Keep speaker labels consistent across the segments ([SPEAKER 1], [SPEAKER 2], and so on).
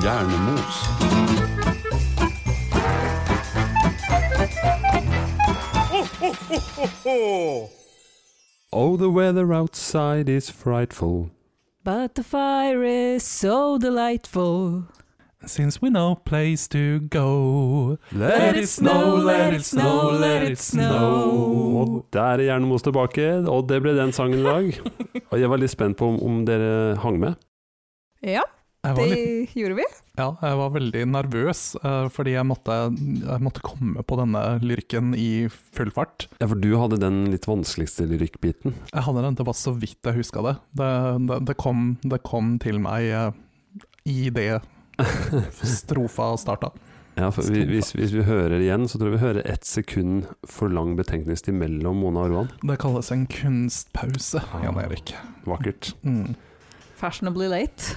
[SPEAKER 1] Hjernemos. Oh, the weather outside is frightful.
[SPEAKER 2] But the fire is so delightful.
[SPEAKER 3] Since we know place to go.
[SPEAKER 2] Let it snow, let it snow, let it
[SPEAKER 1] Og
[SPEAKER 2] snow.
[SPEAKER 1] der er Hjernemos tilbake, og det ble den sangen i dag. Og jeg var litt spent på om, om dere hang med.
[SPEAKER 4] Ja,
[SPEAKER 3] Jeg var,
[SPEAKER 4] det
[SPEAKER 3] litt,
[SPEAKER 4] gjorde vi.
[SPEAKER 3] ja, jeg var veldig nervøs, eh, fordi jeg måtte, jeg måtte komme på denne lyrikken i full fart.
[SPEAKER 1] Ja, for du hadde den litt vanskeligste lyrikkbiten.
[SPEAKER 3] Jeg hadde den, Det var så vidt jeg huska det. Det, det, det, kom, det kom til meg eh, i det strofa starta.
[SPEAKER 1] Ja, for vi, hvis, hvis vi hører igjen, så tror jeg vi hører ett sekund for lang betenkningstid mellom Mona og Roan.
[SPEAKER 3] Det kalles en kunstpause, Jan Erik.
[SPEAKER 1] Vakkert.
[SPEAKER 3] Mm.
[SPEAKER 4] Fashionably late.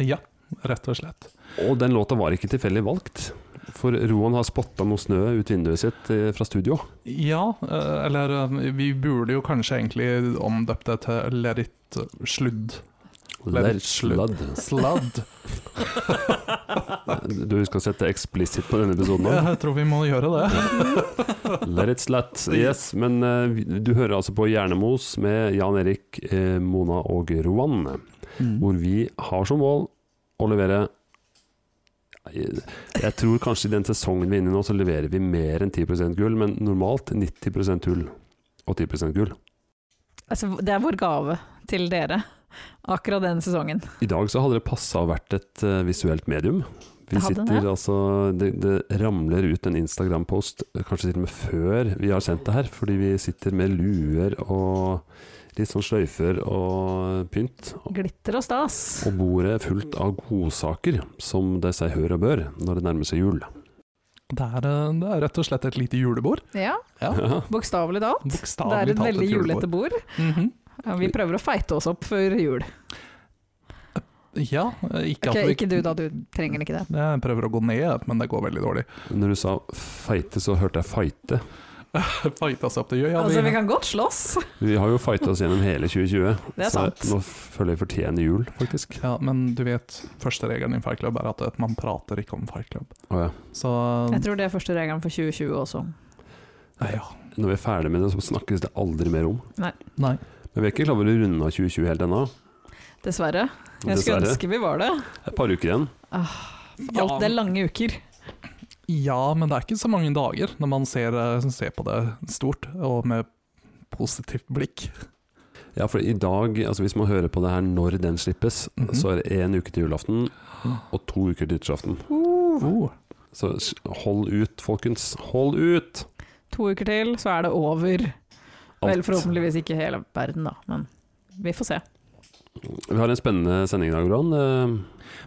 [SPEAKER 3] Ja, rett og slett.
[SPEAKER 1] Og den låta var ikke tilfeldig valgt. For Roan har spotta noe snø ut vinduet sitt eh, fra studio.
[SPEAKER 3] Ja, eh, eller eh, vi burde jo kanskje egentlig omdøpt det til Let it sludd. Let it
[SPEAKER 1] Sludd.
[SPEAKER 3] Sladd.
[SPEAKER 1] Du skal sette eksplisitt på denne episoden nå.
[SPEAKER 3] Jeg tror vi må gjøre det.
[SPEAKER 1] Let it slut. Yes. Men eh, vi- du hører altså på Hjernemos med Jan Erik, eh, Mona og Roan.
[SPEAKER 3] Mm.
[SPEAKER 1] hvor vi har som mål å levere jeg, jeg tror kanskje i den sesongen vi er inne i nå, så leverer vi mer enn 10 gull, men normalt 90 hull og 10 gull.
[SPEAKER 4] Altså, det er vår gave til dere akkurat denne sesongen.
[SPEAKER 1] I dag så hadde det passa å vært et eh, visuelt medium. Vi
[SPEAKER 4] Det hadde
[SPEAKER 1] sitter
[SPEAKER 4] det.
[SPEAKER 1] altså det, det ramler ut en Instagram-post, kanskje til og med før vi har sendt det her, fordi vi sitter med luer og litt sånn sløyfer og pynt.
[SPEAKER 4] Glitter og stas.
[SPEAKER 1] Og bordet er fullt av godsaker, som det seg hør og bør når det nærmer seg jul.
[SPEAKER 3] Det er, eh, det er rett og slett et lite julebord.
[SPEAKER 4] Ja,
[SPEAKER 1] Ja.
[SPEAKER 4] bokstavelig talt. Det er
[SPEAKER 3] Bokstavelig
[SPEAKER 4] et
[SPEAKER 3] talt
[SPEAKER 4] veldig
[SPEAKER 3] et
[SPEAKER 4] julete
[SPEAKER 3] julebord.
[SPEAKER 4] bord.
[SPEAKER 3] Mhm.
[SPEAKER 4] Ja, Vi prøver å feite oss opp før jul.
[SPEAKER 3] Ja, eh, ikke
[SPEAKER 4] Ok,
[SPEAKER 3] at vi
[SPEAKER 4] ikke du da, du trenger ikke det.
[SPEAKER 3] Jeg prøver å gå ned, men det går veldig dårlig.
[SPEAKER 1] Når du sa feite, så hørte jeg fighte.
[SPEAKER 3] Fighta seg opp til ja,
[SPEAKER 4] Altså, vi kan godt slåss.
[SPEAKER 1] Vi har jo fighta oss gjennom hele 2020.
[SPEAKER 4] Det er sant.
[SPEAKER 1] Så nå føler jeg fortjener jul, faktisk.
[SPEAKER 3] ja, men du vet, første regelen i en Fight Club er at eh, man prater ikke om Fight Club.
[SPEAKER 1] Å ja.
[SPEAKER 3] Så
[SPEAKER 1] Sånn.
[SPEAKER 4] Jeg tror det er første regelen for 2020 også.
[SPEAKER 3] Nei, ja.
[SPEAKER 1] Når vi er ferdig med det, så snakkes det aldri mer om.
[SPEAKER 3] Nei.
[SPEAKER 1] Men vi er ikke klar over å runde av 2020 helt ennå.
[SPEAKER 4] Dessverre. Jeg skulle
[SPEAKER 1] Dessverre.
[SPEAKER 4] ønske vi var det.
[SPEAKER 1] Et par uker igjen.
[SPEAKER 4] Alt det er lange uker.
[SPEAKER 3] Ja, men det er ikke så mange dager når man ser, eh, ser på det stort og med positivt blikk.
[SPEAKER 1] Ja, for i dag, altså hvis man hører på det her når den slippes,
[SPEAKER 3] Mhm.
[SPEAKER 1] så er det én uke til julaften og to uker til nyttårsaften.
[SPEAKER 4] Uh.
[SPEAKER 3] Oh.
[SPEAKER 1] Så s- hold ut, folkens. Hold ut!
[SPEAKER 4] To uker til, så er det over. Vel,
[SPEAKER 1] Alt.
[SPEAKER 4] forhåpentligvis ikke hele verden, da, men vi får se.
[SPEAKER 1] Vi har en spennende sending i dag, Roan. Eh,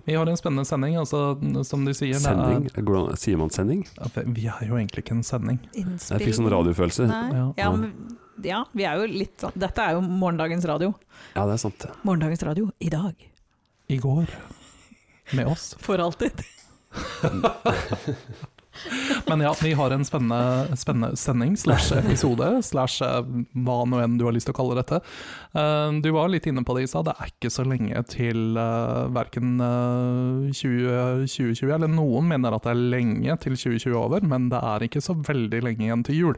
[SPEAKER 3] Vi har en spennende sending, altså, som de sier. det er-
[SPEAKER 1] Sending? Hvordan- Sier man sending?
[SPEAKER 3] Vi er jo egentlig ikke en sending.
[SPEAKER 1] Jeg fikk sånn radiofølelse.
[SPEAKER 4] Nei.
[SPEAKER 3] Ja.
[SPEAKER 4] Ja, men, ja, vi er jo litt sånn Dette er jo morgendagens radio.
[SPEAKER 1] Ja, det er sant. det.
[SPEAKER 4] Morgendagens radio i dag.
[SPEAKER 3] I går. Med oss.
[SPEAKER 4] For alltid.
[SPEAKER 3] Men ja, vi har en spennende, spennende sending slash episode slash eh, hva nå enn du har lyst til å kalle dette. Eh, Du var litt inne på det, Isa. Det er ikke så lenge til eh, uh, verken 2020 eller noen mener at det er lenge til 2020 er over, men det er ikke så veldig lenge igjen til jul.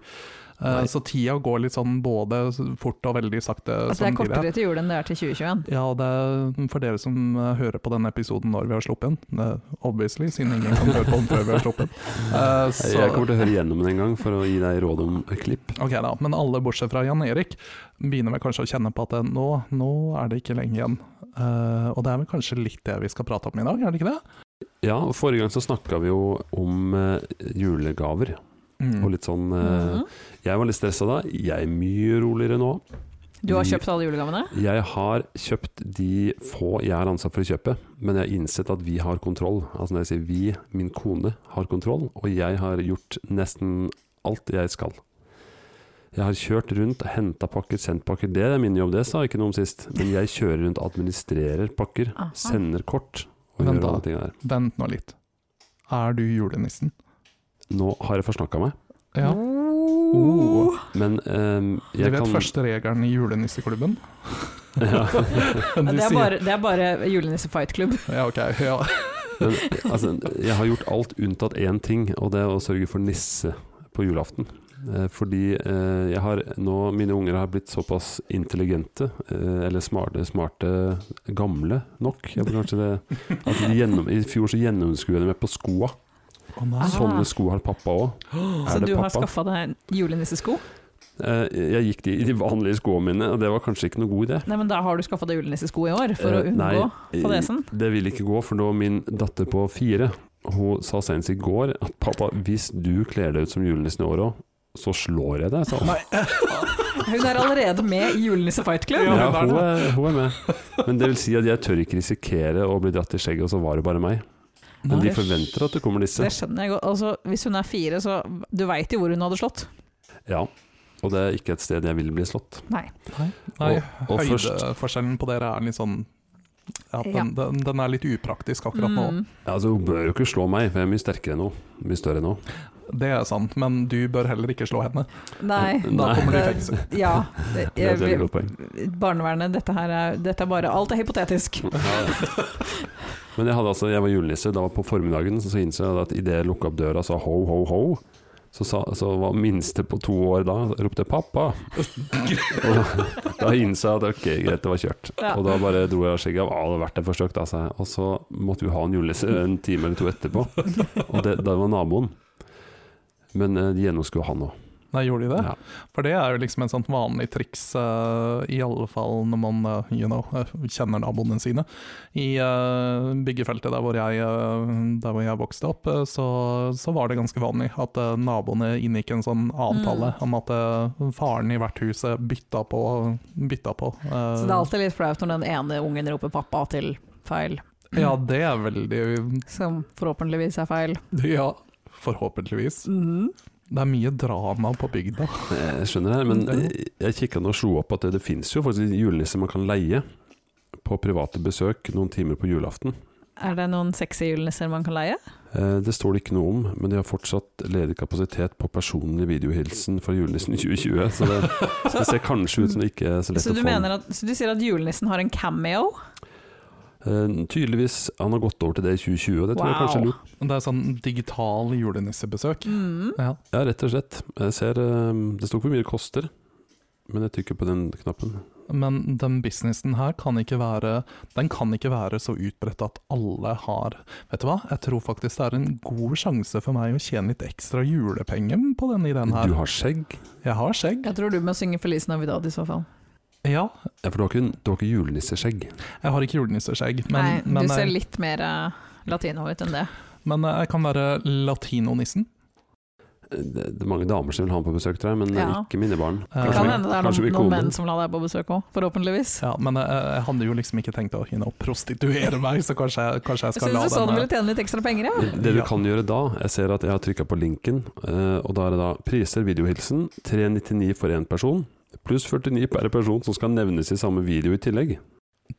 [SPEAKER 3] Eh,
[SPEAKER 1] Nei.
[SPEAKER 3] så tida går litt sånn både fort og veldig sakte.
[SPEAKER 1] Sånn,
[SPEAKER 4] Altså, det er
[SPEAKER 3] samtidig.
[SPEAKER 4] kortere til jul enn det er til 2021.
[SPEAKER 3] Ja, og det er for dere som eh, hører på denne episoden når vi har sluppet den, eh, obviously, siden ingen kan høre på den før vi har sluppet den. Eh, så-
[SPEAKER 1] Jeg kommer til å høre gjennom den en gang for å gi deg råd om klipp.
[SPEAKER 3] Ok da, Men alle bortsett fra Jan Erik begynner vel kanskje å kjenne på at eh, nå, nå er det ikke lenge igjen. Eh, og det er vel kanskje litt det vi skal prate om i dag, er det ikke det?
[SPEAKER 1] Ja, og Forrige gang så snakka vi jo om eh, julegaver
[SPEAKER 3] Mm.
[SPEAKER 1] og litt sånn eh,
[SPEAKER 4] Mhm.
[SPEAKER 1] Jeg var litt stressa da, jeg er mye roligere nå.
[SPEAKER 4] Du har
[SPEAKER 1] vi-
[SPEAKER 4] kjøpt alle julegavene?
[SPEAKER 1] Jeg har kjøpt de få jeg er ansatt for å kjøpe, men jeg har innsett at vi har kontroll. Altså når jeg sier vi, min kone har kontroll, og jeg har gjort nesten alt jeg skal. Jeg har kjørt rundt, henta pakker, sendt pakker. Det er min jobb, det sa jeg ikke noe om sist. Men jeg kjører rundt, administrerer pakker,
[SPEAKER 4] Aha.
[SPEAKER 1] sender kort og
[SPEAKER 3] Men
[SPEAKER 1] gjør
[SPEAKER 3] da-
[SPEAKER 1] alle tingene der.
[SPEAKER 3] Vent nå litt. Er du julenissen?
[SPEAKER 1] Nå har jeg forsnakka meg.
[SPEAKER 3] Ja.
[SPEAKER 4] Oh.
[SPEAKER 1] Men ehm,
[SPEAKER 3] Du
[SPEAKER 1] jeg
[SPEAKER 3] vet
[SPEAKER 1] kan
[SPEAKER 3] første regelen i julenisseklubben?
[SPEAKER 1] ja,
[SPEAKER 3] De
[SPEAKER 4] Det er
[SPEAKER 3] sier-
[SPEAKER 4] bare, det er bare julenisse fight-klubb.
[SPEAKER 3] Ja, ok. Ja.
[SPEAKER 1] men, altså, Jeg har gjort alt unntatt én ting, og det er å sørge for nisse på julaften. Eh, fordi eh, jeg har nå mine unger har blitt såpass intelligente, eh, eller smarte, smarte gamle nok. Jeg tror kanskje det, at de gjennom, I fjor så gjennomskuet jeg dem på skoa.
[SPEAKER 3] Å nei.
[SPEAKER 4] Ah.
[SPEAKER 1] Sånne sko har pappa òg.
[SPEAKER 4] Så du har skaffa deg julenissesko?
[SPEAKER 1] Eh, jeg gikk de, i de vanlige skoene mine, og det var kanskje ikke noe god idé.
[SPEAKER 4] Nei, men da har du skaffa deg julenissesko i år, for å
[SPEAKER 1] Eh,
[SPEAKER 4] unngå
[SPEAKER 1] nei,
[SPEAKER 4] fadesen?
[SPEAKER 1] Det vil ikke gå, for da min datter på fire Hun sa senest i går at pappa, hvis du kler deg ut som julenissen i år òg, så slår jeg deg, sa hun.
[SPEAKER 4] Hun er allerede med i julenisse fight-klubb!
[SPEAKER 1] Ja,
[SPEAKER 3] Ja,
[SPEAKER 1] hun
[SPEAKER 3] hun
[SPEAKER 1] er, hun er med. Men det vil si at jeg tør ikke risikere å bli dratt i skjegget, og så var det bare meg. Men de
[SPEAKER 3] Nei.
[SPEAKER 1] forventer at det kommer disse.
[SPEAKER 4] Det skjønner jeg godt. Altså, hvis hun er fire, så Du veit jo hvor hun hadde slått.
[SPEAKER 1] Ja. Og det er ikke et sted jeg vil bli slått.
[SPEAKER 4] Nei.
[SPEAKER 3] Nei,
[SPEAKER 1] og
[SPEAKER 3] høydeforskjellen på dere er litt sånn ja, den,
[SPEAKER 4] Ja.
[SPEAKER 3] den, den er litt upraktisk akkurat nå.
[SPEAKER 4] Mm.
[SPEAKER 1] Ja, Altså, hun bør jo ikke slå meg, for jeg er mye sterkere enn henne. Mye større enn henne.
[SPEAKER 3] Det er sant, men du bør heller ikke slå henne.
[SPEAKER 4] Nei.
[SPEAKER 3] Da
[SPEAKER 1] Nei.
[SPEAKER 3] kommer du i
[SPEAKER 4] Det-
[SPEAKER 3] fengsel.
[SPEAKER 4] Ja. Det,
[SPEAKER 1] Det er et veldig godt poeng.
[SPEAKER 4] barnevernet, dette her er, dette er bare Alt er hypotetisk.
[SPEAKER 1] Men jeg, hadde altså, jeg var julenisse. Da var på formiddagen så innså jeg at idet jeg lukka opp døra og sa ho, ho, ho, så, sa, så var minste på to år da ropte 'pappa'. Og da innså jeg at ok, greit, det var kjørt.
[SPEAKER 4] Ja.
[SPEAKER 1] Og da bare dro jeg skjegget av. Ah, det har vært et forsøk, da, sa jeg. Og så måtte vi ha en julenisse en time eller to etterpå. Og det, da var naboen. Men eh, de gjennomskua han òg.
[SPEAKER 3] Nei, gjorde de det?
[SPEAKER 1] Ja.
[SPEAKER 3] For det er jo liksom en sånn vanlig triks, eh, i alle fall når man eh, you know, eh, kjenner naboene sine. I eh, byggefeltet der hvor jeg, eh, der hvor jeg vokste opp, eh, så, så var det ganske vanlig at eh, naboene inngikk en sånn avtale
[SPEAKER 4] Mm.
[SPEAKER 3] om at eh, faren i verthuset bytta på. Bytta på eh,
[SPEAKER 4] Så det er alltid litt flaut når den ene ungen roper 'pappa' til feil,
[SPEAKER 3] Ja, det er veldig
[SPEAKER 4] som forhåpentligvis er feil.
[SPEAKER 3] Ja, forhåpentligvis.
[SPEAKER 4] Mm.
[SPEAKER 3] Det er mye drama på bygda.
[SPEAKER 1] Jeg Eh, skjønner det, men jeg kikka nå og slo opp at det, det fins jo faktisk julenisser man kan leie på private besøk noen timer på julaften.
[SPEAKER 4] Er det noen sexy julenisser man kan leie?
[SPEAKER 1] Eh, Det står det ikke noe om, men de har fortsatt ledig kapasitet på personlig videohilsen fra julenissen 2020, så det, det ser kanskje ut som det ikke er så lett
[SPEAKER 4] Så
[SPEAKER 1] å
[SPEAKER 4] du,
[SPEAKER 1] få. den.
[SPEAKER 4] mener at, så du sier at julenissen har en cameo?
[SPEAKER 1] Eh, Tydeligvis han har gått over til det i 2020, og det tror jeg kanskje er lurt.
[SPEAKER 3] Det er sånn digital julenissebesøk.
[SPEAKER 4] Mm.
[SPEAKER 3] Ja.
[SPEAKER 1] Ja, rett og slett. Jeg ser eh, Det står ikke hvor mye det koster, men jeg trykker på den knappen.
[SPEAKER 3] Men den businessen her kan ikke være Den kan ikke være så utbredt at alle har Vet du hva, jeg tror faktisk det er en god sjanse for meg å tjene litt ekstra julepenger på den ideen her.
[SPEAKER 1] Du har skjegg?
[SPEAKER 3] Jeg har skjegg.
[SPEAKER 4] Jeg tror du må synge 'Feliz Navidad' i så fall.
[SPEAKER 3] Ja,
[SPEAKER 1] Ja, for du har ikke, du har ikke julenisseskjegg?
[SPEAKER 3] jeg har ikke julenisseskjegg, men,
[SPEAKER 4] Nei, du
[SPEAKER 3] men,
[SPEAKER 4] ser
[SPEAKER 3] jeg,
[SPEAKER 4] litt mer eh, latino ut enn det.
[SPEAKER 3] men jeg kan være latinonissen.
[SPEAKER 1] det, det er mange damer som vil ha ham på besøk, tror jeg, men
[SPEAKER 4] Ja.
[SPEAKER 1] ikke mine barn.
[SPEAKER 3] Ja.
[SPEAKER 1] Kanskje
[SPEAKER 4] Det kan
[SPEAKER 1] vi-
[SPEAKER 4] hende det er
[SPEAKER 1] kanskje vi
[SPEAKER 4] noen, noen
[SPEAKER 1] kommer.
[SPEAKER 4] menn som vil ha deg på besøk òg, forhåpentligvis.
[SPEAKER 3] Ja, men jeg, jeg hadde jo liksom ikke tenkt å you know, prostituere meg, så kanskje, jeg- kanskje jeg
[SPEAKER 4] Jeg
[SPEAKER 3] skal
[SPEAKER 4] syns
[SPEAKER 3] la
[SPEAKER 4] du sa du
[SPEAKER 3] den
[SPEAKER 4] ville tjene litt ekstra penger, ja.
[SPEAKER 1] Men Det du
[SPEAKER 3] Ja.
[SPEAKER 1] kan gjøre da, jeg ser at jeg har trykka på linken, eh, og da er det da priser, videohilsen, 399 for én person, pluss 49 per person som skal nevnes i samme video i tillegg.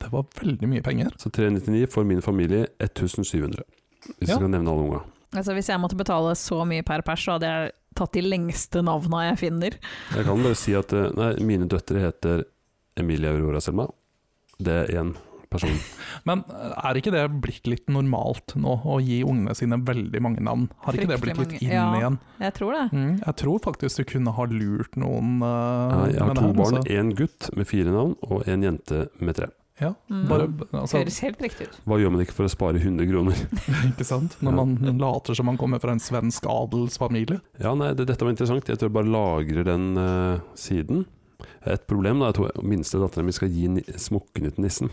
[SPEAKER 3] Det var veldig mye penger.
[SPEAKER 1] Så 399 for min familie, 1700. Hvis
[SPEAKER 3] Ja.
[SPEAKER 1] du skal nevne alle unga.
[SPEAKER 4] Altså, hvis jeg måtte betale så mye per pers, så hadde jeg tatt de lengste navna jeg finner.
[SPEAKER 1] Jeg kan bare si at eh, nei, mine døtre heter Emilie Aurora Selma. Det er én person.
[SPEAKER 3] Men eh, er ikke det blitt litt normalt nå, å gi ungene sine veldig mange navn? Har ikke det
[SPEAKER 4] Fryktelig
[SPEAKER 3] blitt litt
[SPEAKER 4] mange.
[SPEAKER 3] inn
[SPEAKER 4] Ja.
[SPEAKER 3] igjen?
[SPEAKER 4] Jeg tror det.
[SPEAKER 3] Mm, jeg tror faktisk du kunne ha lurt noen
[SPEAKER 1] Ja,
[SPEAKER 4] Ah,
[SPEAKER 3] eh,
[SPEAKER 1] Jeg har
[SPEAKER 3] med det
[SPEAKER 1] to
[SPEAKER 3] her,
[SPEAKER 1] barn,
[SPEAKER 3] altså.
[SPEAKER 1] én gutt med fire navn, og en jente med tre.
[SPEAKER 3] Ja,
[SPEAKER 4] Mm.
[SPEAKER 3] bare, altså,
[SPEAKER 4] Høres helt riktig ut.
[SPEAKER 1] Hva gjør man ikke for å spare 100 kroner?
[SPEAKER 3] ikke sant? Når
[SPEAKER 1] Ja.
[SPEAKER 3] man later som man kommer fra en svensk adelsfamilie.
[SPEAKER 1] Ja, nei, det, dette var interessant. Jeg tror jeg bare lagrer den eh, siden. Et problem da, jeg tror minste datteren min skal gi ni- smokkene til nissen.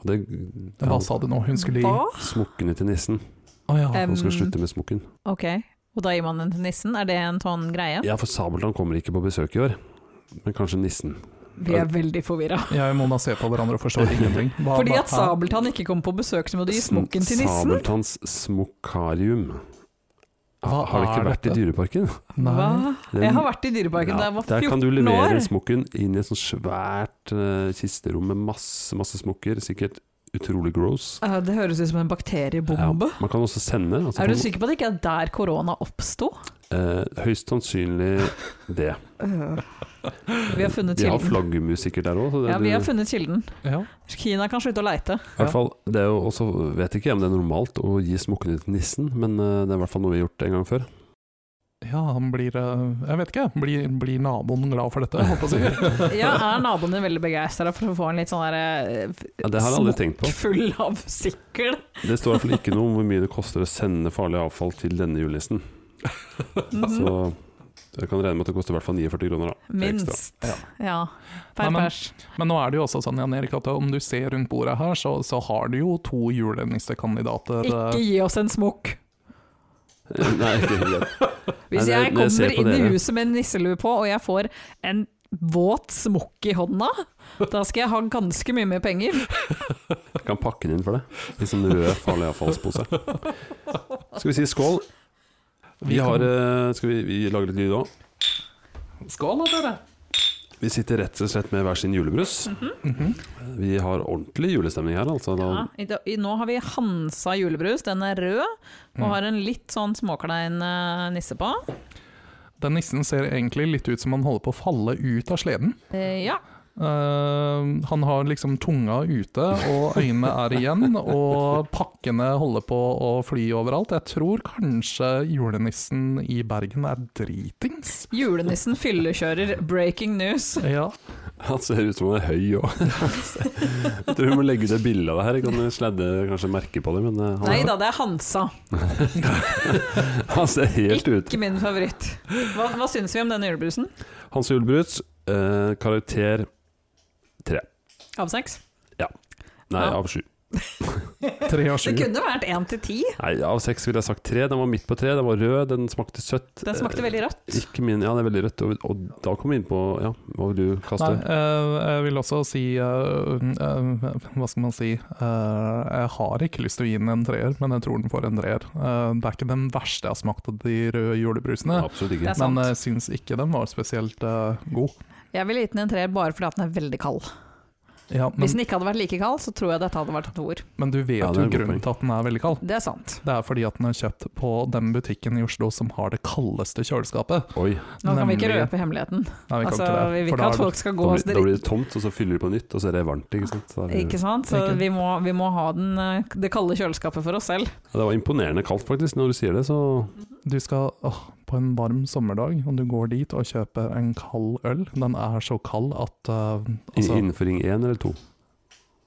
[SPEAKER 1] Og det,
[SPEAKER 3] Hva sa du nå? Hun skulle i
[SPEAKER 4] Hva?
[SPEAKER 1] Smokkene til nissen.
[SPEAKER 3] Å ja.
[SPEAKER 4] Eh.
[SPEAKER 1] Hun skal
[SPEAKER 4] Mm.
[SPEAKER 1] slutte med smokken.
[SPEAKER 4] Ok, og da gir man den til nissen? Er det en sånn greie?
[SPEAKER 1] Ja, for Sabeltann kommer ikke på besøk i år. Men kanskje nissen.
[SPEAKER 4] Vi er veldig forvirra.
[SPEAKER 3] Jeg og Mona ser på hverandre og forstår ingenting. Hva-
[SPEAKER 4] Fordi
[SPEAKER 3] hva-
[SPEAKER 4] at Sabeltann ikke kom på besøk, så må du gi smokken til nissen?
[SPEAKER 1] Sabeltanns smokkarium.
[SPEAKER 3] Hva
[SPEAKER 1] har det ikke
[SPEAKER 3] er
[SPEAKER 1] vært
[SPEAKER 3] dette?
[SPEAKER 1] i Dyreparken?
[SPEAKER 3] Nei.
[SPEAKER 4] Hva? Jeg har vært i Dyreparken da jeg var
[SPEAKER 1] Der
[SPEAKER 4] 14
[SPEAKER 1] kan du levere
[SPEAKER 4] år.
[SPEAKER 1] smokken inn i et sånt svært eh, kisterom med masse, masse smokker. Sikkert utrolig gross.
[SPEAKER 4] Ja, Ah, Det høres ut som en bakteriebombe.
[SPEAKER 1] Ja, man kan også sende. Altså,
[SPEAKER 4] Er du
[SPEAKER 1] på-
[SPEAKER 4] sikker på at det ikke er der korona oppsto?
[SPEAKER 1] eh, høyst sannsynlig det.
[SPEAKER 4] Øh. Vi har funnet
[SPEAKER 1] De har
[SPEAKER 4] kilden.
[SPEAKER 1] flaggermus sikkert der òg.
[SPEAKER 4] Ja, vi har funnet kilden.
[SPEAKER 3] Ja.
[SPEAKER 4] Kina kan slutte å leite.
[SPEAKER 1] I hvert fall, det er jo også, vet ikke om det er normalt å gi smokkene til nissen, men eh, det er i hvert fall noe vi har gjort en gang før.
[SPEAKER 3] ja, han blir eh, Jeg vet ikke, blir, blir naboen glad for dette? Håper jeg. å si.
[SPEAKER 4] Ja, Er naboen din veldig begeistra for å få en litt sånn der, eh,
[SPEAKER 1] Ja, det har jeg aldri tenkt på.
[SPEAKER 4] full av sikkel?
[SPEAKER 1] Det står i hvert fall ikke noe om hvor mye det koster å sende farlig avfall til denne julenissen.
[SPEAKER 4] Mhm.
[SPEAKER 1] Så jeg kan regne med at det koster i hvert fall 49 kroner, da.
[SPEAKER 4] Minst.
[SPEAKER 3] Ja.
[SPEAKER 4] Ja. Per
[SPEAKER 3] Nei, men-
[SPEAKER 4] pers.
[SPEAKER 3] Men nå er det jo også sånn, Jan Erik, at om du ser rundt bordet her, så, så har du jo to julenissekandidater.
[SPEAKER 4] Ikke
[SPEAKER 3] eh,
[SPEAKER 4] gi oss en smokk.
[SPEAKER 1] Nei, ikke helt.
[SPEAKER 4] Hvis
[SPEAKER 1] Nei,
[SPEAKER 4] jeg
[SPEAKER 1] det- det ser
[SPEAKER 4] kommer
[SPEAKER 1] jeg på
[SPEAKER 4] inn i
[SPEAKER 1] dere.
[SPEAKER 4] huset med en nisselue på, og jeg får en våt smokk i hånda, da skal jeg ha ganske mye mer penger.
[SPEAKER 1] Jeg kan pakke den inn for det. I sånn rød farlig avfallspose. Skal vi si skål? Vi har eh, Skal vi, vi lage litt lyd òg?
[SPEAKER 3] Skål, da, dere!
[SPEAKER 1] Vi sitter rett og slett med hver sin julebrus.
[SPEAKER 3] Mhm.
[SPEAKER 1] Vi har ordentlig julestemning her, altså. Da,
[SPEAKER 4] Ja, i dag- i- nå har vi Hansa julebrus, den er rød,
[SPEAKER 1] Mm.
[SPEAKER 4] og har en litt sånn småklein eh, nisse på.
[SPEAKER 3] Den nissen ser egentlig litt ut som han holder på å falle ut av sleden.
[SPEAKER 4] Eh, ja.
[SPEAKER 3] Eh, han har liksom tunga ute, og øynene er igjen, og pakkene holder på å fly overalt. Jeg tror kanskje julenissen i Bergen er dritings.
[SPEAKER 4] Julenissen fyllekjører, breaking news.
[SPEAKER 3] Ja,
[SPEAKER 1] Han ser ut som han er høy òg. Jeg tror vi må legge ut et bilde av det her. Jeg kan sladde kanskje merke på det, men eh, han,
[SPEAKER 4] Nei da, det er Hansa.
[SPEAKER 1] han ser helt ut.
[SPEAKER 4] Ikke min favoritt. Hva, hva syns vi om denne julebrusen?
[SPEAKER 1] Hans julebrus, eh, karakter
[SPEAKER 4] Av seks?
[SPEAKER 1] Nei,
[SPEAKER 4] Ja.
[SPEAKER 1] av sju.
[SPEAKER 3] Tre av sju.
[SPEAKER 4] Det kunne vært én til ti.
[SPEAKER 1] Nei, av seks ville jeg sagt tre. Den var midt på tre. Den var rød, den smakte søtt.
[SPEAKER 4] Den smakte veldig
[SPEAKER 1] Eh,
[SPEAKER 4] rødt.
[SPEAKER 1] Ikke min, ja, det er veldig rødt. Og, og da kom vi inn på Ja, hva vil du kaste?
[SPEAKER 3] Nei, eh, jeg vil også si eh, eh, Hva skal man si? Eh, jeg har ikke lyst til å gi den en treer, men jeg tror den får en treer. Eh, det er ikke den verste jeg har smakt av de røde julebrusene,
[SPEAKER 1] Absolutt
[SPEAKER 4] Det
[SPEAKER 1] ikke.
[SPEAKER 4] er sant.
[SPEAKER 3] men jeg syns ikke den var spesielt eh, god.
[SPEAKER 4] Jeg ville gitt den en treer bare fordi at den er veldig kald.
[SPEAKER 3] Ja, men,
[SPEAKER 4] Hvis den ikke hadde vært like kald, så tror jeg dette hadde vært en toer.
[SPEAKER 3] men du vet
[SPEAKER 1] Ja, det er
[SPEAKER 3] jo
[SPEAKER 1] et godt
[SPEAKER 3] grunnen
[SPEAKER 1] poeng.
[SPEAKER 3] til at den er veldig kald.
[SPEAKER 4] Det er sant.
[SPEAKER 3] Det er fordi at den er kjøpt på den butikken i Oslo som har det kaldeste kjøleskapet.
[SPEAKER 1] Oi,
[SPEAKER 4] Nå kan vi ikke
[SPEAKER 3] Nemlig-
[SPEAKER 4] røpe hemmeligheten.
[SPEAKER 3] Nei, vi kan
[SPEAKER 4] Altså,
[SPEAKER 3] ikke det.
[SPEAKER 4] vi vil ikke
[SPEAKER 3] for da
[SPEAKER 4] at
[SPEAKER 3] er det-
[SPEAKER 4] folk skal
[SPEAKER 1] da
[SPEAKER 4] gå
[SPEAKER 1] blir,
[SPEAKER 4] oss
[SPEAKER 1] da blir det tomt, og så fyller du på nytt, og så er det varmt, ikke sant. Så er det,
[SPEAKER 4] Ikke sant? Så
[SPEAKER 3] Ikke.
[SPEAKER 4] vi må, vi må ha den, eh, det kalde kjøleskapet for oss selv.
[SPEAKER 1] Ja, det var imponerende kaldt, faktisk, når du sier det, så
[SPEAKER 3] Du skal åh, på en varm sommerdag, og du går dit og kjøper en kald øl. Den er så kald at eh, altså,
[SPEAKER 1] i- Innenfor ring én eller to?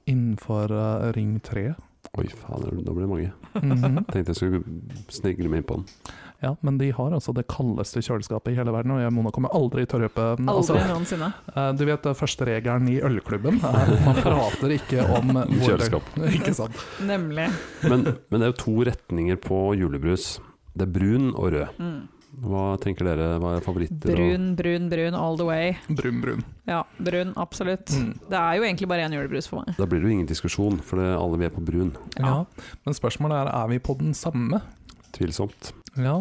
[SPEAKER 3] innenfor eh, Ring 3
[SPEAKER 1] Oi, faen, da blir det mange.
[SPEAKER 3] Mhm.
[SPEAKER 1] Tenkte jeg skulle snegle meg inn på den.
[SPEAKER 3] Ja, men de har altså det kaldeste kjøleskapet i hele verden, og jeg Mona kommer aldri til å røpe altså,
[SPEAKER 4] Aldri noensinne.
[SPEAKER 3] eh, Du vet eh, første regelen i ølklubben er at man prater ikke om hvor-
[SPEAKER 1] Kjøleskap.
[SPEAKER 3] Ikke sant.
[SPEAKER 4] Nemlig.
[SPEAKER 1] Men, men det er jo to retninger på julebrus. Det er brun og rød.
[SPEAKER 4] Mm.
[SPEAKER 1] Hva tenker dere, hva er favoritter? og-
[SPEAKER 4] Brun, brun, brun all the way.
[SPEAKER 3] Brun, brun.
[SPEAKER 4] Ja, brun, absolutt.
[SPEAKER 3] Mm.
[SPEAKER 4] Det er jo egentlig bare én julebrus for meg.
[SPEAKER 1] Da blir det jo ingen diskusjon, for det, alle vi er på brun.
[SPEAKER 3] Ja. Men spørsmålet er er vi på den samme.
[SPEAKER 1] Tvilsomt.
[SPEAKER 3] Ja.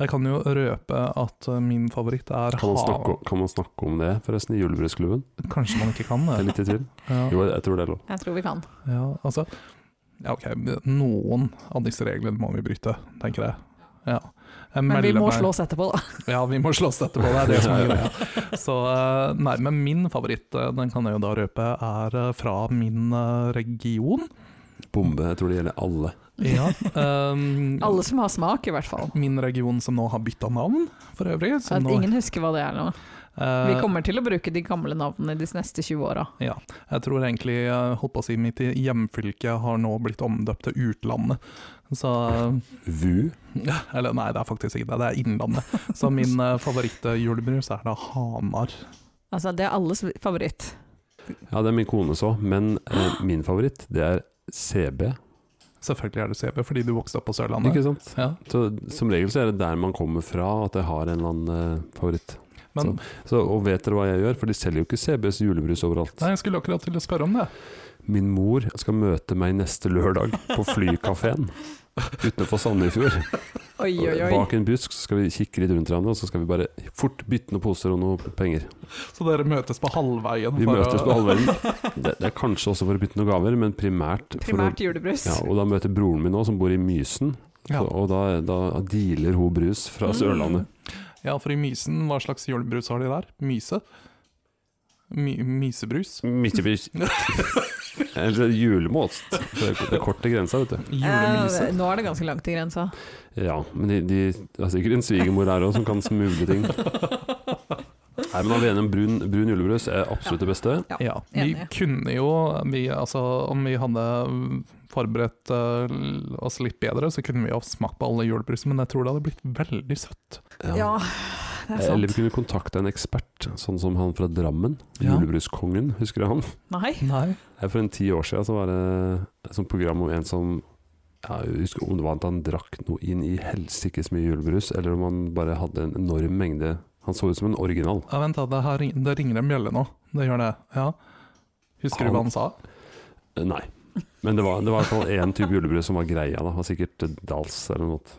[SPEAKER 3] Jeg kan jo røpe at eh, min favoritt er
[SPEAKER 1] Kan man snakke,
[SPEAKER 3] hav...
[SPEAKER 1] om- kan man snakke om det, forresten, i julebrusklubben?
[SPEAKER 3] Kanskje man ikke kan
[SPEAKER 1] Jeg er
[SPEAKER 3] det.
[SPEAKER 1] litt i tvil.
[SPEAKER 3] Ja.
[SPEAKER 1] Jo, jeg tror det er lov.
[SPEAKER 4] Jeg tror vi kan.
[SPEAKER 3] Ja, altså ja, ok, Noen av disse reglene må vi bryte, tenker jeg. Ja. Jeg
[SPEAKER 4] Men vi
[SPEAKER 3] melder
[SPEAKER 4] må
[SPEAKER 3] meg-
[SPEAKER 4] slåss etterpå, da.
[SPEAKER 3] Ja, vi må slåss etterpå, det er det som er greia. Så eh, nei, men min favoritt, eh, den kan jeg jo da røpe, er eh, fra min eh, region.
[SPEAKER 1] Bombe, jeg tror det gjelder alle.
[SPEAKER 3] Ja, ehm,
[SPEAKER 4] Alle som har smak, i hvert fall.
[SPEAKER 3] Min region som nå har bytta navn, for øvrig.
[SPEAKER 4] At
[SPEAKER 3] Som nå,
[SPEAKER 4] ingen husker hva det er nå.
[SPEAKER 3] eh,
[SPEAKER 4] Vi kommer til å bruke de gamle navnene de neste 20 åra.
[SPEAKER 3] ja, jeg tror egentlig eh, holdt på å si mitt hjemfylke har nå blitt omdøpt til Utlandet. Så eh,
[SPEAKER 1] VU.
[SPEAKER 3] Eller nei, det er faktisk ikke det, det er Innlandet. Så min eh, favorittjulebrus er da Hamar.
[SPEAKER 4] Altså, det er alles favoritt.
[SPEAKER 1] Ja, det er min kone så, men eh, min favoritt, det er CB.
[SPEAKER 3] Selvfølgelig er det CB, fordi du vokste opp på Sørlandet.
[SPEAKER 1] Ikke sant?
[SPEAKER 3] Ja,
[SPEAKER 1] Så, som regel så er det der man kommer fra, at jeg har en eller annen eh, favoritt.
[SPEAKER 3] men
[SPEAKER 1] Så, og vet dere hva jeg gjør? For de selger jo ikke CBs julebrus overalt.
[SPEAKER 3] Nei, jeg skulle akkurat til å spørre om det.
[SPEAKER 1] Min mor skal møte meg neste lørdag på flykafeen. utenfor Sandefjord.
[SPEAKER 4] Oi, oi, oi.
[SPEAKER 1] Bak en busk så skal vi kikke litt rundt hverandre, og så skal vi bare fort bytte noen poser og noe penger.
[SPEAKER 3] Så dere møtes på halvveien?
[SPEAKER 1] Vi
[SPEAKER 3] for
[SPEAKER 1] møtes
[SPEAKER 3] å-
[SPEAKER 1] på halvverden. Det, det er kanskje også for å bytte noen gaver, men primært for å
[SPEAKER 4] Primært julebrus.
[SPEAKER 1] ja, Og da møter broren min nå, som bor i Mysen,
[SPEAKER 3] Ja.
[SPEAKER 1] så, og da, da dealer hun brus fra
[SPEAKER 4] Mm.
[SPEAKER 1] Sørlandet.
[SPEAKER 3] ja, for i Mysen, hva slags julebrus har de der? Myse? My mysebrus?
[SPEAKER 1] Midtjebrus. Eller julemåst. Det er- det er kort til grensa, vet du.
[SPEAKER 3] Julemyse?
[SPEAKER 4] Eh, nå er det ganske langt til grensa.
[SPEAKER 1] Ja, men de, de det er sikkert en svigermor her òg som kan smugle ting. Nei, men alene en brun, brun julebrus er absolutt det beste.
[SPEAKER 4] Ja,
[SPEAKER 3] Ja, vi
[SPEAKER 4] enig.
[SPEAKER 3] kunne jo vi, altså, Om vi hadde forberedt eh, l- oss litt bedre, så kunne vi jo smakt på alle julebrusene, men jeg tror det hadde blitt veldig søtt.
[SPEAKER 4] Ja, det er
[SPEAKER 1] Eller
[SPEAKER 4] sant.
[SPEAKER 1] vi kunne kontakta en ekspert, sånn som han fra Drammen.
[SPEAKER 3] Ja.
[SPEAKER 1] Julebruskongen, husker du han?
[SPEAKER 4] Nei.
[SPEAKER 3] Nei.
[SPEAKER 1] Her For en ti år siden så var det et sånt program om en som ja, Jeg husker om det var at han drakk noe inn i helsike så mye julebrus, eller om han bare hadde en enorm mengde Han så ut som en original.
[SPEAKER 3] Ja, vent, da, det, her, ring- det ringer en bjelle nå. Det gjør det, ja. Husker du hva han sa?
[SPEAKER 1] Eh, Nei. Men det var, det var i hvert fall én type julebrus som var greia, da. Det var sikkert eh, Dals eller noe.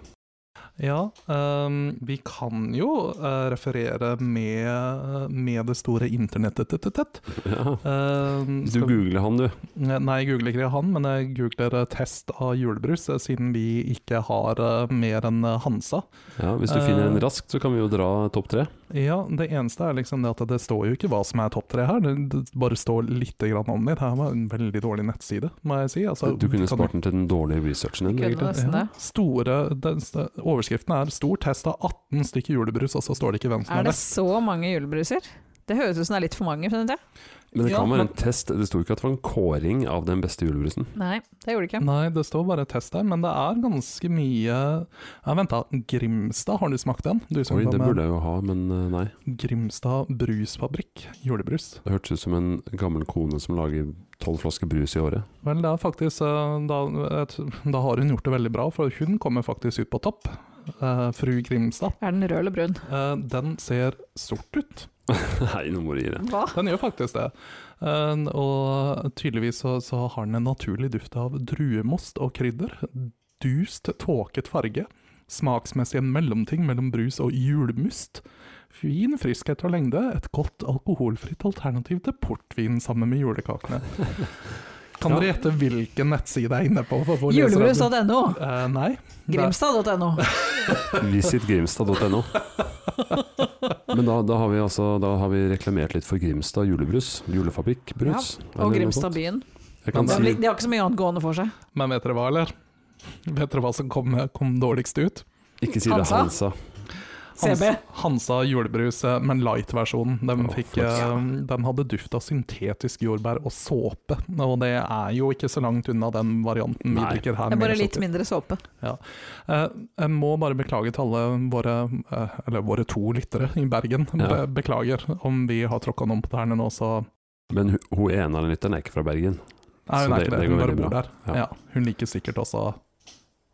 [SPEAKER 3] Ja, ehm, vi kan jo eh, referere med, med det store internettet. tett, tett, tett.
[SPEAKER 1] Ja.
[SPEAKER 3] Ehm,
[SPEAKER 1] Du
[SPEAKER 3] skal-
[SPEAKER 1] googler han, du.
[SPEAKER 3] Nei, jeg googler ikke han, men jeg googler eh, test av julebrus, eh, siden vi ikke har eh, mer enn eh, Hansa.
[SPEAKER 1] Ja, Hvis du
[SPEAKER 3] Eh,
[SPEAKER 1] finner en raskt, så kan vi jo dra topp tre.
[SPEAKER 3] Ja, det eneste er liksom det at det står jo ikke hva som er topp tre her, det det bare står litt grann om det. Det her var en veldig dårlig nettside, må jeg si. Altså,
[SPEAKER 1] Du kunne
[SPEAKER 3] kan-
[SPEAKER 1] spart den til den dårlige researchen din.
[SPEAKER 4] Kunne
[SPEAKER 1] egentlig.
[SPEAKER 4] nesten
[SPEAKER 3] Ja,
[SPEAKER 4] det.
[SPEAKER 3] store, den, st- overskriften er 'Stor test av 18 stykker julebrus', og så står det ikke hvem som er
[SPEAKER 4] Er det
[SPEAKER 3] best.
[SPEAKER 4] så mange julebruser? Det høres ut som det er litt for mange. Synes jeg.
[SPEAKER 1] Men det
[SPEAKER 3] Ja,
[SPEAKER 1] kan være
[SPEAKER 3] men-
[SPEAKER 1] en test. Det sto ikke at det var en kåring av den beste julebrusen.
[SPEAKER 4] Nei, det gjorde det ikke.
[SPEAKER 3] Nei, det står bare 'test' her, men det er ganske mye ja, Vent, da. Grimstad, har du smakt den? Du som
[SPEAKER 1] Oi,
[SPEAKER 3] kom
[SPEAKER 1] det
[SPEAKER 3] med
[SPEAKER 1] burde jeg jo ha, men eh, nei.
[SPEAKER 3] Grimstad brusfabrikk, julebrus.
[SPEAKER 1] Det hørtes ut som en gammel kone som lager tolv flasker brus i året.
[SPEAKER 3] Vel, det er faktisk eh, da, et- da har hun gjort det veldig bra, for hun kommer faktisk ut på topp. Eh, fru Grimstad.
[SPEAKER 4] Er den rød eller brun?
[SPEAKER 3] Eh, den ser sort ut.
[SPEAKER 1] nei, nå må du gi det.
[SPEAKER 4] Hva?
[SPEAKER 3] Den gjør faktisk det. Eh, og tydeligvis så, så har den en naturlig duft av druemost og krydder. Dust, tåket farge. Smaksmessig en mellomting mellom brus og julmust. Fin friskhet og lengde. Et godt alkoholfritt alternativ til portvin sammen med julekakene. Kan dere gjette hvilken nettside jeg er inne på? for- for lesere?
[SPEAKER 4] Julebrus.no.
[SPEAKER 3] Eh, nei.
[SPEAKER 4] Grimstad.no.
[SPEAKER 1] Visit grimstad.no. Men da, da, har vi altså, da har vi reklamert litt for Grimstad julebrus. Julefabrikkbrus.
[SPEAKER 4] Og Grimstad byen.
[SPEAKER 1] Jeg
[SPEAKER 3] Men
[SPEAKER 1] kan
[SPEAKER 4] De har
[SPEAKER 1] si
[SPEAKER 4] de har ikke så mye annet gående for seg.
[SPEAKER 3] Men vet dere hva, eller? Vet dere hva som kom, kom dårligst ut?
[SPEAKER 1] Ikke si det,
[SPEAKER 4] Hansa.
[SPEAKER 1] Hansa.
[SPEAKER 4] CB.
[SPEAKER 3] Hans, Hansa julebrus, eh, men light-versjonen. Den,
[SPEAKER 1] Å,
[SPEAKER 3] fikk,
[SPEAKER 1] flaks.
[SPEAKER 3] eh, den hadde duft av syntetisk jordbær og såpe, og det er jo ikke så langt unna den varianten vi
[SPEAKER 1] Nei.
[SPEAKER 3] drikker her.
[SPEAKER 4] Det er
[SPEAKER 3] med
[SPEAKER 4] bare
[SPEAKER 1] sånn
[SPEAKER 4] litt
[SPEAKER 3] sukker.
[SPEAKER 4] mindre såpe.
[SPEAKER 3] Eh, Jeg må bare beklage til alle våre, eh, eller våre to lyttere i Bergen.
[SPEAKER 1] Ja.
[SPEAKER 3] Be beklager om vi har tråkka noen på tærne nå, så
[SPEAKER 1] Men hun, hun ene av lytteren er ikke fra Bergen.
[SPEAKER 3] Nei, hun
[SPEAKER 1] Så
[SPEAKER 3] er
[SPEAKER 1] det-
[SPEAKER 3] ikke det.
[SPEAKER 1] det går
[SPEAKER 3] Hun bare
[SPEAKER 1] veldig
[SPEAKER 3] bor
[SPEAKER 1] bra.
[SPEAKER 3] der.
[SPEAKER 1] Ja.
[SPEAKER 3] Ja, hun liker sikkert også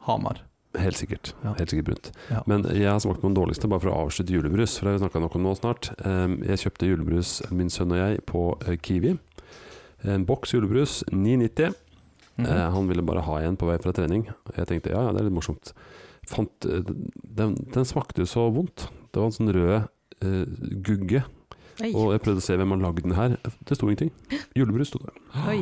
[SPEAKER 3] Hamar.
[SPEAKER 1] Helt sikkert.
[SPEAKER 3] Ja.
[SPEAKER 1] Helt sikkert brunt.
[SPEAKER 3] Ja.
[SPEAKER 1] Men jeg har smakt på den dårligste, bare for å avslutte julebrus. For det har vi snakka nok om nå snart. Em, Jeg kjøpte julebrus, min sønn og jeg, på eh, Kiwi. En boks julebrus, 9,90.
[SPEAKER 3] Mhm.
[SPEAKER 1] Eh, Han ville bare ha en på vei fra trening. Jeg tenkte ja, ja, det er litt morsomt. Fant, eh, den, den smakte jo så vondt. Det var en sånn rød eh, gugge.
[SPEAKER 4] Oi.
[SPEAKER 1] Og jeg prøvde å se hvem har lagd den her. Det sto ingenting. Julebrus sto det.
[SPEAKER 4] Oi.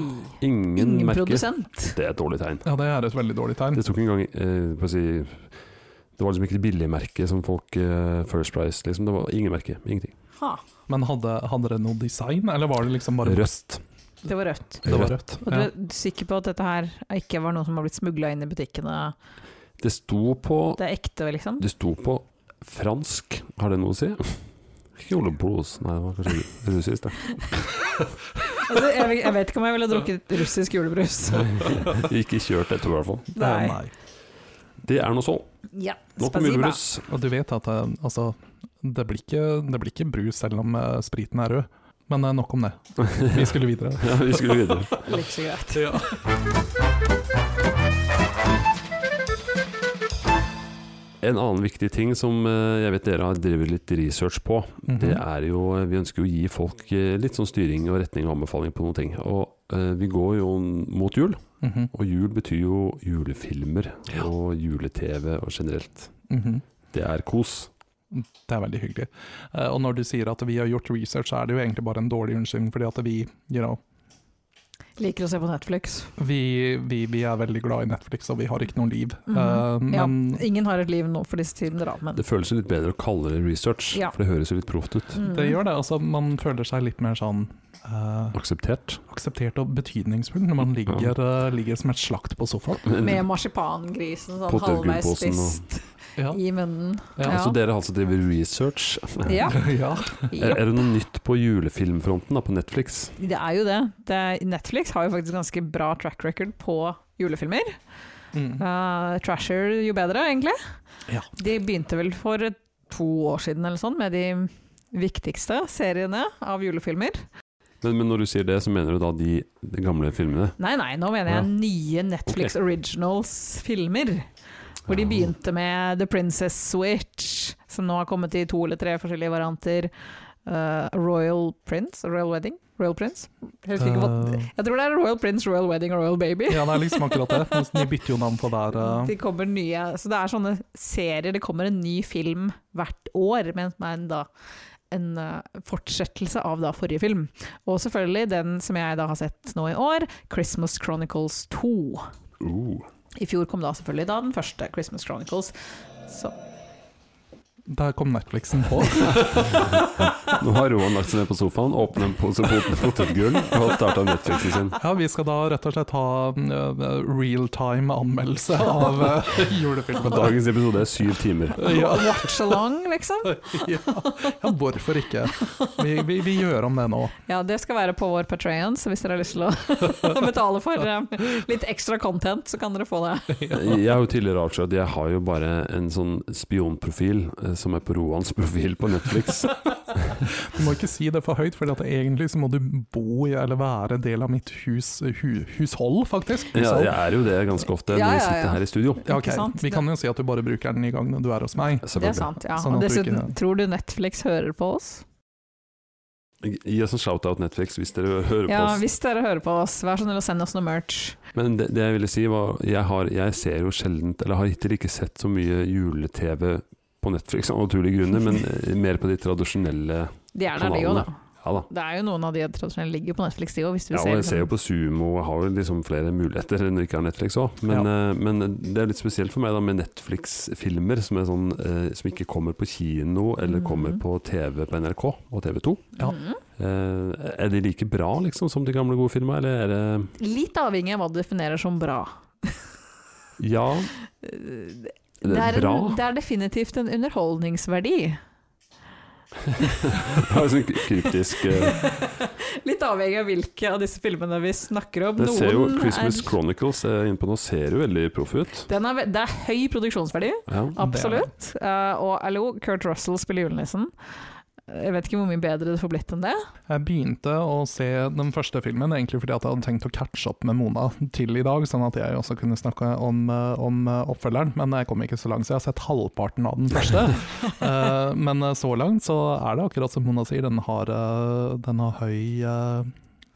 [SPEAKER 1] Ingen,
[SPEAKER 4] Ingen
[SPEAKER 1] merke.
[SPEAKER 4] produsent. Mm.
[SPEAKER 1] Det er et dårlig tegn.
[SPEAKER 3] Ja, det er et veldig dårlig tegn.
[SPEAKER 1] Det tok en gang eh, på å si, Det var liksom ikke det billigmerket som folk eh, First Price, liksom. Det var ingen merke. Ingenting.
[SPEAKER 4] Ha.
[SPEAKER 3] Men hadde, hadde det noe design, eller var det liksom bare
[SPEAKER 1] Rødt.
[SPEAKER 4] Det var rødt.
[SPEAKER 3] Det var rødt.
[SPEAKER 4] Og du
[SPEAKER 3] Ja.
[SPEAKER 4] er sikker på at dette her ikke var noe som har blitt smugla inn i butikkene?
[SPEAKER 1] Det sto på
[SPEAKER 4] Det er ekte, liksom?
[SPEAKER 1] Det sto på fransk. Har det noe å si? Kjoleblås Nei, det var kanskje russisk, det.
[SPEAKER 4] Altså, jeg, vet- jeg vet ikke om jeg ville drukket russisk julebrus.
[SPEAKER 1] Ikke kjørt etter, i hvert fall.
[SPEAKER 3] Eh,
[SPEAKER 4] Nei.
[SPEAKER 3] Nei.
[SPEAKER 1] Det er nå så.
[SPEAKER 4] Ja,
[SPEAKER 1] Nok om
[SPEAKER 4] spasiba.
[SPEAKER 1] julebrus.
[SPEAKER 3] Og du vet at eh, altså, det, blir ikke, det blir ikke brus selv om eh, spriten er rød. Men eh, nok om det. Vi skulle videre.
[SPEAKER 1] Ja, vi skulle videre.
[SPEAKER 4] Like så greit.
[SPEAKER 1] En annen viktig ting som eh, jeg vet dere har drevet litt research på,
[SPEAKER 3] Mhm.
[SPEAKER 1] det er jo eh, Vi ønsker jo å gi folk eh, litt sånn styring og retning og anbefaling på noen ting. Og eh, vi går jo mot jul,
[SPEAKER 3] Mhm,
[SPEAKER 1] og jul betyr jo julefilmer og jule-TV og generelt.
[SPEAKER 3] mhm.
[SPEAKER 1] Det er kos.
[SPEAKER 3] Det er veldig hyggelig. Eh, og når du sier at vi har gjort research, så er det jo egentlig bare en dårlig unnskyldning, fordi at vi, you know,
[SPEAKER 4] Liker å se på Netflix.
[SPEAKER 3] vi, vi, vi er veldig glad i Netflix, og vi har ikke noe liv.
[SPEAKER 4] Mhm.
[SPEAKER 3] Eh,
[SPEAKER 4] Ja.
[SPEAKER 3] men
[SPEAKER 4] Ingen har et liv nå for disse tider, da, men
[SPEAKER 1] Det føles jo litt bedre å kalle det research,
[SPEAKER 4] Ja.
[SPEAKER 1] for det høres jo litt proft ut.
[SPEAKER 4] Mm.
[SPEAKER 3] det gjør det. Altså, man føler seg litt mer sånn eh,
[SPEAKER 1] Akseptert.
[SPEAKER 3] akseptert og betydningsfull når man ligger, eh, ligger som et slakt på sofaen.
[SPEAKER 4] Med marsipangrisen sånn
[SPEAKER 1] Potetgullposen
[SPEAKER 4] halvveis spist
[SPEAKER 3] Ja.
[SPEAKER 4] i munnen.
[SPEAKER 3] Ja,
[SPEAKER 1] Så dere har altså drevet research.
[SPEAKER 4] Ja.
[SPEAKER 3] ja.
[SPEAKER 1] Er,
[SPEAKER 4] Ja.
[SPEAKER 1] er det noe nytt på julefilmfronten da, på Netflix?
[SPEAKER 4] Det er jo det. det er, Netflix har jo faktisk ganske bra track record på julefilmer.
[SPEAKER 3] Mm.
[SPEAKER 4] Eh, trasher jo bedre, egentlig.
[SPEAKER 3] Ja.
[SPEAKER 4] De begynte vel for to år siden eller sånn med de viktigste seriene av julefilmer.
[SPEAKER 1] Men, men når du sier det, så mener du da de, de gamle filmene?
[SPEAKER 4] Nei, nei, nå mener jeg nye Netflix Originals-filmer. Hvor de
[SPEAKER 1] Ja.
[SPEAKER 4] begynte med The Princess Switch, som nå har kommet i to eller tre forskjellige varianter. Eh, Royal Prince, Royal Wedding, Royal Prince. Jeg, husker ikke hva,
[SPEAKER 3] Eh,
[SPEAKER 4] jeg tror det er Royal Prince, Royal Wedding og Royal Baby.
[SPEAKER 3] ja, det er liksom akkurat det. Men De bytter jo navn på hver eh,
[SPEAKER 4] Det kommer nye Så det er sånne serier. Det kommer en ny film hvert år, men med en, da, en eh, fortsettelse av da forrige film. Og selvfølgelig den som jeg da har sett nå i år, 'Christmas Chronicles 2'.
[SPEAKER 1] Uh.
[SPEAKER 4] I fjor kom da selvfølgelig da den første Christmas Chronicles. Så
[SPEAKER 3] Der kom Netflixen på.
[SPEAKER 1] Nå har Roan lagt seg ned på sofaen, åpnet en pose pot- potetgull og starta Netflixen sin.
[SPEAKER 3] Ja, Vi skal da rett og slett ha uh, real time anmeldelse av uh, julefilmen.
[SPEAKER 1] Dagens episode er syv timer.
[SPEAKER 3] Ja,
[SPEAKER 4] watch along, liksom.
[SPEAKER 3] ja. ja, hvorfor ikke? Vi, vi, vi gjør om det nå.
[SPEAKER 4] Ja, det skal være på vår Patreon, så hvis dere har lyst til å betale for eh, litt ekstra content, så kan dere få det.
[SPEAKER 1] Jeg har jo tidligere avslørt at jeg har jo bare en sånn spionprofil eh, som er på Roans profil på Netflix.
[SPEAKER 3] Du må ikke si det for høyt, for egentlig så må du bo i eller være del av mitt hus, hu, hushold, faktisk.
[SPEAKER 1] Ja,
[SPEAKER 3] Hushold.
[SPEAKER 1] jeg er jo det ganske ofte
[SPEAKER 4] Ja,
[SPEAKER 1] når vi
[SPEAKER 4] ja, ja.
[SPEAKER 1] sitter her i studio.
[SPEAKER 3] Ja, ok.
[SPEAKER 4] Ikke sant?
[SPEAKER 3] Vi kan jo si at du bare bruker den i gangen du er hos meg.
[SPEAKER 4] Det er
[SPEAKER 1] Selvfølgelig.
[SPEAKER 4] sant, ja.
[SPEAKER 3] Sånn
[SPEAKER 4] Og
[SPEAKER 3] at du ikke-
[SPEAKER 4] dessuten, tror du Netflix hører på oss?
[SPEAKER 1] Gi oss en shout-out, Netflix, hvis dere hører
[SPEAKER 4] Ja,
[SPEAKER 1] på oss.
[SPEAKER 4] hvis dere hører på oss, vær så snill å sende oss noe merch.
[SPEAKER 1] Men det, det jeg ville si var jeg, har, jeg ser jo sjeldent, eller har hittil ikke sett så mye jule-TV på Netflix av naturlige grunner, men eh, mer på de tradisjonelle
[SPEAKER 4] De er der, de òg,
[SPEAKER 1] Kanalene.
[SPEAKER 4] da.
[SPEAKER 1] Ja da.
[SPEAKER 4] Det er jo noen av de tradisjonelle ligger på Netflix, de òg, hvis du
[SPEAKER 1] Ja, og
[SPEAKER 4] ser.
[SPEAKER 1] jeg ser jo på Sumo og har jo liksom flere muligheter enn når jeg ikke har Netflix òg. Men, eh, men det er litt spesielt for meg da med Netflix-filmer som, er sånn, eh, som ikke kommer på kino eller
[SPEAKER 4] Mhm.
[SPEAKER 1] kommer på TV på NRK og TV2.
[SPEAKER 3] Ja.
[SPEAKER 4] Mhm.
[SPEAKER 1] Eh, er de like bra liksom som de gamle gode filmene, eller er det
[SPEAKER 4] Litt avhengig av hva du definerer som bra.
[SPEAKER 1] Ja,
[SPEAKER 4] Eh, Det er,
[SPEAKER 1] bra?
[SPEAKER 4] en, det er definitivt en underholdningsverdi.
[SPEAKER 1] Det er sånn kryptisk eh,
[SPEAKER 4] Litt avhengig av hvilke av disse filmene vi snakker om.
[SPEAKER 1] Det ser jo
[SPEAKER 4] Noen
[SPEAKER 1] Christmas
[SPEAKER 4] er,
[SPEAKER 1] Chronicles eh, innpå nå ser jo veldig proff ut.
[SPEAKER 4] den er, ve- det er høy produksjonsverdi,
[SPEAKER 1] Ja.
[SPEAKER 4] absolutt. Eh, og hallo, Kurt Russell spiller julenissen. Eh, Jeg vet ikke hvor mye bedre det får blitt enn det.
[SPEAKER 3] Jeg begynte å se den første filmen egentlig fordi at jeg hadde tenkt å catche opp med Mona til i dag, sånn at jeg også kunne snakke om, eh, om eh, oppfølgeren, men jeg kom ikke så langt, så jeg har sett halvparten av den første. Eh, men eh, så langt så er det akkurat som Mona sier, den har, eh, den har høy eh,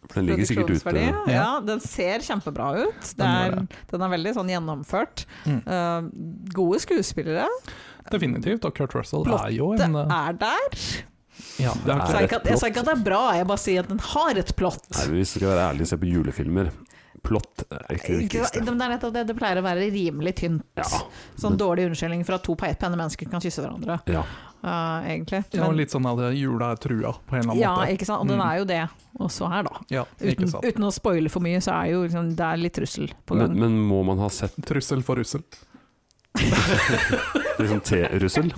[SPEAKER 1] For den ligger sikkert ute.
[SPEAKER 4] Produksjonsverdi,
[SPEAKER 3] Ja.
[SPEAKER 4] Ja. den ser kjempebra ut. Det
[SPEAKER 3] Den gjør
[SPEAKER 4] er, den er veldig sånn gjennomført.
[SPEAKER 3] Mm.
[SPEAKER 4] Eh, gode skuespillere.
[SPEAKER 3] Definitivt, og Kurt Russell
[SPEAKER 4] Plottet
[SPEAKER 3] er jo
[SPEAKER 4] Det
[SPEAKER 3] en eh,
[SPEAKER 4] er der.
[SPEAKER 3] ja, det
[SPEAKER 1] Er
[SPEAKER 4] Så jeg,
[SPEAKER 1] det
[SPEAKER 4] kan,
[SPEAKER 1] et
[SPEAKER 4] jeg sa ikke at det er bra, jeg bare sier at den har et plott.
[SPEAKER 1] Nei, hvis vi skal være ærlige og se på julefilmer, plott eh, er ikke det
[SPEAKER 4] Ikke sant?
[SPEAKER 1] viktigste.
[SPEAKER 4] Men det er nettopp det. Det pleier å være rimelig tynt.
[SPEAKER 1] Ja,
[SPEAKER 4] Sånn dårlig unnskyldning for at to pe- pene mennesker kan kysse hverandre,
[SPEAKER 1] ja.
[SPEAKER 4] eh, egentlig.
[SPEAKER 3] ja, og
[SPEAKER 4] Men-
[SPEAKER 3] litt sånn at jula er trua, på en eller annen
[SPEAKER 4] ja,
[SPEAKER 3] måte.
[SPEAKER 4] ikke sant. Og den
[SPEAKER 3] Mm.
[SPEAKER 4] er jo det også her, da.
[SPEAKER 3] Ja, ikke
[SPEAKER 4] Uten,
[SPEAKER 3] sant.
[SPEAKER 4] uten å spoile for mye, så er jo liksom, det er litt trussel på
[SPEAKER 1] Men,
[SPEAKER 4] gang.
[SPEAKER 1] men må man ha sett
[SPEAKER 3] Trussel for russel.
[SPEAKER 1] liksom T-russel?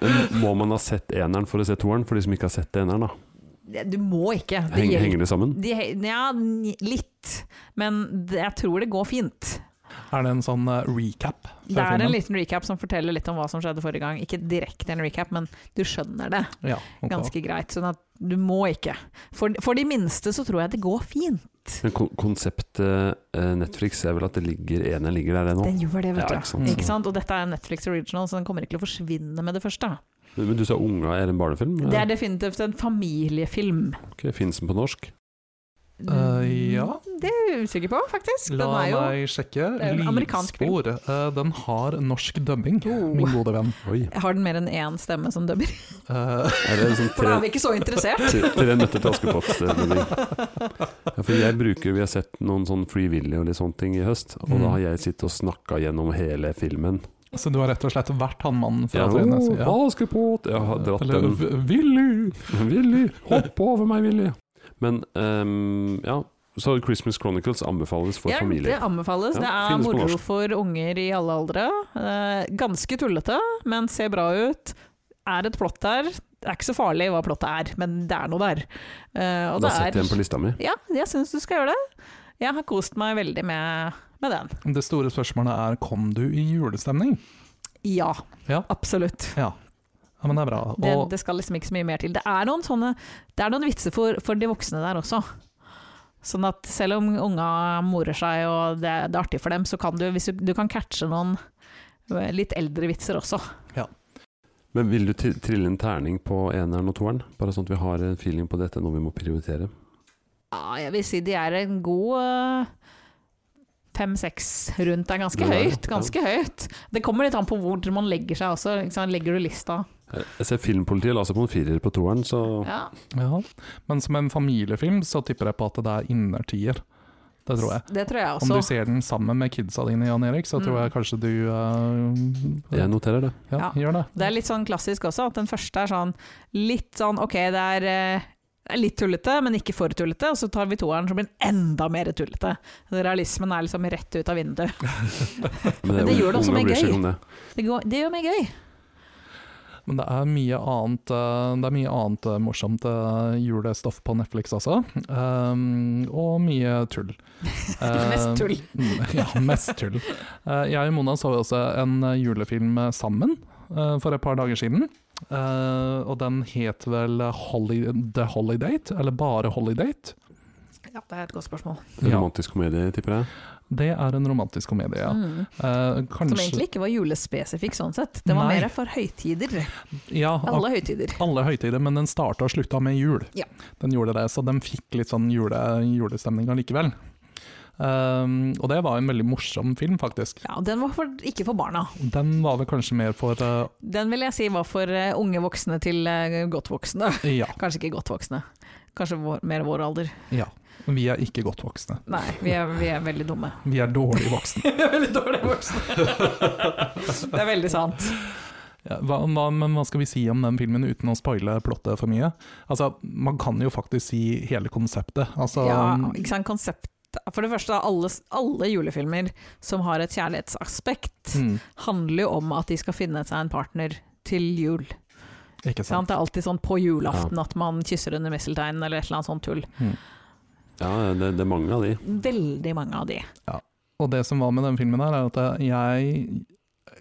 [SPEAKER 1] Men Må man ha sett eneren for å se toeren, for de som ikke har sett eneren? da?
[SPEAKER 4] Du må ikke. Det
[SPEAKER 1] Heng,
[SPEAKER 4] gjelder-
[SPEAKER 1] henger det sammen?
[SPEAKER 4] De, he- ja, n- litt. Men det, jeg tror det går fint.
[SPEAKER 3] Er det en sånn eh, recap? fra
[SPEAKER 4] Det er en
[SPEAKER 3] filmen?
[SPEAKER 4] liten recap som forteller litt om hva som skjedde forrige gang. Ikke direkte en recap, men du skjønner det
[SPEAKER 3] ja, ok.
[SPEAKER 4] ganske greit. Sånn at du må ikke. For, for de minste så tror jeg det går fint. litt.
[SPEAKER 1] Men kon- konseptet eh, Netflix er vel at det ligger, ene ligger der ennå.
[SPEAKER 4] Den gjør det, vet
[SPEAKER 1] Ja,
[SPEAKER 4] du.
[SPEAKER 1] ikke sant.
[SPEAKER 4] Ikke sant? Og dette er en Netflix original, så den kommer ikke til å forsvinne med det første.
[SPEAKER 1] Men du sa unga er en barnefilm?
[SPEAKER 4] Det er definitivt en familiefilm.
[SPEAKER 1] Ok, Fins den på norsk?
[SPEAKER 3] Eh, ja.
[SPEAKER 4] Det er jeg usikker på, faktisk.
[SPEAKER 3] La
[SPEAKER 4] Den er jo
[SPEAKER 3] meg sjekke.
[SPEAKER 4] det er jo en amerikansk film.
[SPEAKER 3] Lydspor. Eh, den har norsk dubbing,
[SPEAKER 4] Oh.
[SPEAKER 3] min gode venn.
[SPEAKER 1] Oi.
[SPEAKER 4] Har den mer enn én stemme som dubber?
[SPEAKER 3] Eh,
[SPEAKER 1] Er det sånn
[SPEAKER 4] For da er
[SPEAKER 1] tre,
[SPEAKER 4] vi ikke så interessert.
[SPEAKER 1] tre, tre nøtter til Askepott? eh, mening? Ja, for jeg bruker, vi har sett noen sånn Free Willy og litt sånne ting i høst, og
[SPEAKER 3] Mm.
[SPEAKER 1] da har jeg sittet og snakka gjennom hele filmen.
[SPEAKER 3] så du har rett og slett vært han mannen fra
[SPEAKER 1] Ja,
[SPEAKER 3] Trynes?
[SPEAKER 1] «Å, Askepott! Jeg har dratt
[SPEAKER 3] Eller
[SPEAKER 1] den.
[SPEAKER 3] v- Willy!
[SPEAKER 1] Willy, hopp over meg, Willy! Men ehm, ja, så Christmas Chronicles anbefales for
[SPEAKER 4] Ja,
[SPEAKER 1] familier.
[SPEAKER 4] Det anbefales.
[SPEAKER 1] Ja,
[SPEAKER 4] det er
[SPEAKER 1] finnes på
[SPEAKER 4] moro
[SPEAKER 1] norsk.
[SPEAKER 4] for unger i alle aldre. Eh, ganske tullete, men ser bra ut. Er et plott der. Det er ikke så farlig hva plottet er, men det er noe der. Eh, og
[SPEAKER 1] Da
[SPEAKER 4] det er-
[SPEAKER 1] setter jeg den på lista mi.
[SPEAKER 4] Ja, jeg syns du skal gjøre det. Jeg har kost meg veldig med, med den.
[SPEAKER 3] Det store spørsmålet er kom du i julestemning?
[SPEAKER 4] Ja,
[SPEAKER 3] Ja.
[SPEAKER 4] absolutt.
[SPEAKER 3] Ja, ja men det er bra. Og,
[SPEAKER 4] Det, det skal liksom ikke så mye mer til. Det er noen, sånne, det er noen vitser for, for de voksne der også. Sånn at selv om unga morer seg og det, det er artig for dem, så kan du, hvis du, du kan catche noen eh, litt eldre vitser også.
[SPEAKER 1] Men vil du tri- trille en terning på eneren og toeren? Bare sånn at vi har en feeling på dette når vi må prioritere.
[SPEAKER 4] Ja, jeg vil si de er en god eh, fem-seks rundt. Det er ganske
[SPEAKER 1] Det er det,
[SPEAKER 4] høyt.
[SPEAKER 1] ja.
[SPEAKER 4] Ganske høyt. Det kommer litt an på hvor man legger seg også. Ikke sant? Legger du lista?
[SPEAKER 1] Jeg ser filmpolitiet la seg på en firer på toeren, så
[SPEAKER 4] Ja.
[SPEAKER 3] ja. Men som en familiefilm så tipper jeg på at det er innertier. Det tror jeg.
[SPEAKER 4] Det tror jeg
[SPEAKER 3] Om du
[SPEAKER 4] også.
[SPEAKER 3] ser den sammen med kidsa dine, Jan Erik, så
[SPEAKER 4] Altså-
[SPEAKER 3] tror
[SPEAKER 4] Mm.
[SPEAKER 3] jeg kanskje du eh,
[SPEAKER 1] jeg noterer det.
[SPEAKER 3] ja,
[SPEAKER 4] Ja.
[SPEAKER 3] gjør det.
[SPEAKER 4] Det er litt sånn klassisk også, at den første er sånn litt sånn ok, det er eh, det er litt tullete, men ikke for tullete. Og så tar vi toeren som blir enda mer tullete. Realismen er liksom rett ut av vinduet. Men det
[SPEAKER 1] un-
[SPEAKER 4] gjør det også
[SPEAKER 1] unga
[SPEAKER 4] mer
[SPEAKER 1] bryr seg
[SPEAKER 4] gøy.
[SPEAKER 1] ikke om det.
[SPEAKER 4] Det, går, det gjør meg gøy.
[SPEAKER 3] Men det er mye annet, eh, det er mye annet eh, morsomt eh, julestoff på Netflix også. Um, og mye tull. Eh,
[SPEAKER 4] Mest tull.
[SPEAKER 3] Mm, Ja, mest tull. Eh, Jeg og Mona så jo også en eh, julefilm eh, sammen eh, for et par dager siden. Eh, og den het vel eh, Holly, The Holidate, eller bare Holidate.
[SPEAKER 4] Ja, det er et godt spørsmål.
[SPEAKER 1] En
[SPEAKER 3] Ja.
[SPEAKER 1] Romantisk komedie, tipper jeg.
[SPEAKER 3] Det er en romantisk komedie, ja.
[SPEAKER 4] Mm.
[SPEAKER 3] Eh,
[SPEAKER 4] Som
[SPEAKER 3] kanskje,
[SPEAKER 4] egentlig ikke var julespesifikk sånn sett. Det var
[SPEAKER 3] Nei.
[SPEAKER 4] mer for høytider.
[SPEAKER 3] ja, ak-
[SPEAKER 4] Alle høytider.
[SPEAKER 3] alle høytider, men den starta og slutta med jul.
[SPEAKER 4] Ja.
[SPEAKER 3] Den gjorde det, så den fikk litt sånn jule, julestemning allikevel. Eh, og det var en veldig morsom film, faktisk.
[SPEAKER 4] Ja, Den var for, ikke for barna.
[SPEAKER 3] Den var vel kanskje mer for eh,
[SPEAKER 4] Den vil jeg si var for eh, unge voksne til eh, godt voksne.
[SPEAKER 3] ja,
[SPEAKER 4] Kanskje ikke godt voksne. Kanskje vår, mer vår alder.
[SPEAKER 3] ja. Vi er ikke godt voksne.
[SPEAKER 4] Nei, vi er, vi er veldig dumme.
[SPEAKER 3] Vi er dårlig voksne.
[SPEAKER 4] Vi er veldig dårlig voksne. Det er veldig sant.
[SPEAKER 3] Ja, hva, hva, men hva skal vi si om den filmen uten å spoile plottet for mye? Altså, Man kan jo faktisk si hele konseptet. Altså,
[SPEAKER 4] Ja, ikke sant, konsept. For det første, alle, alle julefilmer som har et kjærlighetsaspekt,
[SPEAKER 3] mm,
[SPEAKER 4] handler jo om at de skal finne seg en partner til jul.
[SPEAKER 3] ikke
[SPEAKER 4] Sant? Det
[SPEAKER 3] sant?
[SPEAKER 4] er alltid sånn på julaften at man kysser under mistelteinen eller et eller annet sånt tull.
[SPEAKER 3] Mm.
[SPEAKER 1] Ja, det, det er mange av de.
[SPEAKER 4] Veldig mange av de.
[SPEAKER 3] Og det som var med den filmen, her er at jeg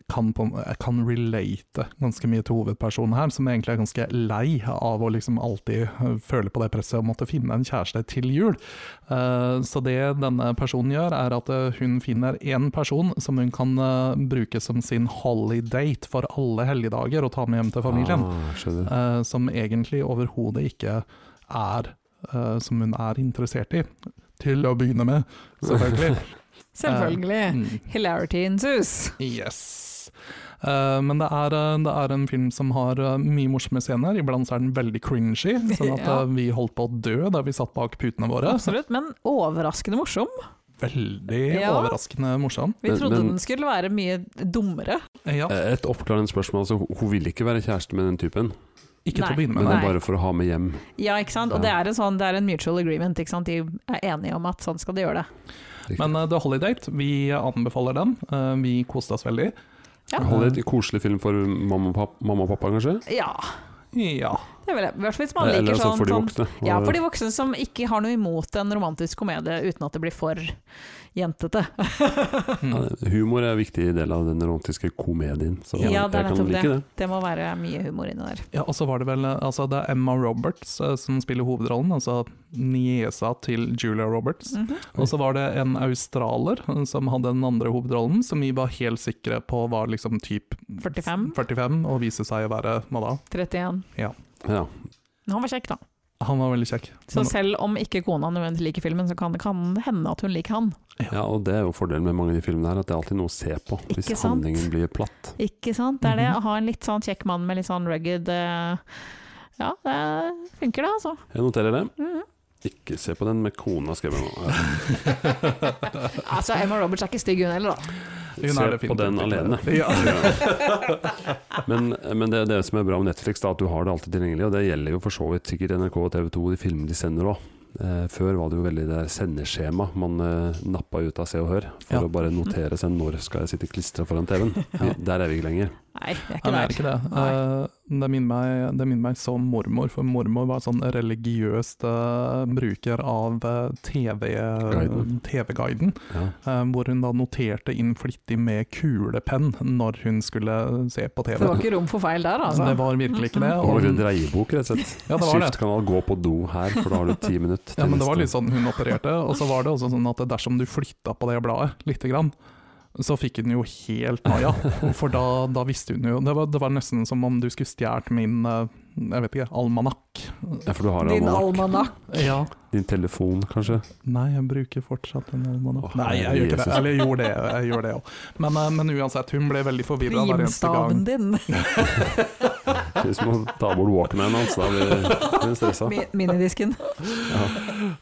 [SPEAKER 3] kan, på, jeg kan relate ganske mye til hovedpersonen her, som egentlig er ganske lei av å liksom alltid øh, føle på det presset å måtte finne en kjæreste til jul. Eh, så det denne personen gjør, er at øh, hun finner én person som hun kan øh, bruke som sin hollydate for alle helligdager og ta med hjem til familien.
[SPEAKER 1] Ah, skjønner.
[SPEAKER 3] eh, som egentlig overhodet ikke er eh, som hun er interessert i. Til å begynne med, selvfølgelig.
[SPEAKER 4] Selvfølgelig.
[SPEAKER 3] Mm.
[SPEAKER 4] Hilarity ensues.
[SPEAKER 3] Yes. Eh, men det er, eh, det er en film som har eh, mye morsomme scener. Iblant så er den veldig cringy, sånn at
[SPEAKER 4] Ja.
[SPEAKER 3] eh, vi holdt på å dø da vi satt bak putene våre.
[SPEAKER 4] Absolutt, men overraskende morsom.
[SPEAKER 3] Veldig
[SPEAKER 4] Ja.
[SPEAKER 3] overraskende morsom.
[SPEAKER 4] Vi
[SPEAKER 1] Men-
[SPEAKER 4] trodde
[SPEAKER 1] men-
[SPEAKER 4] den skulle være mye dummere.
[SPEAKER 3] Eh, Ja,
[SPEAKER 1] Et oppklarende spørsmål. Altså, hun- hun vil ikke være kjæreste med den typen,
[SPEAKER 3] ikke til å
[SPEAKER 4] Nei.
[SPEAKER 3] begynne
[SPEAKER 1] men det
[SPEAKER 3] med.
[SPEAKER 4] Nei.
[SPEAKER 1] er bare for å ha med hjem.
[SPEAKER 4] Ja, ikke sant? Og det er en, sånn, det er en mutual agreement. Ikke sant? De er enige om at sånn skal de gjøre det.
[SPEAKER 1] Riktig.
[SPEAKER 3] Men eh, The Holidate, vi anbefaler den. Eh, vi koste oss veldig.
[SPEAKER 4] Ja.
[SPEAKER 1] Hold et koselig film for mamma og pappa, mamma og pappa kanskje?
[SPEAKER 4] Ja,
[SPEAKER 3] Ja.
[SPEAKER 4] det vil jeg. I hvert fall hvis man
[SPEAKER 1] Eller
[SPEAKER 4] liker
[SPEAKER 1] altså
[SPEAKER 4] sånn,
[SPEAKER 1] for de
[SPEAKER 4] sånn
[SPEAKER 1] voksne.
[SPEAKER 4] Ja, for de voksne som ikke har noe imot en romantisk komedie uten at det blir for jentete.
[SPEAKER 1] Ja,
[SPEAKER 3] Mm.
[SPEAKER 1] humor er en viktig del av den romantiske komedien, så
[SPEAKER 4] Ja, det er
[SPEAKER 1] jeg kan
[SPEAKER 4] nettopp
[SPEAKER 1] like
[SPEAKER 4] det.
[SPEAKER 1] det.
[SPEAKER 4] Det må være mye humor inni der.
[SPEAKER 3] Ja, og så var det vel altså Det er Emma Roberts eh, som spiller eh, hovedrollen, altså niesa til Julia Roberts.
[SPEAKER 4] Mhm.
[SPEAKER 3] Og så var det en australer eh, som hadde den andre hovedrollen, som vi var helt sikre på var liksom typ
[SPEAKER 4] 45?
[SPEAKER 3] 45, og viste seg å være hva da?
[SPEAKER 4] 31.
[SPEAKER 1] Ja.
[SPEAKER 4] Men Han var kjekk, da.
[SPEAKER 3] Han var veldig kjekk.
[SPEAKER 4] Så selv om ikke kona nødvendigvis liker filmen, så kan det kan det hende at hun liker han.
[SPEAKER 1] ja, og det er jo fordelen med mange av de filmene her, at det er alltid noe å se på hvis
[SPEAKER 4] Ikke sant?
[SPEAKER 1] handlingen blir platt.
[SPEAKER 4] Ikke sant? Det er det.
[SPEAKER 3] Mhm.
[SPEAKER 4] Å ha en litt sånn kjekk mann med litt sånn rugged eh, Ja, det funker, det, altså.
[SPEAKER 1] Jeg noterer det.
[SPEAKER 4] Mhm.
[SPEAKER 1] Ikke se på den med kona, skrev jeg nå.
[SPEAKER 4] Altså, Emma Roberts er ikke stygg, hun heller, da.
[SPEAKER 1] Se
[SPEAKER 3] Hun er definitivt
[SPEAKER 1] på den
[SPEAKER 3] ikke
[SPEAKER 1] alene.
[SPEAKER 3] det. Ja.
[SPEAKER 1] Men, men det, det som er bra med Netflix, da, at du har det alltid tilgjengelig. Og det gjelder jo for så vidt sikkert NRK og TV 2 og de filmene de sender òg. Eh, før var det jo veldig det der sendeskjema man eh, nappa ut av Se og Hør. For
[SPEAKER 3] Ja.
[SPEAKER 1] å bare notere seg når skal jeg sitte klistra foran TV-en. Vi- Der er vi ikke lenger.
[SPEAKER 4] Nei, vi er
[SPEAKER 3] Ja,
[SPEAKER 4] ikke
[SPEAKER 3] men er
[SPEAKER 4] der.
[SPEAKER 3] det ikke det. Eh, det, minner meg, det minner meg så om mormor, for mormor var sånn religiøst eh, bruker av eh, TV,
[SPEAKER 1] Guiden.
[SPEAKER 3] TV-guiden,
[SPEAKER 1] Ja.
[SPEAKER 3] eh, hvor hun da noterte inn flittig med kulepenn når hun skulle eh, se på
[SPEAKER 4] Så
[SPEAKER 3] TV.
[SPEAKER 4] det var ikke rom for feil der, altså.
[SPEAKER 3] Det var virkelig ikke det.
[SPEAKER 1] Det var en dreiebok, rett og slett.
[SPEAKER 3] ja, det var det.
[SPEAKER 1] Skift kanal, gå på do her, for da har du ti minutter. til
[SPEAKER 3] Ja, men det var
[SPEAKER 1] neste.
[SPEAKER 3] litt sånn hun opererte, og så var det også sånn at dersom du flytta på det bladet lite grann, så fikk hun jo helt naia, for da, da visste hun jo det var, det var nesten som om du skulle stjålet min eh, jeg vet ikke, almanakk.
[SPEAKER 1] Ja, for du har
[SPEAKER 4] Din
[SPEAKER 1] almanakk.
[SPEAKER 4] almanakk.
[SPEAKER 3] Ja.
[SPEAKER 1] Din telefon, kanskje.
[SPEAKER 3] Nei, jeg bruker fortsatt en almanakk.
[SPEAKER 1] Åh,
[SPEAKER 3] Nei, jeg gjør ikke det.
[SPEAKER 1] Jesus.
[SPEAKER 3] Eller jeg gjorde det, jeg gjorde det òg. Men, eh, men uansett, hun ble veldig forvirra hver eneste gang.
[SPEAKER 4] Rimstaven din.
[SPEAKER 1] Hvis man tar bort walkman hans, da blir blir du stressa.
[SPEAKER 4] Mi- Minidisken.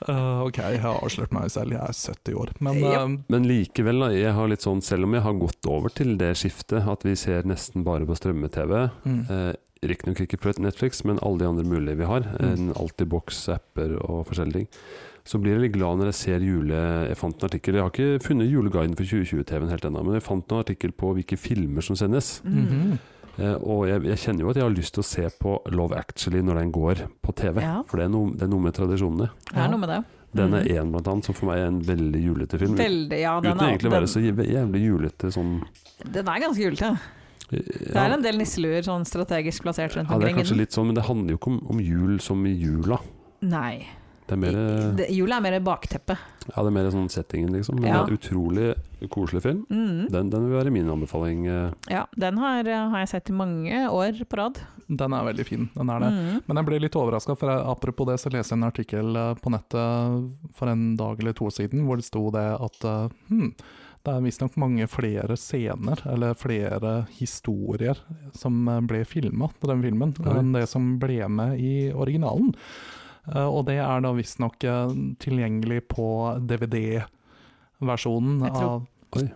[SPEAKER 3] Eh, ok, jeg har avslørt meg selv, jeg er 70 år. Men
[SPEAKER 4] Japp.
[SPEAKER 3] eh,
[SPEAKER 1] Men likevel, da, jeg har litt sånn, selv om jeg har gått over til det skiftet at vi ser nesten bare på strømme-TV,
[SPEAKER 3] mm,
[SPEAKER 1] eh, riktignok ikke på Netflix, men alle de andre mulige vi har,
[SPEAKER 3] Mm.
[SPEAKER 1] en Altibox, apper og forskjellige ting, så blir jeg litt glad når jeg ser jule... Jeg fant en artikkel, jeg har ikke funnet juleguiden for 2020-TV-en helt ennå, men jeg fant en artikkel på hvilke filmer som sendes.
[SPEAKER 4] Mm.
[SPEAKER 3] mhm.
[SPEAKER 1] Eh, og jeg, jeg kjenner jo at jeg har lyst til å se på Love Actually når den går på TV,
[SPEAKER 4] Ja.
[SPEAKER 1] for det er, noe, det er noe med tradisjonene.
[SPEAKER 4] Det er noe med det.
[SPEAKER 1] Den er
[SPEAKER 4] Mhm.
[SPEAKER 1] én, blant annet, som for meg er en veldig julete film.
[SPEAKER 4] Veldig, ja. Den
[SPEAKER 1] Uten
[SPEAKER 4] er,
[SPEAKER 1] egentlig å være så jæv- jævlig julete sånn
[SPEAKER 4] den, den er ganske julete. Det
[SPEAKER 1] ja,
[SPEAKER 4] er en del nisseluer sånn strategisk plassert rundt
[SPEAKER 1] ja, det er
[SPEAKER 4] omkring. i
[SPEAKER 1] kanskje
[SPEAKER 4] den.
[SPEAKER 1] litt sånn, men det handler jo ikke om, om jul som i jula.
[SPEAKER 4] Nei.
[SPEAKER 1] Det er mer,
[SPEAKER 4] Det- Jula er mer bakteppet.
[SPEAKER 1] ja, det er mer sånn settingen, liksom. Men
[SPEAKER 4] Ja.
[SPEAKER 1] det er en utrolig koselig film.
[SPEAKER 4] Mm.
[SPEAKER 1] Den, den vil være min anbefaling. eh.
[SPEAKER 4] Ja, den har, eh, har jeg sett i mange år på rad.
[SPEAKER 3] Den er veldig fin, den er det.
[SPEAKER 4] Mm.
[SPEAKER 3] Men jeg ble litt overraska, for jeg, apropos det, så leste jeg en artikkel eh, på nettet for en dag eller to siden hvor det sto det at eh, hm, det er visstnok mange flere scener, eller flere historier, som eh, ble filma til den filmen,
[SPEAKER 1] Oi.
[SPEAKER 3] enn det som ble med i originalen. Eh, Og det er da visstnok eh, tilgjengelig på DVD-versjonen
[SPEAKER 4] Jeg tror-
[SPEAKER 3] av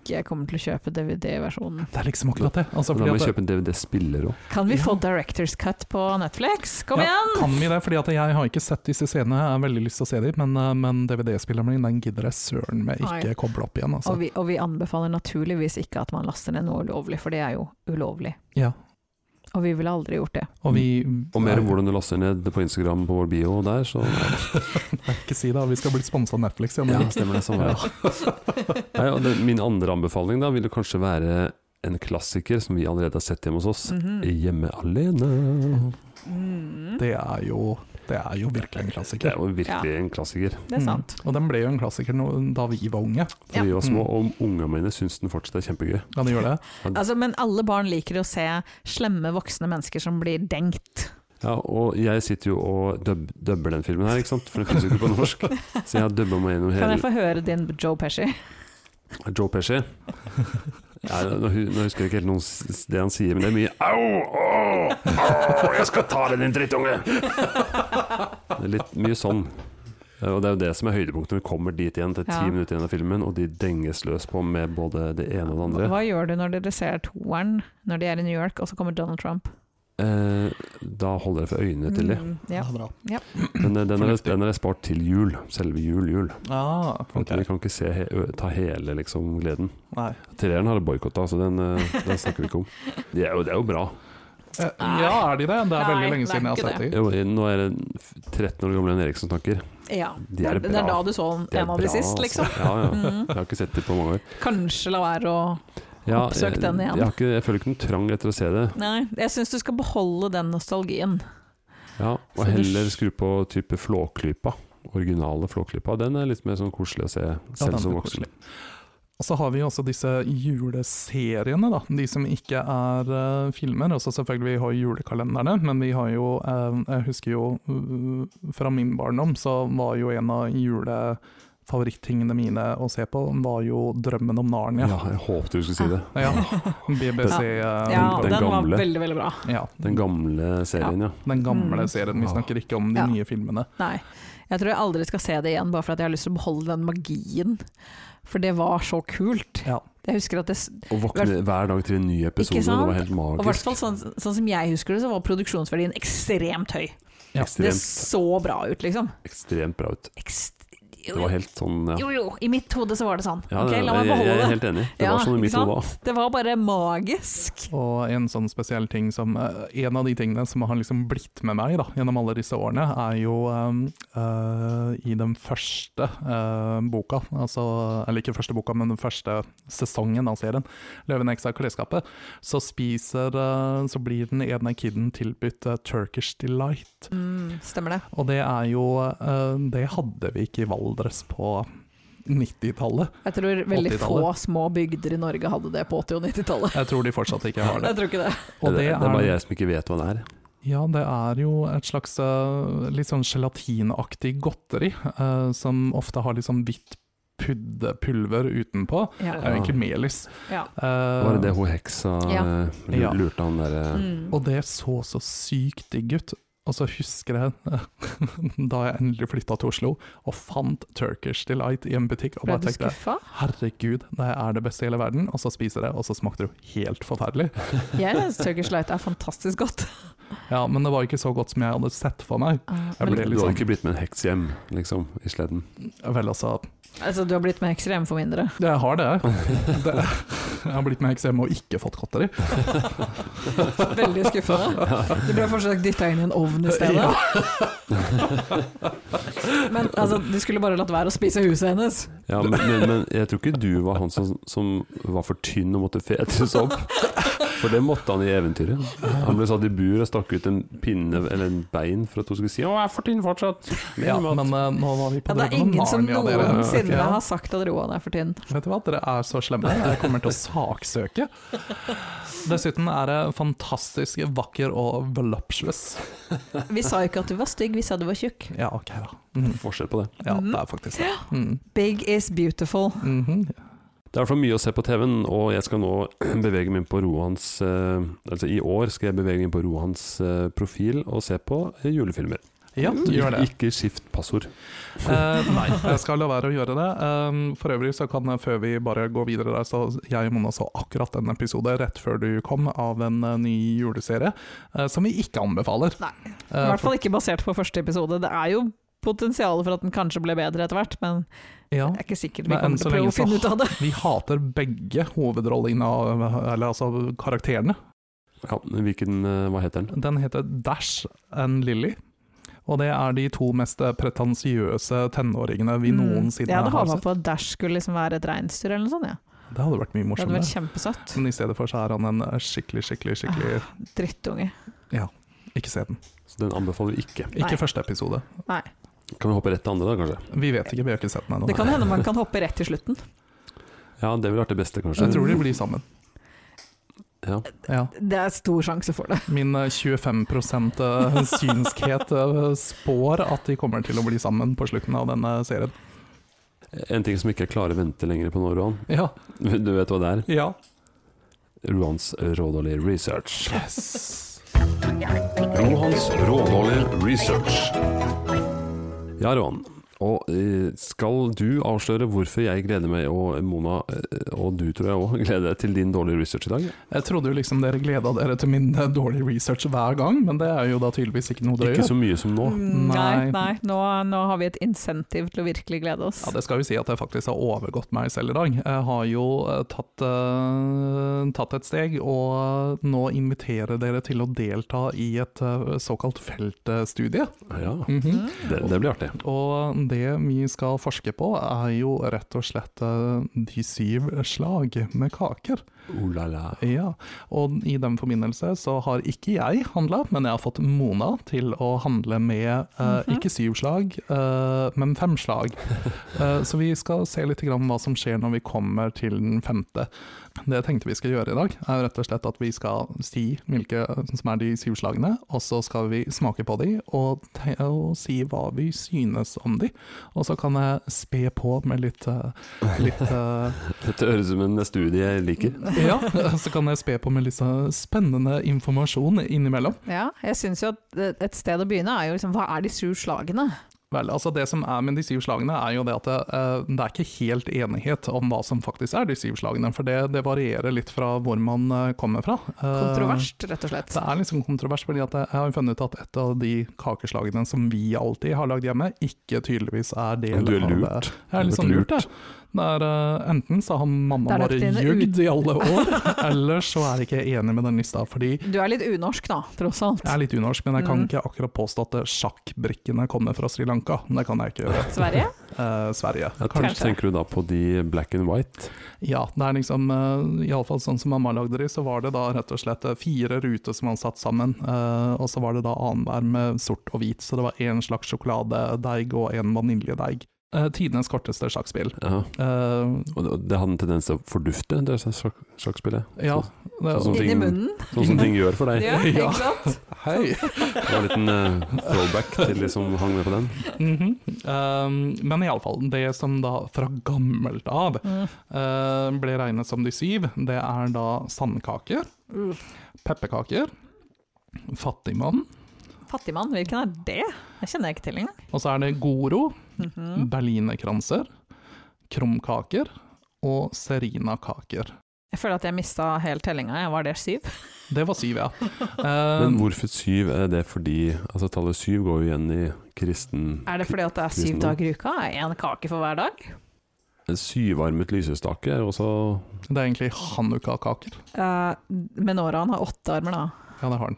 [SPEAKER 4] Jeg kommer til å kjøpe DVD-versjonen.
[SPEAKER 3] Det er liksom akkurat det. Altså,
[SPEAKER 1] Men
[SPEAKER 3] fordi
[SPEAKER 1] da må
[SPEAKER 3] at-
[SPEAKER 1] vi kjøpe en DVD-spiller òg.
[SPEAKER 4] Kan vi
[SPEAKER 3] Ja.
[SPEAKER 4] få Directors Cut på Netflix? Kom
[SPEAKER 3] Ja,
[SPEAKER 4] igjen!
[SPEAKER 3] Kan vi det? Fordi at jeg har ikke sett disse scenene, jeg har veldig lyst til å se dem, men, eh, men DVD-spilleren min den gidder jeg søren meg ikke
[SPEAKER 4] Nei.
[SPEAKER 3] koble opp igjen.
[SPEAKER 4] Og
[SPEAKER 3] Altså.
[SPEAKER 4] vi, og vi anbefaler naturligvis ikke at man laster ned noe ulovlig, for det er jo ulovlig.
[SPEAKER 3] Ja.
[SPEAKER 4] Og vi ville aldri gjort det.
[SPEAKER 3] Og vi
[SPEAKER 1] Og mer om hvordan du laster ned på Instagram på vår bio der, så
[SPEAKER 3] Nei, Ikke si det, vi skal bli sponsa av Netflix. Ja, men,
[SPEAKER 1] ja, stemmer det.
[SPEAKER 3] sånn
[SPEAKER 1] Samme her. Nei, og det, min andre anbefaling da vil jo kanskje være en klassiker som vi allerede har sett hjemme hos oss.
[SPEAKER 4] Mhm.
[SPEAKER 1] Hjemme alene.
[SPEAKER 4] Mm.
[SPEAKER 3] Det, er jo, det er jo virkelig en
[SPEAKER 1] Det er
[SPEAKER 3] klassiker.
[SPEAKER 1] jo virkelig en klassiker.
[SPEAKER 4] Det er sant.
[SPEAKER 3] Mm. Og den ble jo en klassiker nå, da vi var unge.
[SPEAKER 1] Da
[SPEAKER 4] Ja.
[SPEAKER 1] vi var små,
[SPEAKER 3] Mm.
[SPEAKER 1] og ungene mine syns den fortsatt er kjempegøy.
[SPEAKER 3] Kan du gjøre det?
[SPEAKER 1] Mm.
[SPEAKER 4] Altså, men alle barn liker å se slemme voksne mennesker som blir dengt.
[SPEAKER 1] Ja, og jeg sitter jo og dub, dubber den filmen her, ikke sant? For den finnes jo ikke på norsk. Så jeg har dubba meg gjennom
[SPEAKER 4] Kan jeg
[SPEAKER 1] hele
[SPEAKER 4] få høre din Joe Pesci?
[SPEAKER 1] Joe Pesci. Ja, nå, hu- nå husker jeg ikke helt noe s- s- det han sier, men det er mye Au! Au! au jeg skal ta deg, din drittunge! Det er litt mye sånn. Ja, Og det er jo det som er høydepunktet når vi kommer dit igjen, til ti
[SPEAKER 4] Ja.
[SPEAKER 1] minutter igjen av filmen, og de denges løs på med både det ene og det andre.
[SPEAKER 4] Hva gjør du når dere ser toeren når de er i New York, og så kommer Donald Trump?
[SPEAKER 1] Eh, da holder jeg for øynene til de.
[SPEAKER 4] Mm, ja.
[SPEAKER 3] Det er bra.
[SPEAKER 1] Men eh, den er,
[SPEAKER 3] Fornuftig.
[SPEAKER 1] den er spart til jul. Selve jul, jul.
[SPEAKER 3] Ah,
[SPEAKER 1] For at
[SPEAKER 3] ok.
[SPEAKER 1] Vi kan ikke se, he, ø- ta hele liksom, gleden.
[SPEAKER 3] Nei.
[SPEAKER 1] Treeren har jeg boikotta, så den, eh, den snakker vi ikke om. Det er jo, det er jo bra.
[SPEAKER 3] Eh, Ja, er de det? Det er
[SPEAKER 4] Nei,
[SPEAKER 3] veldig lenge
[SPEAKER 4] det er
[SPEAKER 3] siden jeg har
[SPEAKER 4] ikke
[SPEAKER 3] sett dem.
[SPEAKER 1] Jo, nå er det f- 13 år gamle Jan Erik som snakker.
[SPEAKER 4] ja.
[SPEAKER 1] De er
[SPEAKER 4] det er da
[SPEAKER 1] bra.
[SPEAKER 4] du så en
[SPEAKER 1] Det er
[SPEAKER 4] av de
[SPEAKER 1] bra,
[SPEAKER 4] sist,
[SPEAKER 1] altså.
[SPEAKER 4] liksom.
[SPEAKER 1] Ja, ja.
[SPEAKER 4] Mm.
[SPEAKER 1] Jeg har ikke sett det på mange år.
[SPEAKER 4] Kanskje la være å
[SPEAKER 1] Ja,
[SPEAKER 4] Oppsøk
[SPEAKER 1] jeg-
[SPEAKER 4] den igjen.
[SPEAKER 1] Jeg, har ikke, jeg føler ikke noen trang etter å se det.
[SPEAKER 4] Nei, jeg syns du skal beholde den nostalgien.
[SPEAKER 1] Ja, og
[SPEAKER 4] Så du-
[SPEAKER 1] heller skru på type Flåklypa. originale Flåklypa. Den er litt mer sånn koselig å se selv
[SPEAKER 3] den
[SPEAKER 1] som
[SPEAKER 3] er
[SPEAKER 1] voksen.
[SPEAKER 3] koselig. Og så har vi jo også disse juleseriene, da. De som ikke er eh, filmer. Også selvfølgelig vi har julekalenderne, men vi har jo eh, Jeg husker jo eh, fra min barndom, så var jo en av julefavorittingene mine å se på, var jo 'Drømmen om
[SPEAKER 1] Ja.
[SPEAKER 3] Narnia'.
[SPEAKER 1] jeg håpte du skulle si det.
[SPEAKER 3] Ja. BBC eh,
[SPEAKER 4] Ja,
[SPEAKER 1] den
[SPEAKER 4] den, var
[SPEAKER 1] gamle.
[SPEAKER 4] veldig, veldig bra.
[SPEAKER 3] ja.
[SPEAKER 1] Den gamle serien, ja.
[SPEAKER 3] Den gamle
[SPEAKER 4] Mm.
[SPEAKER 3] serien. Vi snakker ikke om de
[SPEAKER 4] Ja.
[SPEAKER 3] nye filmene.
[SPEAKER 4] Nei. Jeg tror jeg aldri skal se det igjen, bare for at jeg har lyst til å beholde den magien. For det var så kult.
[SPEAKER 3] Ja.
[SPEAKER 4] Jeg husker at det,
[SPEAKER 1] Å våkne hver dag til en ny episode,
[SPEAKER 4] Ikke
[SPEAKER 1] det
[SPEAKER 4] sant?
[SPEAKER 1] var helt
[SPEAKER 4] og i hvert
[SPEAKER 1] magisk.
[SPEAKER 4] fall sånn, sånn som jeg husker det, så var produksjonsverdien ekstremt høy.
[SPEAKER 3] Ja.
[SPEAKER 4] Det
[SPEAKER 1] Ekstremt,
[SPEAKER 4] så bra ut, liksom.
[SPEAKER 1] ekstremt bra ut.
[SPEAKER 4] Ekst
[SPEAKER 1] Det var helt sånn ja.
[SPEAKER 4] Jo jo, i mitt hode så var det sånn.
[SPEAKER 1] Ja,
[SPEAKER 4] ok,
[SPEAKER 1] det-
[SPEAKER 4] la meg
[SPEAKER 1] jeg, jeg
[SPEAKER 4] beholde
[SPEAKER 1] er
[SPEAKER 4] det.
[SPEAKER 1] helt enig. Det
[SPEAKER 4] Ja,
[SPEAKER 1] var sånn i
[SPEAKER 4] ikke
[SPEAKER 1] mitt
[SPEAKER 4] sant?
[SPEAKER 1] hode òg.
[SPEAKER 4] Det var bare magisk.
[SPEAKER 3] Og en sånn spesiell ting som eh, En av de tingene som har liksom blitt med meg da, gjennom alle disse årene, er jo eh, eh, i den første eh, boka, altså, eller ikke første boka, men den første sesongen av serien, 'Løvenheksa i klesskapet', så spiser eh, Så blir den ene kiden tilbudt eh, Turkish Delight.
[SPEAKER 4] Mm, stemmer det.
[SPEAKER 3] Og det er jo eh, Det hadde vi ikke i Valdres på 90-tallet.
[SPEAKER 4] Jeg tror veldig få
[SPEAKER 3] 80-tallet.
[SPEAKER 4] små bygder i Norge hadde det på 80- og 90-tallet.
[SPEAKER 3] Jeg tror de fortsatt ikke har det.
[SPEAKER 4] Jeg tror ikke det.
[SPEAKER 3] Og
[SPEAKER 1] det, det er bare jeg som ikke vet hva det er.
[SPEAKER 3] Ja, det er jo et slags eh, litt sånn gelatinaktig godteri, eh, som ofte har litt sånn hvitt puddepulver utenpå.
[SPEAKER 4] Ja.
[SPEAKER 3] Det er jo egentlig melis.
[SPEAKER 4] Ja.
[SPEAKER 1] Det
[SPEAKER 3] Eh,
[SPEAKER 1] var det hun heksa
[SPEAKER 4] Ja.
[SPEAKER 1] eh, lur-
[SPEAKER 3] Ja.
[SPEAKER 1] lurte han eh, derre
[SPEAKER 4] Mm.
[SPEAKER 3] og det så så sykt digg ut. Og så husker jeg da jeg endelig flytta til Oslo og fant Turkish Delight i en butikk, og
[SPEAKER 4] Ble
[SPEAKER 3] bare
[SPEAKER 4] du
[SPEAKER 3] tenkte
[SPEAKER 4] skuffa?
[SPEAKER 3] herregud, det er det beste i hele verden. Og så spiser jeg det, og så smakte det jo helt forferdelig.
[SPEAKER 4] Jeg syns Turkish Light er fantastisk godt.
[SPEAKER 3] Ja, men det var ikke så godt som jeg hadde sett for meg. Jeg
[SPEAKER 4] Men,
[SPEAKER 3] ble litt
[SPEAKER 1] Du hadde
[SPEAKER 3] sånn-
[SPEAKER 1] ikke blitt med en heks hjem, liksom, i sleden.
[SPEAKER 3] Vel, altså,
[SPEAKER 4] altså, du har blitt mer ekstrem for mindre.
[SPEAKER 3] Jeg har det. det. Jeg har blitt med eksem og ikke fått godteri.
[SPEAKER 4] Veldig skuffende. Du ble fortsatt dytta inn i en ovn i stedet. Men altså, du skulle bare latt være å spise huset hennes.
[SPEAKER 1] Ja, men, men, men jeg tror ikke du var han som, som var for tynn og måtte fetes opp. For det måtte han i eventyret. Han ble satt i bur og stakk ut en pinne eller en bein for at hun skulle si 'Å, jeg er for tynn fortsatt'.
[SPEAKER 3] Ja, men eh, nå var vi på
[SPEAKER 4] Ja, det er
[SPEAKER 3] Drømmen om
[SPEAKER 4] ingen som
[SPEAKER 3] Narnia, dere.
[SPEAKER 4] noensinne
[SPEAKER 3] Ja.
[SPEAKER 4] har sagt at Roan er for tynn.
[SPEAKER 3] Vet du hva, dere er så slemme. Dere kommer til å saksøke. Dessuten er det fantastisk vakker og voluptuous.
[SPEAKER 4] Vi sa jo ikke at du var stygg, vi sa du var tjukk.
[SPEAKER 3] Ja, ok, da. Mm.
[SPEAKER 1] Forskjell på det.
[SPEAKER 3] Ja, det er faktisk det. Mm.
[SPEAKER 4] Big is beautiful.
[SPEAKER 3] Mhm.
[SPEAKER 1] Det er i hvert fall mye å se på TV-en, og jeg skal nå bevege meg inn på Roans eh, Altså i år skal jeg bevege meg inn på Roans eh, profil og se på eh, julefilmer.
[SPEAKER 3] Ja, gjør det.
[SPEAKER 1] Ikke skift passord.
[SPEAKER 3] Eh, nei, jeg skal la være å gjøre det. Eh, for øvrig så kan jeg, før vi bare går videre der, så jeg og Mona så akkurat en episode rett før du kom av en eh, ny juleserie, eh, som vi ikke anbefaler.
[SPEAKER 4] Nei, I
[SPEAKER 3] Eh,
[SPEAKER 4] hvert fall ikke basert på første episode. Det er jo potensial for at den kanskje ble bedre etter hvert, men
[SPEAKER 3] ja.
[SPEAKER 4] jeg er ikke sikker vi
[SPEAKER 3] Men enn
[SPEAKER 4] kommer
[SPEAKER 3] så
[SPEAKER 4] til å prøve
[SPEAKER 3] lenge
[SPEAKER 4] å
[SPEAKER 3] så
[SPEAKER 4] finne ut av det.
[SPEAKER 3] Vi hater begge hovedrollene, eller altså karakterene.
[SPEAKER 1] Ja, hvilken eh, Hva heter den?
[SPEAKER 3] Den heter Dash and Lily. Og det er de to mest pretensiøse tenåringene vi
[SPEAKER 4] Mm.
[SPEAKER 3] noensinne
[SPEAKER 4] Jeg hadde
[SPEAKER 3] har
[SPEAKER 4] håpa
[SPEAKER 3] sett.
[SPEAKER 4] på at Dash skulle liksom være et reinsdyr eller noe sånt. Ja.
[SPEAKER 3] Det hadde vært mye
[SPEAKER 4] Det hadde
[SPEAKER 3] morsommere.
[SPEAKER 4] vært kjempesøtt.
[SPEAKER 3] Men i stedet for så er han en skikkelig, skikkelig, skikkelig
[SPEAKER 4] Drittunge.
[SPEAKER 3] Ikke se den.
[SPEAKER 1] Så den anbefaler vi ikke.
[SPEAKER 3] Ikke
[SPEAKER 4] Ah. Nei.
[SPEAKER 3] første episode.
[SPEAKER 1] Kan vi hoppe rett til andre, da, kanskje?
[SPEAKER 3] Vi vet ikke, vi har ikke sett den ennå.
[SPEAKER 4] Det kan hende man kan hoppe rett til slutten.
[SPEAKER 1] Ja, det ville vært det beste, kanskje.
[SPEAKER 3] Jeg tror de blir sammen.
[SPEAKER 1] Ja.
[SPEAKER 3] Ja.
[SPEAKER 4] Det er stor sjanse for det.
[SPEAKER 3] Min eh, 25 eh, synskhet eh, spår at de kommer til å bli sammen på slutten av denne serien.
[SPEAKER 1] En ting som ikke jeg klarer å vente lenger på nå, Roan.
[SPEAKER 3] Ja.
[SPEAKER 1] Du vet hva det er?
[SPEAKER 3] ja.
[SPEAKER 1] Roans rådårlige research.
[SPEAKER 3] Yes.
[SPEAKER 1] Rohans rådårlige research. Ja, Rohan. Og eh, skal du avsløre hvorfor jeg gleder meg, og Mona, eh, og du tror jeg òg, gleder deg til din dårlige research i dag?
[SPEAKER 3] Jeg trodde jo liksom dere gleda dere til min eh, dårlige research hver gang, men det er jo da tydeligvis ikke noe dere
[SPEAKER 1] Ikke
[SPEAKER 3] gjør.
[SPEAKER 1] så mye som nå.
[SPEAKER 4] Mm,
[SPEAKER 3] Nei.
[SPEAKER 4] Nei, nei. Nå, nå har vi et insentiv til å virkelig glede oss.
[SPEAKER 3] Ja, Det skal jo si at jeg faktisk har overgått meg selv i dag. Jeg har jo eh, tatt, eh, tatt et steg, og eh, nå inviterer dere til å delta i et eh, såkalt feltstudie.
[SPEAKER 1] Ja,
[SPEAKER 3] Mhm.
[SPEAKER 1] det, det blir artig.
[SPEAKER 3] Og det vi skal forske på, er jo rett og slett eh, de syv slag med kaker.
[SPEAKER 1] Oh la la.
[SPEAKER 3] Ja, og i den forbindelse så har ikke jeg handla, men jeg har fått Mona til å handle med eh,
[SPEAKER 4] Mhm.
[SPEAKER 3] ikke syv slag, eh, men fem slag. Eh, så vi skal se litt grann hva som skjer når vi kommer til den femte. Det jeg tenkte vi skal gjøre i dag, er rett og slett at vi skal si hvilke som er de syv slagene, og så skal vi smake på de og, te og si hva vi synes om de. Og så kan jeg spe på med litt, eh, litt eh,
[SPEAKER 1] Dette høres ut som en studie jeg liker.
[SPEAKER 3] ja, så kan jeg spe på med litt sånn spennende informasjon innimellom.
[SPEAKER 4] Ja, jeg syns jo at eh, et sted å begynne er jo liksom Hva er de sju slagene?
[SPEAKER 3] Vel, altså Det som er med de syv slagene, er jo det at det, eh, det er ikke helt enighet om hva som faktisk er de syv slagene. For det, det varierer litt fra hvor man eh, kommer fra. Eh,
[SPEAKER 4] Kontroverst, rett og slett.
[SPEAKER 3] Det er liksom kontrovers, fordi at jeg har funnet ut at et av de kakeslagene som vi alltid har lagd hjemme, ikke tydeligvis er del
[SPEAKER 1] Du er
[SPEAKER 3] av det.
[SPEAKER 1] lurt.
[SPEAKER 3] Jeg er litt
[SPEAKER 1] Du
[SPEAKER 3] sånn
[SPEAKER 1] har
[SPEAKER 3] lurt,
[SPEAKER 1] vært
[SPEAKER 3] jeg. Det er, eh, enten så har mamma
[SPEAKER 4] Det er nok
[SPEAKER 3] bare
[SPEAKER 4] dine
[SPEAKER 3] ljugd i alle år, eller så er jeg ikke enig med den lista. fordi
[SPEAKER 4] Du er litt unorsk, da, tross alt.
[SPEAKER 3] Jeg er litt unorsk, men jeg kan
[SPEAKER 4] Mm.
[SPEAKER 3] ikke akkurat påstå at sjakkbrikkene kommer fra Sri Lanka. Det kan jeg ikke gjøre.
[SPEAKER 4] Sverige?
[SPEAKER 3] Eh, Sverige.
[SPEAKER 1] Ja,
[SPEAKER 4] Kanskje.
[SPEAKER 1] Tenker du da på de black and white?
[SPEAKER 3] Ja, det er liksom eh, i alle fall sånn som mamma lagde de, så var det da rett og slett eh, fire ruter som man satt sammen. eh, og så var det da annenhver med sort og hvit, så det var én slags sjokoladedeig og én vaniljedeig. Eh, tidenes korteste sjakkspill.
[SPEAKER 1] Ja.
[SPEAKER 3] Eh,
[SPEAKER 1] Og det- det hadde en tendens til å fordufte, det sjakk- sjakkspillet.
[SPEAKER 3] ja.
[SPEAKER 1] Sånn som
[SPEAKER 4] Inn i
[SPEAKER 1] ting-
[SPEAKER 4] munnen?
[SPEAKER 1] Sånn som ting gjør for deg.
[SPEAKER 4] Ja,
[SPEAKER 3] Ja.
[SPEAKER 4] ikke sant?
[SPEAKER 3] Hei!
[SPEAKER 1] Det var en liten eh, throwback til de som hang med på den.
[SPEAKER 3] Mhm. Eh, men iallfall, det som da fra gammelt av
[SPEAKER 4] Mm.
[SPEAKER 3] eh, ble regnet som de syv, det er da sandkaker, pepperkaker, fattigmann,
[SPEAKER 4] Fattigmann, hvilken er det? Det kjenner jeg ikke til engang.
[SPEAKER 3] og så er det goro,
[SPEAKER 4] Mhm.
[SPEAKER 3] berlinerkranser, krumkaker og serinakaker.
[SPEAKER 4] Jeg føler at jeg mista helt tellinga. Jeg var der syv.
[SPEAKER 3] Det var syv, ja.
[SPEAKER 4] Um,
[SPEAKER 3] Eh,
[SPEAKER 1] Men hvorfor syv? Er det fordi altså Tallet syv går jo igjen i kristen
[SPEAKER 4] Er det fordi at det er syv
[SPEAKER 1] Kristendom.
[SPEAKER 4] dager i uka? Én kake for hver dag?
[SPEAKER 1] Syvarmet lysestake er jo også
[SPEAKER 3] det er egentlig hanukka-kaker.
[SPEAKER 4] Eh, men Åran har åtte armer, da.
[SPEAKER 3] Ja, det har den.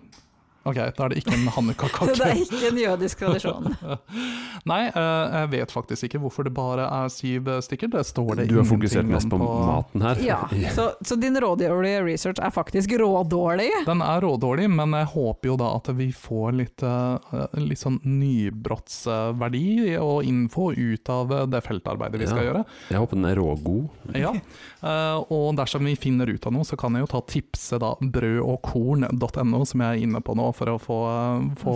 [SPEAKER 3] Ok, da er det ikke en hanukka-kake.
[SPEAKER 4] Det er ikke en jødisk tradisjon.
[SPEAKER 3] Nei, eh, jeg vet faktisk ikke hvorfor det bare er syv eh, stykker. Det står det
[SPEAKER 1] Du har
[SPEAKER 3] ingenting
[SPEAKER 1] fokusert mest på
[SPEAKER 3] om
[SPEAKER 1] maten her.
[SPEAKER 4] Ja, Så, så din rådårlige research er faktisk rådårlig?
[SPEAKER 3] Den er rådårlig, men jeg håper jo da at vi får litt, eh, litt sånn nybrottsverdi og info ut av eh, det feltarbeidet vi skal
[SPEAKER 1] Ja.
[SPEAKER 3] gjøre.
[SPEAKER 1] Jeg håper den er rågod.
[SPEAKER 3] Ja. Eh, og dersom vi finner ut av noe, så kan jeg jo ta tipset da brødogkorn.no, som jeg er inne på nå, for å få, eh, få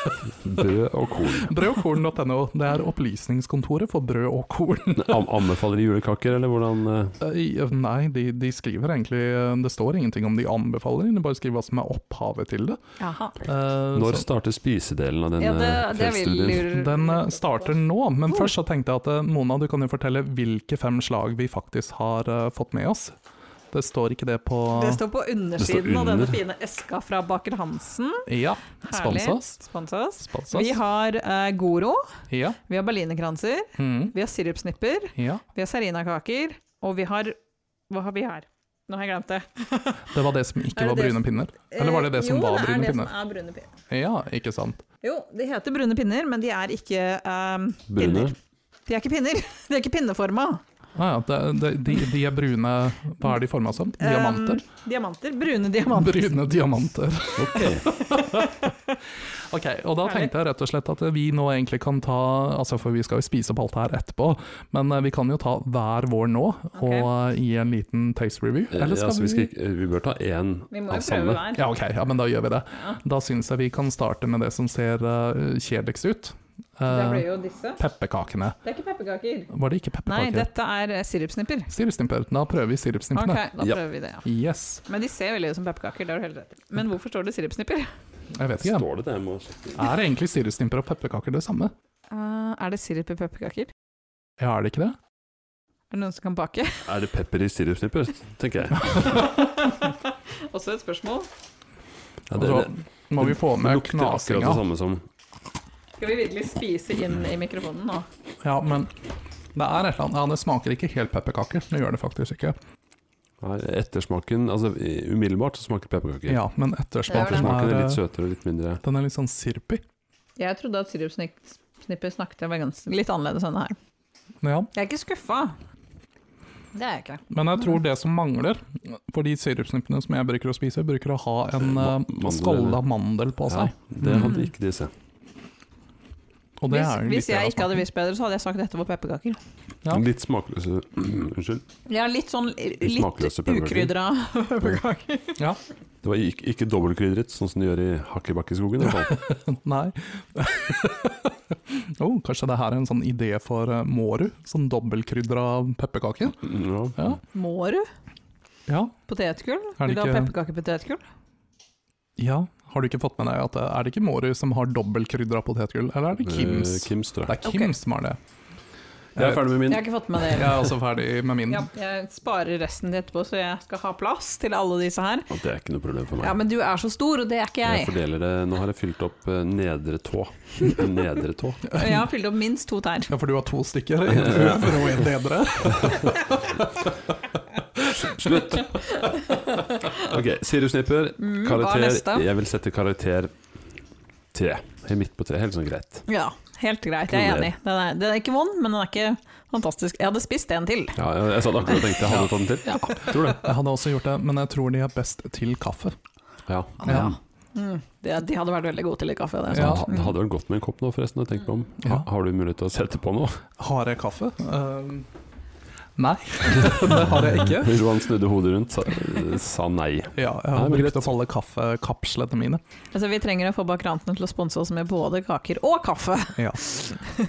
[SPEAKER 1] Brød og korn.
[SPEAKER 3] Brødogkorn.no, det er opplysningskontoret for brød og korn.
[SPEAKER 1] Am anbefaler de julekaker, eller hvordan eh,
[SPEAKER 3] Eh, nei, de, de skriver egentlig eh, Det står ingenting om de anbefaler, de bare skriver hva som er opphavet til det.
[SPEAKER 4] Jaha.
[SPEAKER 3] Eh,
[SPEAKER 1] Når
[SPEAKER 3] så-
[SPEAKER 1] starter spisedelen av denne
[SPEAKER 4] Altså. Ja, det, det vil
[SPEAKER 1] eh, feltstudien?
[SPEAKER 3] Den eh, starter nå, men
[SPEAKER 4] Oh.
[SPEAKER 3] først så tenkte jeg at eh, Mona, du kan jo fortelle hvilke fem slag vi faktisk har eh, fått med oss. Det står ikke det på
[SPEAKER 4] Det står på undersiden av
[SPEAKER 1] under.
[SPEAKER 4] denne fine eska fra Baker Hansen.
[SPEAKER 3] Ja.
[SPEAKER 4] Herlig.
[SPEAKER 3] Sponsa oss.
[SPEAKER 4] Sponsa oss.
[SPEAKER 3] Sponsa
[SPEAKER 4] Vi
[SPEAKER 3] oss.
[SPEAKER 4] har eh, Goro,
[SPEAKER 3] Ja.
[SPEAKER 4] vi har berlinerkranser,
[SPEAKER 3] Mm.
[SPEAKER 4] vi har sirupsnipper,
[SPEAKER 3] ja.
[SPEAKER 4] vi har serinakaker, og vi har Hva har vi her? Nå har jeg glemt det.
[SPEAKER 3] Det var det som ikke
[SPEAKER 4] Er det
[SPEAKER 3] var
[SPEAKER 4] det
[SPEAKER 3] brune pinner. Eller var det det
[SPEAKER 4] Eh,
[SPEAKER 3] som
[SPEAKER 4] jo,
[SPEAKER 3] var
[SPEAKER 4] det er
[SPEAKER 3] brune
[SPEAKER 4] det
[SPEAKER 3] pinner?
[SPEAKER 4] som er brune pinner?
[SPEAKER 3] Ja, ikke sant.
[SPEAKER 4] Jo, de heter brune pinner, men de er ikke eh,
[SPEAKER 1] Brune?
[SPEAKER 4] pinner. De er ikke pinner. De er ikke pinneforma.
[SPEAKER 3] Ah, ja, det- det- de, de er brune Hva er de forma
[SPEAKER 4] Um,
[SPEAKER 3] som? Diamanter?
[SPEAKER 4] Eh, diamanter. Brune diamanter.
[SPEAKER 3] Brune diamanter.
[SPEAKER 1] Ok.
[SPEAKER 3] Ok, og da tenkte jeg rett og slett at vi nå egentlig kan ta, altså for vi skal jo spise opp alt det her etterpå, men eh, vi kan jo ta hver vår nå, og eh, gi en liten taste review.
[SPEAKER 1] Eh,
[SPEAKER 3] Eller skal
[SPEAKER 1] ja, så vi,
[SPEAKER 3] vi...
[SPEAKER 1] skal, ikke- vi bør ta én
[SPEAKER 4] Vi
[SPEAKER 1] av
[SPEAKER 4] må jo prøve
[SPEAKER 1] samme.
[SPEAKER 4] hver.
[SPEAKER 3] Ja, ok, ja, men da gjør vi det. Da syns jeg vi kan starte med det som ser eh, kjedeligst ut.
[SPEAKER 4] Det
[SPEAKER 3] Eh,
[SPEAKER 4] blir jo disse.
[SPEAKER 3] pepperkakene.
[SPEAKER 4] Det er ikke pepperkaker.
[SPEAKER 3] Var det ikke
[SPEAKER 4] Nei,
[SPEAKER 3] pepperkaker?
[SPEAKER 4] dette er eh, sirupsnipper.
[SPEAKER 3] Sirupsnipper. Da prøver vi
[SPEAKER 4] Ok,
[SPEAKER 3] sirupsnippene.
[SPEAKER 4] da
[SPEAKER 1] Ja.
[SPEAKER 4] prøver vi det, ja.
[SPEAKER 3] Yes.
[SPEAKER 4] Men de ser veldig ut som pepperkaker, det har du helt rett i. Men hvorfor står det sirupsnipper?
[SPEAKER 3] Jeg vet ikke.
[SPEAKER 1] Står det det? Jeg må sjekke.
[SPEAKER 3] Er egentlig sirupsnipper og pepperkaker det samme?
[SPEAKER 4] Eh, er det sirup i pepperkaker?
[SPEAKER 3] Ja, er det ikke det?
[SPEAKER 4] Er det noen som kan bake?
[SPEAKER 1] Er det pepper i sirupsnipper, tenker jeg.
[SPEAKER 4] Også et spørsmål.
[SPEAKER 1] Ja,
[SPEAKER 3] Og
[SPEAKER 1] det,
[SPEAKER 3] så
[SPEAKER 1] det,
[SPEAKER 3] må vi
[SPEAKER 1] det
[SPEAKER 3] få altså, med
[SPEAKER 1] lukter akkurat det
[SPEAKER 3] knasinga.
[SPEAKER 1] samme som
[SPEAKER 4] Skal vi virkelig spise inn i mikrofonen nå?
[SPEAKER 3] Ja, men det er et eller annet. Ja, det smaker ikke helt pepperkaker. Det gjør det faktisk ikke.
[SPEAKER 1] Nei, ettersmaken Altså i- umiddelbart så smaker pepperkaker.
[SPEAKER 3] Ja, men ettersmaken
[SPEAKER 4] Det gjør
[SPEAKER 1] Ettersmaken
[SPEAKER 3] er,
[SPEAKER 1] er litt
[SPEAKER 3] eh,
[SPEAKER 1] søtere og litt mindre.
[SPEAKER 3] den er litt sånn sirpig.
[SPEAKER 4] Jeg trodde at sirupsnip- Knipper snakket jeg var ganske, litt annerledes enn det her.
[SPEAKER 3] Ja.
[SPEAKER 4] Jeg er ikke skuffa. Det er jeg ikke.
[SPEAKER 3] Men jeg tror det som mangler, for de sirupsnippene som jeg bruker å spise, bruker å ha en
[SPEAKER 1] Ma-
[SPEAKER 3] uh,
[SPEAKER 1] mandel,
[SPEAKER 3] skalla mandel på
[SPEAKER 1] Ja,
[SPEAKER 3] seg. Mm.
[SPEAKER 1] det hadde ikke disse.
[SPEAKER 3] Og det
[SPEAKER 4] Hvis,
[SPEAKER 3] er jo
[SPEAKER 4] hvis
[SPEAKER 3] litt
[SPEAKER 4] jeg
[SPEAKER 3] av
[SPEAKER 4] ikke hadde
[SPEAKER 3] smaken.
[SPEAKER 4] visst bedre, så hadde jeg sagt dette var pepperkaker.
[SPEAKER 3] Ja.
[SPEAKER 1] Litt smakløse Unnskyld.
[SPEAKER 4] Jeg er litt sånn litt
[SPEAKER 1] smakløse pepperkaker.
[SPEAKER 4] ukrydra pepperkaker.
[SPEAKER 1] Det var ikke, ikke dobbeltkrydret, sånn som de gjør i Hakkebakkeskogen. i hvert fall.
[SPEAKER 3] Nei. oh, kanskje det her er en sånn idé for eh, Mårud? Sånn dobbeltkrydra pepperkake?
[SPEAKER 1] Mm, Ja.
[SPEAKER 3] Ja.
[SPEAKER 4] Må du?
[SPEAKER 3] ja.
[SPEAKER 4] Potetgull?
[SPEAKER 3] Er det
[SPEAKER 4] Vil du ha
[SPEAKER 3] ikke-
[SPEAKER 4] pepperkakepotetgull?
[SPEAKER 3] Ja. Har du ikke fått med deg at det er det ikke Mårud som har dobbeltkrydra potetgull, eller er det Kims?
[SPEAKER 1] Eh, Kims, tror
[SPEAKER 3] Det
[SPEAKER 1] jeg.
[SPEAKER 3] er Kims som har det. Eh,
[SPEAKER 1] Jeg er ferdig med
[SPEAKER 4] Jeg
[SPEAKER 1] min.
[SPEAKER 4] har ikke fått med
[SPEAKER 3] Jeg
[SPEAKER 4] det.
[SPEAKER 3] er også ferdig med min.
[SPEAKER 4] Ja, jeg sparer resten til etterpå, så jeg skal ha plass til alle disse her.
[SPEAKER 1] Og det er ikke noe problem for meg.
[SPEAKER 4] Ja, men du er så stor, og det er ikke
[SPEAKER 1] Jeg
[SPEAKER 4] jeg.
[SPEAKER 1] fordeler det Nå har jeg fylt opp eh, nedre tå. Nedre tå.
[SPEAKER 4] Og jeg har fylt opp minst to tær.
[SPEAKER 3] Ja, for du har to stykker? En øvre og en nedre?
[SPEAKER 1] Slutt! Ok, sirupsnipper.
[SPEAKER 4] hva er neste?
[SPEAKER 1] Karakter Jeg vil sette karakter tre. Helt midt på tre. Helt sånn greit.
[SPEAKER 4] Ja, helt greit. Jeg er enig. Den er, den er ikke vond, men den er ikke fantastisk. Jeg hadde spist en til.
[SPEAKER 1] Ja, jeg, jeg satt akkurat og tenkte hadde du tatt den til? Tror det.
[SPEAKER 3] Jeg hadde også gjort det, men jeg tror de er best til kaffe.
[SPEAKER 1] Ja.
[SPEAKER 3] Ja.
[SPEAKER 4] Mm. De, de hadde vært veldig gode til litt kaffe. Det, altså. er
[SPEAKER 1] Ja,
[SPEAKER 4] sant.
[SPEAKER 1] Altså, det hadde vel gått med en kopp nå, forresten. Jeg tenker meg om. Ha,
[SPEAKER 3] Ja.
[SPEAKER 1] har du mulighet til å sette på noe?
[SPEAKER 3] Har jeg kaffe? Eh, nei, det har jeg ikke.
[SPEAKER 1] Roan snudde hodet rundt, sa, sa nei. Nei,
[SPEAKER 3] Ja, jeg har
[SPEAKER 1] men
[SPEAKER 3] brukt
[SPEAKER 1] greit.
[SPEAKER 3] opp alle kaffekapslene mine.
[SPEAKER 4] Altså, vi trenger å få bakrantene til å sponse oss med både kaker og kaffe.
[SPEAKER 3] Ja.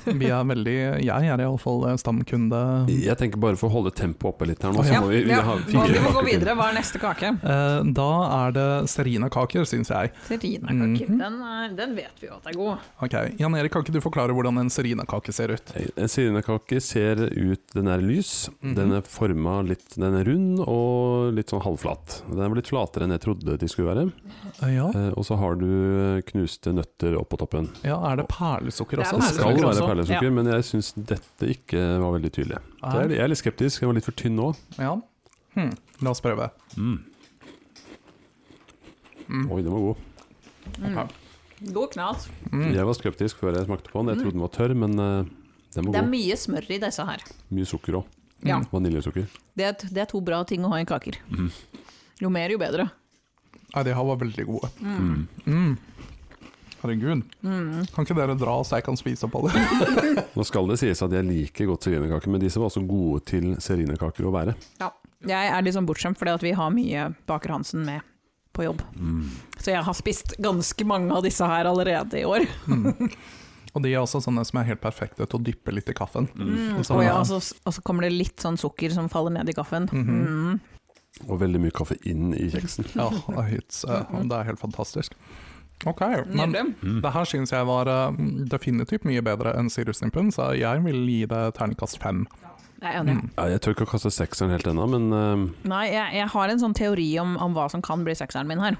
[SPEAKER 3] Vi er veldig Jeg er iallfall eh, stamkunde.
[SPEAKER 1] Jeg tenker bare for å holde tempoet oppe litt her nå, så
[SPEAKER 3] Ja,
[SPEAKER 1] må vi, vi
[SPEAKER 4] Ja,
[SPEAKER 1] ha
[SPEAKER 4] og
[SPEAKER 1] fire
[SPEAKER 4] vi må gå
[SPEAKER 1] bakker til.
[SPEAKER 4] videre. Hva er neste kake?
[SPEAKER 3] Eh, Da er det serinakaker, syns jeg.
[SPEAKER 4] Serinakaker.
[SPEAKER 3] Mhm.
[SPEAKER 4] Den, er- den vet vi jo at er god.
[SPEAKER 3] Ok, Jan Erik, kan ikke du forklare hvordan en serinakake ser ut?
[SPEAKER 1] En sirinakake ser ut Den er lys.
[SPEAKER 3] Mhm.
[SPEAKER 1] Den er forma litt Den er rund og litt sånn halvflat. Den er litt flatere enn jeg trodde de skulle være.
[SPEAKER 3] Eh, Ja,
[SPEAKER 1] Eh, og så har du eh, knuste nøtter oppå toppen.
[SPEAKER 3] ja er det perlesukker
[SPEAKER 4] Det er
[SPEAKER 3] også?
[SPEAKER 1] Det skal
[SPEAKER 4] perlesukker
[SPEAKER 1] være
[SPEAKER 4] også.
[SPEAKER 1] perlesukker,
[SPEAKER 4] Ja.
[SPEAKER 1] men jeg syns dette ikke var veldig tydelig. Så
[SPEAKER 3] Er
[SPEAKER 1] Jeg er, jeg er litt skeptisk. Jeg var litt for tynn nå.
[SPEAKER 3] Ja. Hm, la oss prøve. Mm.
[SPEAKER 1] Oi, den var god.
[SPEAKER 4] Mm.
[SPEAKER 3] Ok.
[SPEAKER 4] God knas.
[SPEAKER 3] Mm.
[SPEAKER 1] Jeg var skeptisk før jeg smakte på den. Jeg trodde den var tørr, men eh, den var
[SPEAKER 4] Det er
[SPEAKER 1] god.
[SPEAKER 4] Mm. mye smør i disse her.
[SPEAKER 1] Mye sukker òg.
[SPEAKER 4] Ja.
[SPEAKER 1] Vaniljesukker.
[SPEAKER 4] Det er, det er to bra ting å ha i kaker.
[SPEAKER 1] Mhm.
[SPEAKER 4] Jo mer, jo bedre.
[SPEAKER 3] Nei, de her var veldig gode. Mm. Herregud. Kan ikke dere dra så jeg kan spise opp alle?
[SPEAKER 1] Nå skal det sies at jeg liker godt serinakaker, men disse var også gode til serinakaker å være.
[SPEAKER 4] Jeg er litt sånn bortskjemt fordi at vi har mye Baker Hansen med på jobb. Så jeg har spist ganske mange av disse her allerede i år.
[SPEAKER 3] Mm. Og de er også sånne som er helt perfekte til å dyppe litt i kaffen.
[SPEAKER 4] Mm.
[SPEAKER 3] Sånn
[SPEAKER 4] Og,
[SPEAKER 3] er-
[SPEAKER 4] ja, og, så, og så kommer det litt sånn sukker som faller ned i kaffen.
[SPEAKER 3] Mhm.
[SPEAKER 4] Mm.
[SPEAKER 1] Og veldig mye kaffe inn i kjeksen.
[SPEAKER 3] Ja, it's, eh, det er helt fantastisk. Ok, men
[SPEAKER 4] Mm. Nydelig.
[SPEAKER 3] det her syns jeg var eh, definitivt mye bedre enn sirupsnippen, så jeg vil gi det terningkast fem.
[SPEAKER 4] Jeg er enig.
[SPEAKER 3] Mm.
[SPEAKER 1] Ja, jeg tør ikke å kaste sekseren helt ennå, men eh,
[SPEAKER 4] Nei, jeg, jeg har en sånn teori om, om hva som kan bli sekseren min her.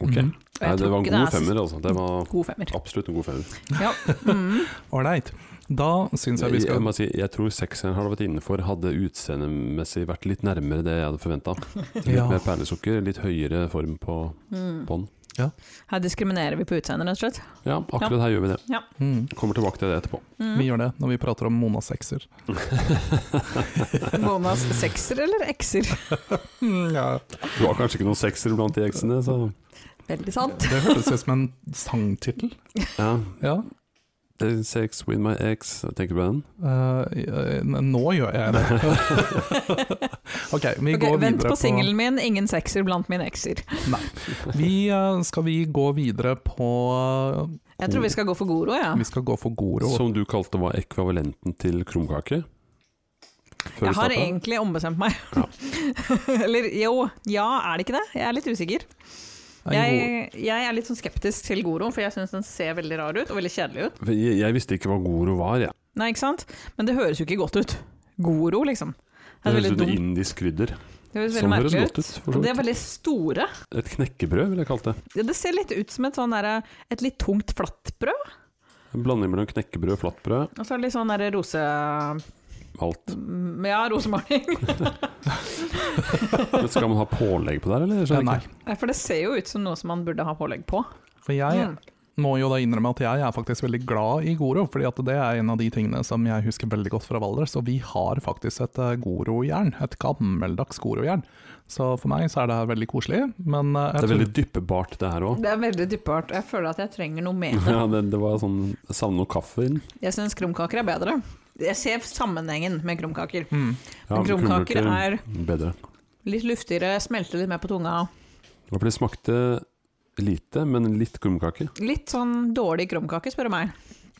[SPEAKER 1] ok.
[SPEAKER 3] Mhm.
[SPEAKER 1] Nei,
[SPEAKER 4] Jeg
[SPEAKER 1] det
[SPEAKER 4] tror
[SPEAKER 1] var en
[SPEAKER 4] ikke
[SPEAKER 1] god
[SPEAKER 4] det er så-
[SPEAKER 1] femmer, altså. Det var
[SPEAKER 4] God femmer.
[SPEAKER 1] absolutt en god femmer.
[SPEAKER 4] Ja. Mm.
[SPEAKER 3] Ålreit. Da syns jeg vi
[SPEAKER 1] Jeg, jeg,
[SPEAKER 3] skal
[SPEAKER 1] må si, jeg tror sekseren hadde vært innenfor, hadde utseendemessig vært litt nærmere det jeg hadde forventa. Litt
[SPEAKER 3] Ja.
[SPEAKER 1] mer perlesukker, litt høyere form på
[SPEAKER 4] Mm.
[SPEAKER 1] bånd.
[SPEAKER 4] Her diskriminerer vi på utseendet, rett og slett.
[SPEAKER 1] Ja, akkurat her gjør vi det.
[SPEAKER 3] mm,
[SPEAKER 1] Kommer tilbake til det etterpå.
[SPEAKER 4] Mm.
[SPEAKER 3] Vi gjør det når vi prater om Mona sekser.
[SPEAKER 4] Monas sekser eller ekser?
[SPEAKER 3] Mm, ja.
[SPEAKER 1] Du har kanskje ikke noen sekser blant de eksene, så
[SPEAKER 4] Veldig sant.
[SPEAKER 3] Det hørtes ut som en sangtittel.
[SPEAKER 1] ja.
[SPEAKER 3] Ja.
[SPEAKER 1] det er Sex with my ex, tenker du på den?
[SPEAKER 3] Eh, eh, nå gjør jeg det. ok, vi
[SPEAKER 4] Ok,
[SPEAKER 3] går
[SPEAKER 4] vent
[SPEAKER 3] videre
[SPEAKER 4] på singelen min, ingen sekser blant mine ekser.
[SPEAKER 3] Vi, eh, skal vi gå videre på eh,
[SPEAKER 4] Jeg tror vi skal gå for Goro, ja.
[SPEAKER 3] Vi skal gå for Goro.
[SPEAKER 1] Som du kalte var ekvivalenten til krumkake? Før vi
[SPEAKER 4] Jeg har
[SPEAKER 1] startet.
[SPEAKER 4] egentlig ombestemt meg. Eller jo, ja, er det ikke det? Jeg er litt usikker.
[SPEAKER 3] En god-
[SPEAKER 4] Jeg, jeg er litt sånn skeptisk til Goro, for jeg syns den ser veldig rar ut, og veldig kjedelig ut.
[SPEAKER 1] Jeg, jeg visste ikke hva Goro var, jeg.
[SPEAKER 4] Nei, ikke sant? Men det høres jo ikke godt ut. Goro, liksom. Det
[SPEAKER 1] Det
[SPEAKER 4] er
[SPEAKER 1] høres
[SPEAKER 4] veldig
[SPEAKER 1] ut som
[SPEAKER 4] dumt.
[SPEAKER 1] indisk krydder.
[SPEAKER 4] Det høres
[SPEAKER 1] Sånn
[SPEAKER 4] veldig
[SPEAKER 1] høres
[SPEAKER 4] merkelig
[SPEAKER 1] godt ut,
[SPEAKER 4] ut.
[SPEAKER 1] for så
[SPEAKER 4] Og de er
[SPEAKER 1] vidt.
[SPEAKER 4] veldig store.
[SPEAKER 1] Et knekkebrød, vil jeg kalle det.
[SPEAKER 4] Ja, Det ser litt ut som et sånn derre Et litt tungt flatbrød,
[SPEAKER 1] En blanding mellom knekkebrød og flatbrød.
[SPEAKER 4] og så er det litt sånn derre rose...
[SPEAKER 1] Alt.
[SPEAKER 4] Ja, rosemaling.
[SPEAKER 1] Men skal man ha pålegg på det her, eller? Jeg
[SPEAKER 3] Eh,
[SPEAKER 1] skjønner
[SPEAKER 3] Nei,
[SPEAKER 1] ikke.
[SPEAKER 4] Nei, For det ser jo ut som noe som man burde ha pålegg på. Mm.
[SPEAKER 3] for jeg, må jo da innrømme at jeg er faktisk veldig glad i Goro, fordi at det er en av de tingene som jeg husker veldig godt fra Valdres. Og vi har faktisk et eh, Goro-jern, et gammeldags Goro-jern. Så for meg så er det her veldig koselig. Men
[SPEAKER 1] Det
[SPEAKER 3] eh, jeg
[SPEAKER 1] er
[SPEAKER 3] tror-
[SPEAKER 1] veldig dyppebart, det her òg.
[SPEAKER 4] Det er veldig dypbart. Jeg føler at jeg trenger noe mer.
[SPEAKER 1] Ja, det, det var sånn jeg Savner noe kaffe inn.
[SPEAKER 4] Jeg syns krumkaker er bedre. Jeg ser sammenhengen med krumkaker.
[SPEAKER 3] mm.
[SPEAKER 1] Ja,
[SPEAKER 4] Men krumkaker
[SPEAKER 1] krumkaker Bedre.
[SPEAKER 4] Litt luftigere, smelter litt mer på tunga.
[SPEAKER 1] Ja, for det smakte lite, men litt krumkake.
[SPEAKER 4] Litt sånn dårlig krumkake, spør du meg.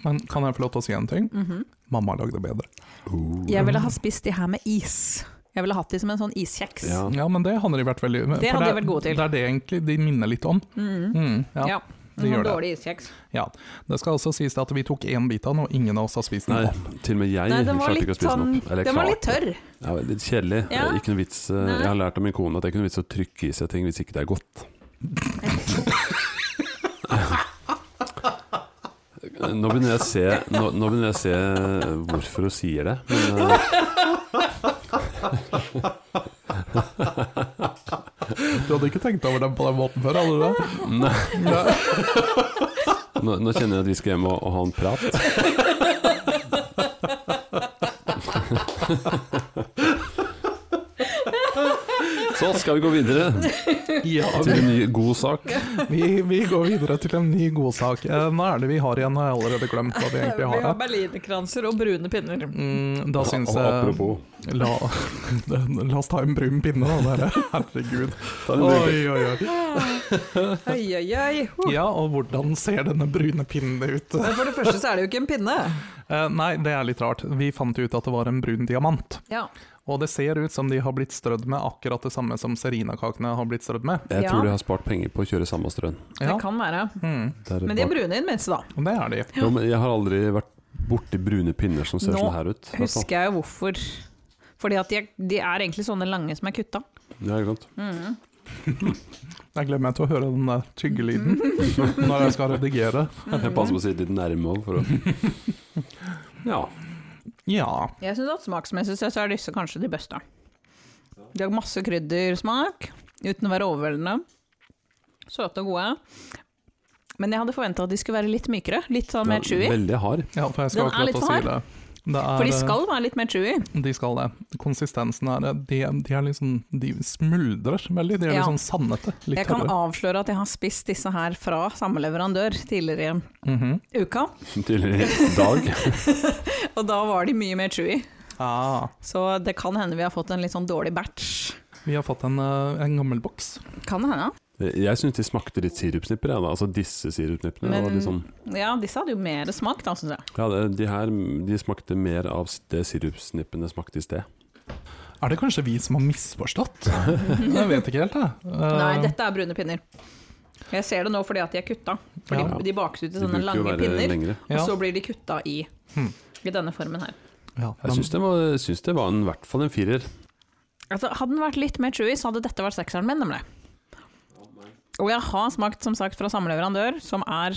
[SPEAKER 3] Men kan jeg få lov til å si en ting?
[SPEAKER 4] Mhm.
[SPEAKER 3] Mamma lagde bedre.
[SPEAKER 4] Jeg ville ha spist de her med is. Jeg ville hatt de som en sånn iskjeks.
[SPEAKER 1] Ja.
[SPEAKER 3] Ja, men det hadde de vært veldig for
[SPEAKER 4] Det hadde de vært gode til.
[SPEAKER 3] Det er det egentlig de minner litt om.
[SPEAKER 4] Mhm.
[SPEAKER 3] Mm, ja.
[SPEAKER 4] Ja,
[SPEAKER 3] de gjør
[SPEAKER 4] Noen
[SPEAKER 3] det.
[SPEAKER 4] dårlig iskjeks.
[SPEAKER 3] Det skal også sies at vi tok én bit av den, og ingen av oss har spist
[SPEAKER 1] Nei,
[SPEAKER 3] den. opp.
[SPEAKER 1] til og med jeg
[SPEAKER 4] Nei, den var
[SPEAKER 1] klarte ikke
[SPEAKER 4] litt
[SPEAKER 1] å spise den
[SPEAKER 4] sånn
[SPEAKER 1] opp. Eller jeg
[SPEAKER 4] Den var litt
[SPEAKER 1] klarte-
[SPEAKER 4] tørr.
[SPEAKER 1] Ja, litt kjedelig.
[SPEAKER 4] Ja.
[SPEAKER 1] Ikke noe vits. eh,
[SPEAKER 4] Nei.
[SPEAKER 1] Jeg har lært av min kone at det er ikke noe vits å trykke i seg ting hvis ikke det er godt. Nå begynner jeg å se, nå, nå begynner jeg å se eh, hvorfor hun sier det. Men, eh,
[SPEAKER 3] Du hadde ikke tenkt over den på den måten før, hadde du det? Nei.
[SPEAKER 1] nå, nå kjenner jeg at vi skal hjem og, og ha en prat. Så skal vi gå videre
[SPEAKER 3] Ja,
[SPEAKER 1] til en ny god sak.
[SPEAKER 3] vi, vi går videre til en ny godsak. Eh, Hva er det vi har igjen? Jeg har jeg allerede glemt hva vi egentlig har. her.
[SPEAKER 4] berlinerkranser og brune pinner.
[SPEAKER 3] Mm, da syns
[SPEAKER 1] Og
[SPEAKER 3] jeg
[SPEAKER 1] apropos,
[SPEAKER 3] la, la oss ta en brun pinne, da. Dere. Herregud.
[SPEAKER 1] ta en bruk.
[SPEAKER 3] Oi, oi, oi.
[SPEAKER 4] Oi, oi, oi.
[SPEAKER 3] Ja, og hvordan ser denne brune pinnen ut?
[SPEAKER 4] Men for det første så er det jo ikke en pinne.
[SPEAKER 3] Eh, nei, det er litt rart. Vi fant ut at det var en brun diamant.
[SPEAKER 4] Ja.
[SPEAKER 3] Og det ser ut som de har blitt strødd med akkurat det samme som serinakakene har blitt strødd med.
[SPEAKER 1] jeg
[SPEAKER 4] Ja.
[SPEAKER 1] tror de har spart penger på å kjøre samme strøm.
[SPEAKER 4] Det
[SPEAKER 3] Ja,
[SPEAKER 4] kan være.
[SPEAKER 3] mm,
[SPEAKER 1] Der
[SPEAKER 4] Men de er
[SPEAKER 1] bak-
[SPEAKER 4] brune i det minste, da.
[SPEAKER 3] det er de.
[SPEAKER 1] Jo, men jeg har aldri vært borti brune pinner som ser
[SPEAKER 4] Nå
[SPEAKER 1] sånn her ut. i hvert fall.
[SPEAKER 4] Husker jeg jo hvorfor. Fordi at de er, de er egentlig sånne lange som er kutta.
[SPEAKER 1] Ja, ikke
[SPEAKER 4] Mm.
[SPEAKER 1] sant.
[SPEAKER 3] Jeg glemmer til å høre den der tyggelyden når jeg skal redigere.
[SPEAKER 1] Jeg passer på å si det litt nærme òg, for å Ja.
[SPEAKER 3] Ja,
[SPEAKER 4] Jeg syns at smaksmessig så er disse kanskje de beste. De har masse kryddersmak, uten å være overveldende. Søte og gode. Men jeg hadde forventa at de skulle være litt mykere. Litt sånn mer chewy.
[SPEAKER 1] Veldig hard.
[SPEAKER 3] ja for jeg skal
[SPEAKER 4] Den er
[SPEAKER 3] akkurat
[SPEAKER 4] litt
[SPEAKER 3] til å si det. det er,
[SPEAKER 4] For de skal være litt mer chewy.
[SPEAKER 3] De skal det. Konsistensen er De, de er liksom De smuldrer veldig. De er
[SPEAKER 4] Ja.
[SPEAKER 3] litt sånn sandete. Litt
[SPEAKER 4] Jeg kan
[SPEAKER 3] tørre.
[SPEAKER 4] avsløre at jeg har spist disse her fra samme leverandør tidligere
[SPEAKER 3] Mhm.
[SPEAKER 4] i uka,
[SPEAKER 1] Tidligere i dag.
[SPEAKER 4] og da var de mye mer chewy.
[SPEAKER 3] ah,
[SPEAKER 4] Så det kan hende vi har fått en litt sånn dårlig batch.
[SPEAKER 3] vi har fått en, eh, en gammel boks.
[SPEAKER 4] Kan det hende.
[SPEAKER 1] Jeg syns de smakte litt sirupsnipper, jeg, da. Altså disse sirupsnippene.
[SPEAKER 4] Men-
[SPEAKER 1] var Liksom,
[SPEAKER 4] Ja, disse hadde jo mer smak, da, syns jeg.
[SPEAKER 1] ja, det- de her de smakte mer av det sirupsnippene smakte i sted.
[SPEAKER 3] Er det kanskje vi som har misforstått? jeg vet ikke helt, jeg. Eh,
[SPEAKER 4] Nei, dette er brune pinner. Jeg ser det nå fordi at de er kutta. For
[SPEAKER 3] Ja.
[SPEAKER 4] de, de bakes ut i
[SPEAKER 1] De
[SPEAKER 4] sånne
[SPEAKER 1] bruker jo å være
[SPEAKER 4] lange pinner,
[SPEAKER 1] lengre.
[SPEAKER 4] og
[SPEAKER 3] Ja.
[SPEAKER 4] så blir de kutta i,
[SPEAKER 3] Hmm.
[SPEAKER 4] i denne formen her.
[SPEAKER 3] ja,
[SPEAKER 1] Jeg
[SPEAKER 3] den-
[SPEAKER 1] syns det var, jeg syns det var en, i hvert fall en firer.
[SPEAKER 4] Altså, hadde den vært litt mer chewy, så hadde dette vært sekseren min, nemlig. Og jeg har smakt, som sagt, fra samme leverandør, som er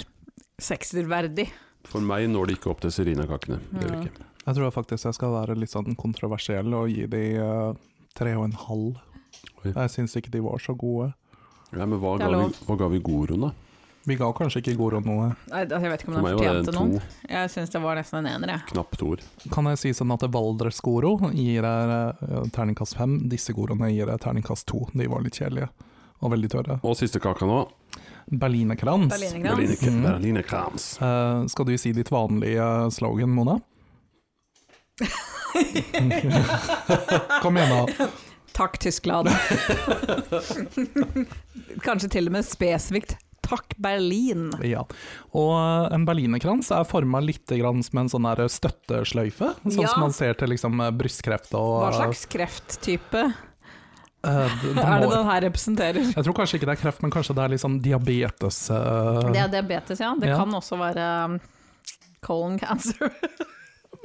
[SPEAKER 4] sekserverdig.
[SPEAKER 1] For meg når det ikke opp til serinakakene. Det gjør det ikke.
[SPEAKER 3] jeg tror faktisk jeg skal være litt sånn kontroversiell og gi de eh, tre og en halv.
[SPEAKER 1] Oi.
[SPEAKER 3] Jeg syns ikke de var så gode.
[SPEAKER 1] Ja, men hva
[SPEAKER 4] Det er
[SPEAKER 1] ga,
[SPEAKER 4] lov.
[SPEAKER 1] vi, hva ga vi Goroen, da?
[SPEAKER 3] Vi ga kanskje ikke Goro noe.
[SPEAKER 4] Nei, altså, Jeg vet ikke om
[SPEAKER 1] For meg
[SPEAKER 4] den
[SPEAKER 1] var det
[SPEAKER 4] fortjente
[SPEAKER 1] en
[SPEAKER 4] noen.
[SPEAKER 1] to,
[SPEAKER 4] Jeg syns det var nesten en ener, jeg.
[SPEAKER 1] knapp toer.
[SPEAKER 3] Kan jeg si sånn at Valdres-Goro gir deg eh, terningkast fem. Disse Goroene gir deg terningkast to. De var litt kjedelige og veldig tørre.
[SPEAKER 1] Og siste kaka nå.
[SPEAKER 3] Berlinerkrans.
[SPEAKER 4] Berlinerkrans.
[SPEAKER 1] Berlinerkrans.
[SPEAKER 3] Mm.
[SPEAKER 1] Berlinerkrans.
[SPEAKER 3] Eh, skal du si ditt vanlige eh, slogan, Mona? Kom igjen, da.
[SPEAKER 4] Takk, Tyskland. Kanskje til og med spesifikt Takk, Berlin.
[SPEAKER 3] Ja. Og eh, en berlinerkrans er forma litt grann som en sånn der støttesløyfe, sånn
[SPEAKER 4] Ja.
[SPEAKER 3] som man ser til liksom, eh, brystkreft og
[SPEAKER 4] Hva slags krefttype
[SPEAKER 3] eh, d- det
[SPEAKER 4] er det
[SPEAKER 3] må-
[SPEAKER 4] den her representerer?
[SPEAKER 3] Jeg tror kanskje ikke det er kreft, men kanskje det er litt sånn diabetes. eh,
[SPEAKER 4] Det er diabetes, ja. Det
[SPEAKER 3] Ja.
[SPEAKER 4] kan også være um, colon cancer.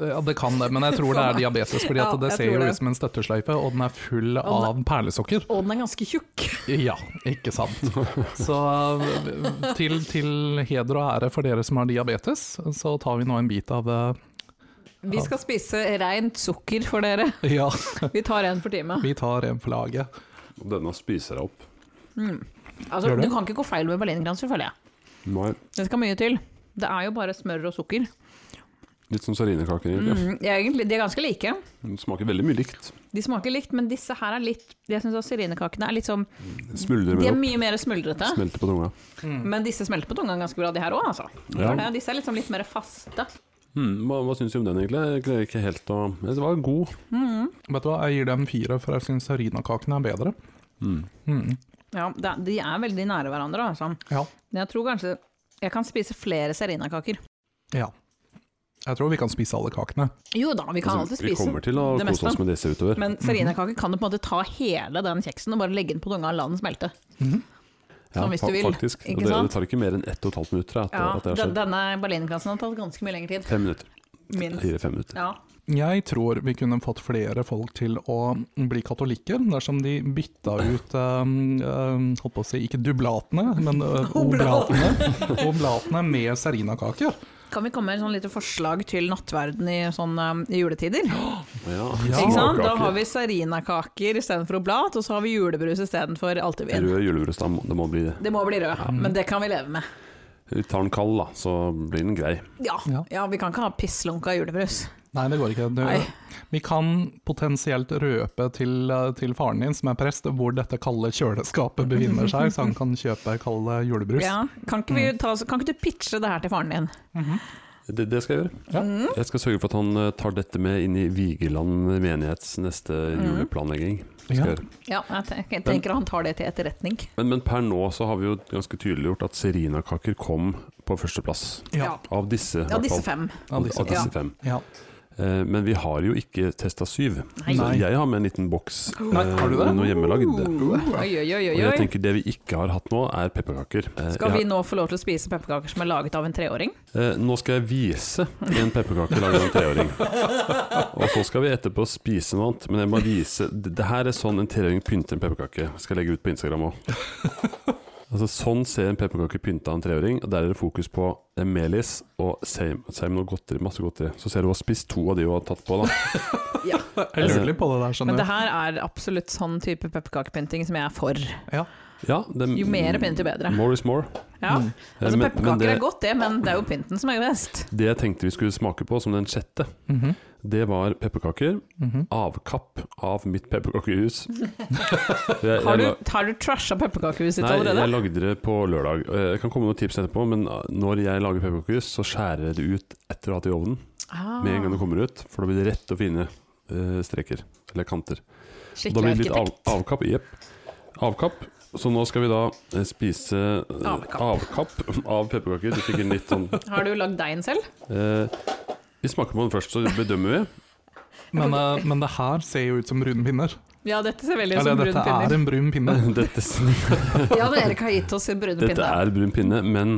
[SPEAKER 3] Ja, det kan det, men jeg tror det er diabetes, fordi at
[SPEAKER 4] Ja,
[SPEAKER 3] det
[SPEAKER 4] jeg
[SPEAKER 3] ser
[SPEAKER 4] tror
[SPEAKER 3] jo
[SPEAKER 4] det.
[SPEAKER 3] ut som en støttesløyfe, og den er full
[SPEAKER 4] Og den-
[SPEAKER 3] av perlesukker.
[SPEAKER 4] Og den er ganske tjukk.
[SPEAKER 3] Ja, ikke sant. Så eh, til, til heder og ære for dere som har diabetes, så tar vi nå en bit av eh,
[SPEAKER 4] Vi skal spise rent sukker for dere.
[SPEAKER 3] Ja,
[SPEAKER 4] Vi tar en for time.
[SPEAKER 3] vi tar en for laget.
[SPEAKER 1] Og Denne spiser jeg opp.
[SPEAKER 4] Altså,
[SPEAKER 3] Gjør
[SPEAKER 4] du
[SPEAKER 3] det?
[SPEAKER 4] Altså, kan ikke gå feil med berlinerkranser, føler jeg.
[SPEAKER 1] Nei,
[SPEAKER 4] Det skal mye til. Det er jo bare smør og sukker.
[SPEAKER 1] litt som sardinekaker, egentlig.
[SPEAKER 4] Mm, egentlig, de er ganske like.
[SPEAKER 1] Den smaker veldig mye likt.
[SPEAKER 4] De smaker likt, men disse her er litt Jeg syns også syrinekakene er litt sånn
[SPEAKER 1] Det Smuldrer
[SPEAKER 4] De er
[SPEAKER 1] mellom.
[SPEAKER 4] mye mer smuldrete.
[SPEAKER 1] Smelter på tunga.
[SPEAKER 4] Men disse smelter på tunga ganske bra, de her òg, altså.
[SPEAKER 1] Mm. Ja.
[SPEAKER 4] Ja, Disse er liksom litt mer faste.
[SPEAKER 1] Mm, hva hva syns du om den, egentlig? Jeg greier ikke helt å Jeg synes Det var god.
[SPEAKER 3] Vet du hva, jeg gir det en fire, for jeg syns harinakakene er bedre.
[SPEAKER 1] Mm.
[SPEAKER 3] Mm.
[SPEAKER 4] Ja, det er- De er veldig nære hverandre, altså.
[SPEAKER 3] Ja.
[SPEAKER 4] Men jeg tror kanskje jeg kan spise flere serinakaker.
[SPEAKER 3] ja. Jeg tror vi kan spise alle kakene.
[SPEAKER 4] Jo da, vi kan
[SPEAKER 1] Altså,
[SPEAKER 4] alltid
[SPEAKER 1] vi
[SPEAKER 4] spise.
[SPEAKER 1] kommer til Mhm. å
[SPEAKER 4] det meste.
[SPEAKER 1] kose oss med disse utover.
[SPEAKER 4] Men serinakaker kan du på en måte ta hele den kjeksen og bare legge den på tunga og la den smelte. som hvis
[SPEAKER 1] fa-
[SPEAKER 4] du vil,
[SPEAKER 1] Faktisk.
[SPEAKER 4] ikke
[SPEAKER 1] Og det,
[SPEAKER 4] sant?
[SPEAKER 1] det tar ikke mer enn ett og et halvt minutt tror jeg, at,
[SPEAKER 4] Ja,
[SPEAKER 1] at det har
[SPEAKER 4] den-
[SPEAKER 1] skjedd.
[SPEAKER 4] Denne berlinerkassen har tatt ganske mye lengre tid.
[SPEAKER 1] Fem minutter.
[SPEAKER 4] Minst.
[SPEAKER 1] Fire-fem minutter.
[SPEAKER 4] Ja.
[SPEAKER 3] Jeg tror vi kunne fått flere folk til å bli katolikker dersom de bytta ut um, um, Holdt på å si ikke dublatene, men uh, oblatene, oblatene med serinakaker.
[SPEAKER 4] Kan vi komme med sånn lite forslag til nattverden i, sånn, um, i juletider?
[SPEAKER 1] Ja.
[SPEAKER 3] Ja.
[SPEAKER 4] Ikke sant? Da
[SPEAKER 1] Småkaker.
[SPEAKER 4] har vi sarinakaker istedenfor oblat, og så har vi julebrus istedenfor altervin.
[SPEAKER 1] Rød julebrus, da må- det må bli det.
[SPEAKER 4] Det må bli rød, men det kan vi leve med.
[SPEAKER 1] Vi tar den kald, da, så blir den grei.
[SPEAKER 4] Ja,
[SPEAKER 3] Ja.
[SPEAKER 4] ja vi kan ikke ha pisslunka julebrus.
[SPEAKER 3] Nei, det går ikke. Du,
[SPEAKER 4] Nei.
[SPEAKER 3] vi kan potensielt røpe til, uh, til faren din, som er prest, hvor dette kalde kjøleskapet befinner seg, så han kan kjøpe kald julebrus.
[SPEAKER 4] Ja. Kan, ikke
[SPEAKER 3] Mm.
[SPEAKER 4] vi ta, kan ikke du pitche det her til faren din?
[SPEAKER 3] Mhm.
[SPEAKER 4] Mm.
[SPEAKER 1] Det, det skal jeg gjøre.
[SPEAKER 3] Ja.
[SPEAKER 1] Jeg skal sørge for at han eh, tar dette med inn i Vigeland menighets neste
[SPEAKER 4] Mhm.
[SPEAKER 1] juleplanlegging. Skal jeg
[SPEAKER 3] Ja.
[SPEAKER 1] gjøre.
[SPEAKER 4] Ja, jeg tenker, jeg tenker han tar det til etterretning.
[SPEAKER 1] Men, men per nå så har vi jo ganske tydeliggjort at serinakaker kom på førsteplass.
[SPEAKER 3] Ja.
[SPEAKER 1] Av disse, i
[SPEAKER 4] Ja,
[SPEAKER 1] hvert
[SPEAKER 4] disse
[SPEAKER 1] fall.
[SPEAKER 4] fem.
[SPEAKER 3] Ja,
[SPEAKER 1] Av
[SPEAKER 3] disse
[SPEAKER 1] av disse
[SPEAKER 4] fem.
[SPEAKER 1] fem.
[SPEAKER 3] Ja.
[SPEAKER 1] Eh, Men vi har jo ikke testa syv.
[SPEAKER 4] Nei.
[SPEAKER 1] Så
[SPEAKER 3] Nei.
[SPEAKER 1] jeg har med en liten boks eh,
[SPEAKER 3] Nei, har du det?
[SPEAKER 1] med noe hjemmelagd.
[SPEAKER 4] Oi, oi, oi,
[SPEAKER 1] Og
[SPEAKER 4] oi,
[SPEAKER 1] jeg
[SPEAKER 4] oi.
[SPEAKER 1] tenker det vi ikke har hatt nå, er pepperkaker. Eh,
[SPEAKER 4] Skal
[SPEAKER 1] jeg-
[SPEAKER 4] vi nå få lov til å spise pepperkaker som er laget av en treåring?
[SPEAKER 1] Eh, nå skal jeg vise en pepperkake laget av en treåring. Og så skal vi etterpå spise noe annet. Men jeg må vise Det det her er sånn en treåring pynter en pepperkake. Skal jeg legge ut på Instagram òg. Altså, sånn ser en pepperkake pynta av en treåring. Og der er det fokus på eh, melis og seim seim og godteri. Masse godteri. Så ser du hun har spist to av de hun har tatt på. da
[SPEAKER 3] Jeg lurer litt på det der,
[SPEAKER 4] Altså, Men
[SPEAKER 3] skjønner
[SPEAKER 4] det
[SPEAKER 3] du.
[SPEAKER 4] her er absolutt sånn type pepperkakepynting som jeg er for.
[SPEAKER 3] Ja.
[SPEAKER 1] Ja, det,
[SPEAKER 4] Jo mer pynt, jo bedre.
[SPEAKER 1] More is more.
[SPEAKER 4] Ja.
[SPEAKER 3] Mm.
[SPEAKER 1] Eh,
[SPEAKER 4] Altså,
[SPEAKER 1] men- men
[SPEAKER 4] pepperkaker
[SPEAKER 1] det-
[SPEAKER 4] er godt, det, men det er jo pynten som er best.
[SPEAKER 1] Det jeg tenkte vi skulle smake på som den sjette,
[SPEAKER 3] Mhm.
[SPEAKER 1] det var pepperkaker.
[SPEAKER 3] Mhm.
[SPEAKER 1] Avkapp av mitt pepperkakehus.
[SPEAKER 4] Har du, har du trasha pepperkakehuset ditt
[SPEAKER 1] Nei, jeg
[SPEAKER 4] allerede?
[SPEAKER 1] lagde det på lørdag. Eh, Jeg kan komme med noen tips etterpå, men eh, når jeg lager pepperkakehus, så skjærer jeg det ut etter å ha hatt det i ovnen.
[SPEAKER 4] Ah,
[SPEAKER 1] Med en gang det kommer ut, for da blir det rett og fine eh, streker. Eller kanter. Og da
[SPEAKER 4] Ah,
[SPEAKER 1] blir
[SPEAKER 4] skikkelig
[SPEAKER 1] det litt av,
[SPEAKER 4] arkitekt.
[SPEAKER 1] avkapp. Jepp. Avkapp. Så nå skal vi da eh, spise eh,
[SPEAKER 4] Avkapp.
[SPEAKER 1] avkapp av pepperkaker. Du fikk en litt sånn
[SPEAKER 4] Har du lagd deigen selv?
[SPEAKER 1] eh, Vi smaker på den først, så bedømmer vi.
[SPEAKER 3] Men, eh, men det her ser jo ut som brune pinner.
[SPEAKER 4] Ja, dette ser veldig ut
[SPEAKER 3] Eller
[SPEAKER 4] som brun
[SPEAKER 3] dette er
[SPEAKER 4] pinne.
[SPEAKER 3] en brun pinne.
[SPEAKER 1] Dette,
[SPEAKER 4] Ja, men Erik har gitt oss en brun
[SPEAKER 1] dette
[SPEAKER 4] pinne.
[SPEAKER 1] er brun pinne, men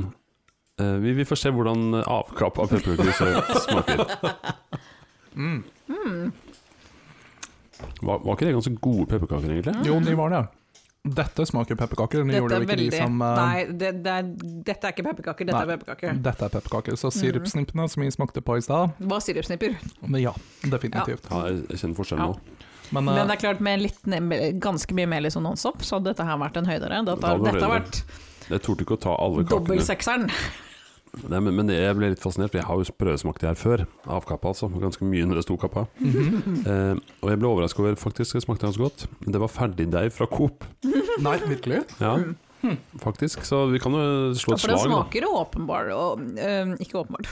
[SPEAKER 1] eh, vi, vi får se hvordan eh, avkapp av pepperkaker smaker.
[SPEAKER 3] Mm.
[SPEAKER 1] Var, var ikke det ganske gode pepperkaker, egentlig?
[SPEAKER 3] Mm. Jo, de var det. Dette smaker pepperkaker. men De
[SPEAKER 4] Dette
[SPEAKER 3] gjorde
[SPEAKER 4] er
[SPEAKER 3] jo ikke
[SPEAKER 4] veldig
[SPEAKER 3] de som eh,
[SPEAKER 4] Nei, det, det er, dette er ikke pepperkaker, dette
[SPEAKER 3] Nei.
[SPEAKER 4] er pepperkaker.
[SPEAKER 3] Dette er pepperkaker.
[SPEAKER 4] Mhm.
[SPEAKER 3] Så sirupsnippene som vi smakte på i stad,
[SPEAKER 4] Det var sirupsnipper.
[SPEAKER 3] men ja, definitivt.
[SPEAKER 1] Ja, jeg jeg kjenner forskjellen nå.
[SPEAKER 3] Men, eh,
[SPEAKER 4] Men det er klart, med litt, ne- ganske mye melis og nonstop, så hadde dette her vært en høydere. Dette,
[SPEAKER 1] Det hadde vært
[SPEAKER 4] dette har vært
[SPEAKER 1] Jeg torde ikke å ta alle
[SPEAKER 4] dobbel
[SPEAKER 1] kakene.
[SPEAKER 4] sekseren.
[SPEAKER 1] Nei, men, men jeg ble litt fascinert, for jeg har jo prøvesmakt det her før. Avkappa, altså. Ganske mye når det sto kappa.
[SPEAKER 3] mhm.
[SPEAKER 4] Mm.
[SPEAKER 1] eh, og jeg ble overraska over faktisk det smakte ganske godt. Det var ferdigdeig fra Coop.
[SPEAKER 3] Nei, virkelig.
[SPEAKER 1] Ja, faktisk. Så vi kan jo slå
[SPEAKER 4] Mm.
[SPEAKER 1] et
[SPEAKER 4] Ja, for den
[SPEAKER 1] slag, da.
[SPEAKER 4] smaker jo åpenbart og, øhm, Ikke åpenbart.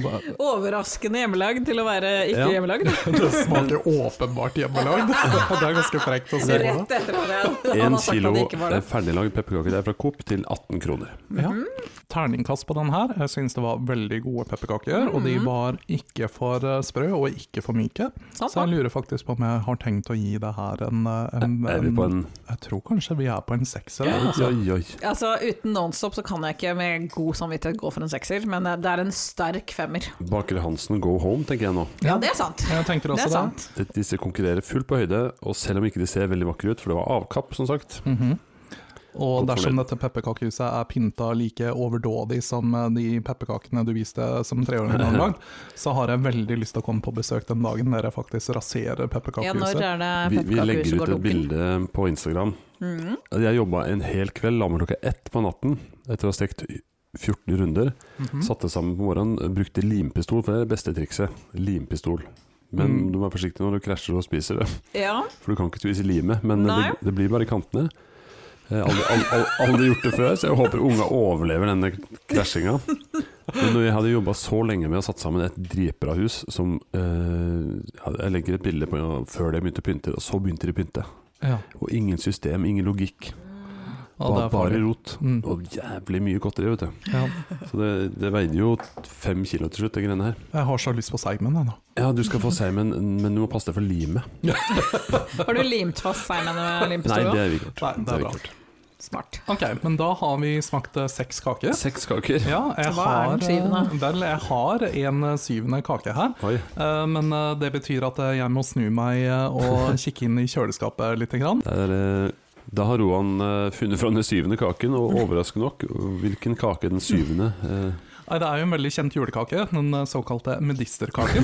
[SPEAKER 3] Hva-
[SPEAKER 4] Overraskende hjemmelagd til å være ikke
[SPEAKER 1] Ja.
[SPEAKER 4] hjemmelagd.
[SPEAKER 3] Det smaker åpenbart hjemmelagd. Det er ganske frekt å si. det.
[SPEAKER 4] Rett etter at jeg- han
[SPEAKER 1] Én
[SPEAKER 4] har sagt at
[SPEAKER 1] kilo eh,
[SPEAKER 4] det ikke var det.
[SPEAKER 1] ferdiglagd pepperkakedeig fra Coop til 18 kroner.
[SPEAKER 3] Ja.
[SPEAKER 4] Mhm.
[SPEAKER 3] Terningkast på den her. Jeg syns det var veldig gode pepperkaker. Og
[SPEAKER 4] Mhm.
[SPEAKER 3] de var ikke for eh, sprø og ikke for myke.
[SPEAKER 4] Sant,
[SPEAKER 3] Så
[SPEAKER 4] da.
[SPEAKER 3] jeg lurer faktisk på om jeg har tenkt å gi det her en, eh, en,
[SPEAKER 1] Er vi på en
[SPEAKER 3] Jeg tror kanskje vi er på en sekser.
[SPEAKER 1] Oi,
[SPEAKER 3] Altså.
[SPEAKER 1] oi, oi.
[SPEAKER 4] Altså, uten Nonstop så kan jeg ikke med god samvittighet gå for en sekser, men eh, det er en sterk femmer.
[SPEAKER 1] Baker Hansen go home, tenker jeg nå.
[SPEAKER 4] Ja, det er sant.
[SPEAKER 3] Jeg tenker
[SPEAKER 4] Det er
[SPEAKER 3] også det.
[SPEAKER 4] sant.
[SPEAKER 1] De- Disse konkurrerer fullt på høyde, og selv om ikke de ser veldig vakre ut, for det var avkapp, som sagt.
[SPEAKER 3] Mhm. Og
[SPEAKER 1] Godt
[SPEAKER 3] dersom
[SPEAKER 1] fornøyd.
[SPEAKER 3] dette pepperkakehuset er pynta like overdådig som eh, de pepperkakene du viste som treåringen hadde lagd, så har jeg veldig lyst til å komme på besøk den dagen dere faktisk raserer
[SPEAKER 4] Ja, når
[SPEAKER 3] pepperkakehuset.
[SPEAKER 4] er det
[SPEAKER 1] Vi, vi legger
[SPEAKER 4] pepperkakehuset
[SPEAKER 1] ut
[SPEAKER 4] går
[SPEAKER 1] et
[SPEAKER 4] dunken?
[SPEAKER 1] bilde på Instagram
[SPEAKER 4] Mm.
[SPEAKER 1] Jeg jobba en hel kveld, la meg klokka ett på natten etter å ha stekt 14 runder.
[SPEAKER 3] Mhm.
[SPEAKER 1] Satte sammen på morgenen, brukte limpistol, for det er det beste trikset. Limpistol. Men
[SPEAKER 3] Mm.
[SPEAKER 1] du må være forsiktig når du krasjer og spiser det,
[SPEAKER 4] Ja.
[SPEAKER 1] for du kan ikke spise limet. Men
[SPEAKER 4] Nei.
[SPEAKER 1] det, det blir bare kantene. Jeg har aldri, al- al- aldri gjort det før, så jeg håper unga overlever denne krasjinga. Men når jeg hadde jobba så lenge med å satt sammen et dritbra hus som eh, Jeg legger et bilde på før de begynte å pynte, og så begynte de å pynte.
[SPEAKER 3] Ja,
[SPEAKER 1] Og ingen system, ingen logikk.
[SPEAKER 3] og det
[SPEAKER 1] Bare,
[SPEAKER 3] er
[SPEAKER 1] bare
[SPEAKER 3] farlig.
[SPEAKER 1] rot.
[SPEAKER 3] Mm.
[SPEAKER 1] Og jævlig mye godteri, vet du.
[SPEAKER 3] Ja.
[SPEAKER 1] Så det, det veide jo fem kilo til slutt, de greiene her.
[SPEAKER 3] Jeg har så lyst på seigmen, jeg nå.
[SPEAKER 1] Ja, du skal få seimen, men du må passe deg for limet.
[SPEAKER 4] Har du limt fast seigmennene med
[SPEAKER 1] Nei,
[SPEAKER 4] limpistolen?
[SPEAKER 1] det er vi ikke gjort.
[SPEAKER 3] Nei, det
[SPEAKER 1] har
[SPEAKER 3] er
[SPEAKER 1] vi
[SPEAKER 3] bra.
[SPEAKER 1] ikke gjort.
[SPEAKER 4] Smart.
[SPEAKER 3] Ok, men da har vi smakt eh, seks kaker.
[SPEAKER 1] Seks kaker.
[SPEAKER 3] Ja, jeg
[SPEAKER 4] Hva er
[SPEAKER 3] har,
[SPEAKER 4] den syvende?
[SPEAKER 3] eh, vel, jeg har en eh, syvende kake her.
[SPEAKER 1] Oi.
[SPEAKER 3] Eh, Men eh, det betyr at eh, jeg må snu meg eh, og kikke inn i kjøleskapet litt. Grann.
[SPEAKER 1] Der, eh, da har Roan eh, funnet fram den syvende kaken, og overraskende nok, hvilken kake er den syvende? Eh,
[SPEAKER 3] Nei, Det er jo en veldig kjent julekake, den eh, såkalte medisterkaken.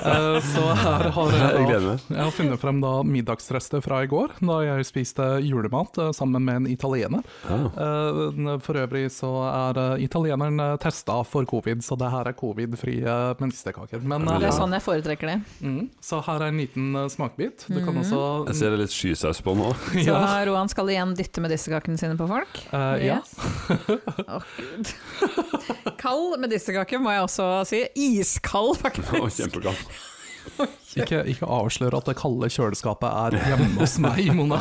[SPEAKER 3] Eh, Så her har
[SPEAKER 1] jeg
[SPEAKER 3] jeg da
[SPEAKER 1] gleder meg.
[SPEAKER 3] Jeg har funnet frem da middagsrester fra i går, da jeg spiste julemat eh, sammen med en italiener.
[SPEAKER 1] Ja.
[SPEAKER 4] Ah.
[SPEAKER 3] Eh, For øvrig så er eh, italieneren eh, testa for covid, så det her er covid-frie eh, medisterkaker. Men,
[SPEAKER 1] Ja,
[SPEAKER 4] Det
[SPEAKER 3] eh,
[SPEAKER 4] er sånn jeg foretrekker det.
[SPEAKER 3] mm, så her er en liten eh, smakbit. Du kan også
[SPEAKER 1] Jeg ser det er litt skysaus på nå.
[SPEAKER 4] Så
[SPEAKER 3] Ja.
[SPEAKER 4] Roan skal igjen dytte medisterkakene sine på folk?
[SPEAKER 3] Eh, ja.
[SPEAKER 4] Å, Gud. Kald medisterkake må jeg også si. Iskald,
[SPEAKER 1] Å,
[SPEAKER 4] faktisk.
[SPEAKER 1] Kjempegodt.
[SPEAKER 3] Ikke, ikke avslør at det kalde kjøleskapet er hjemme hos meg, Mona.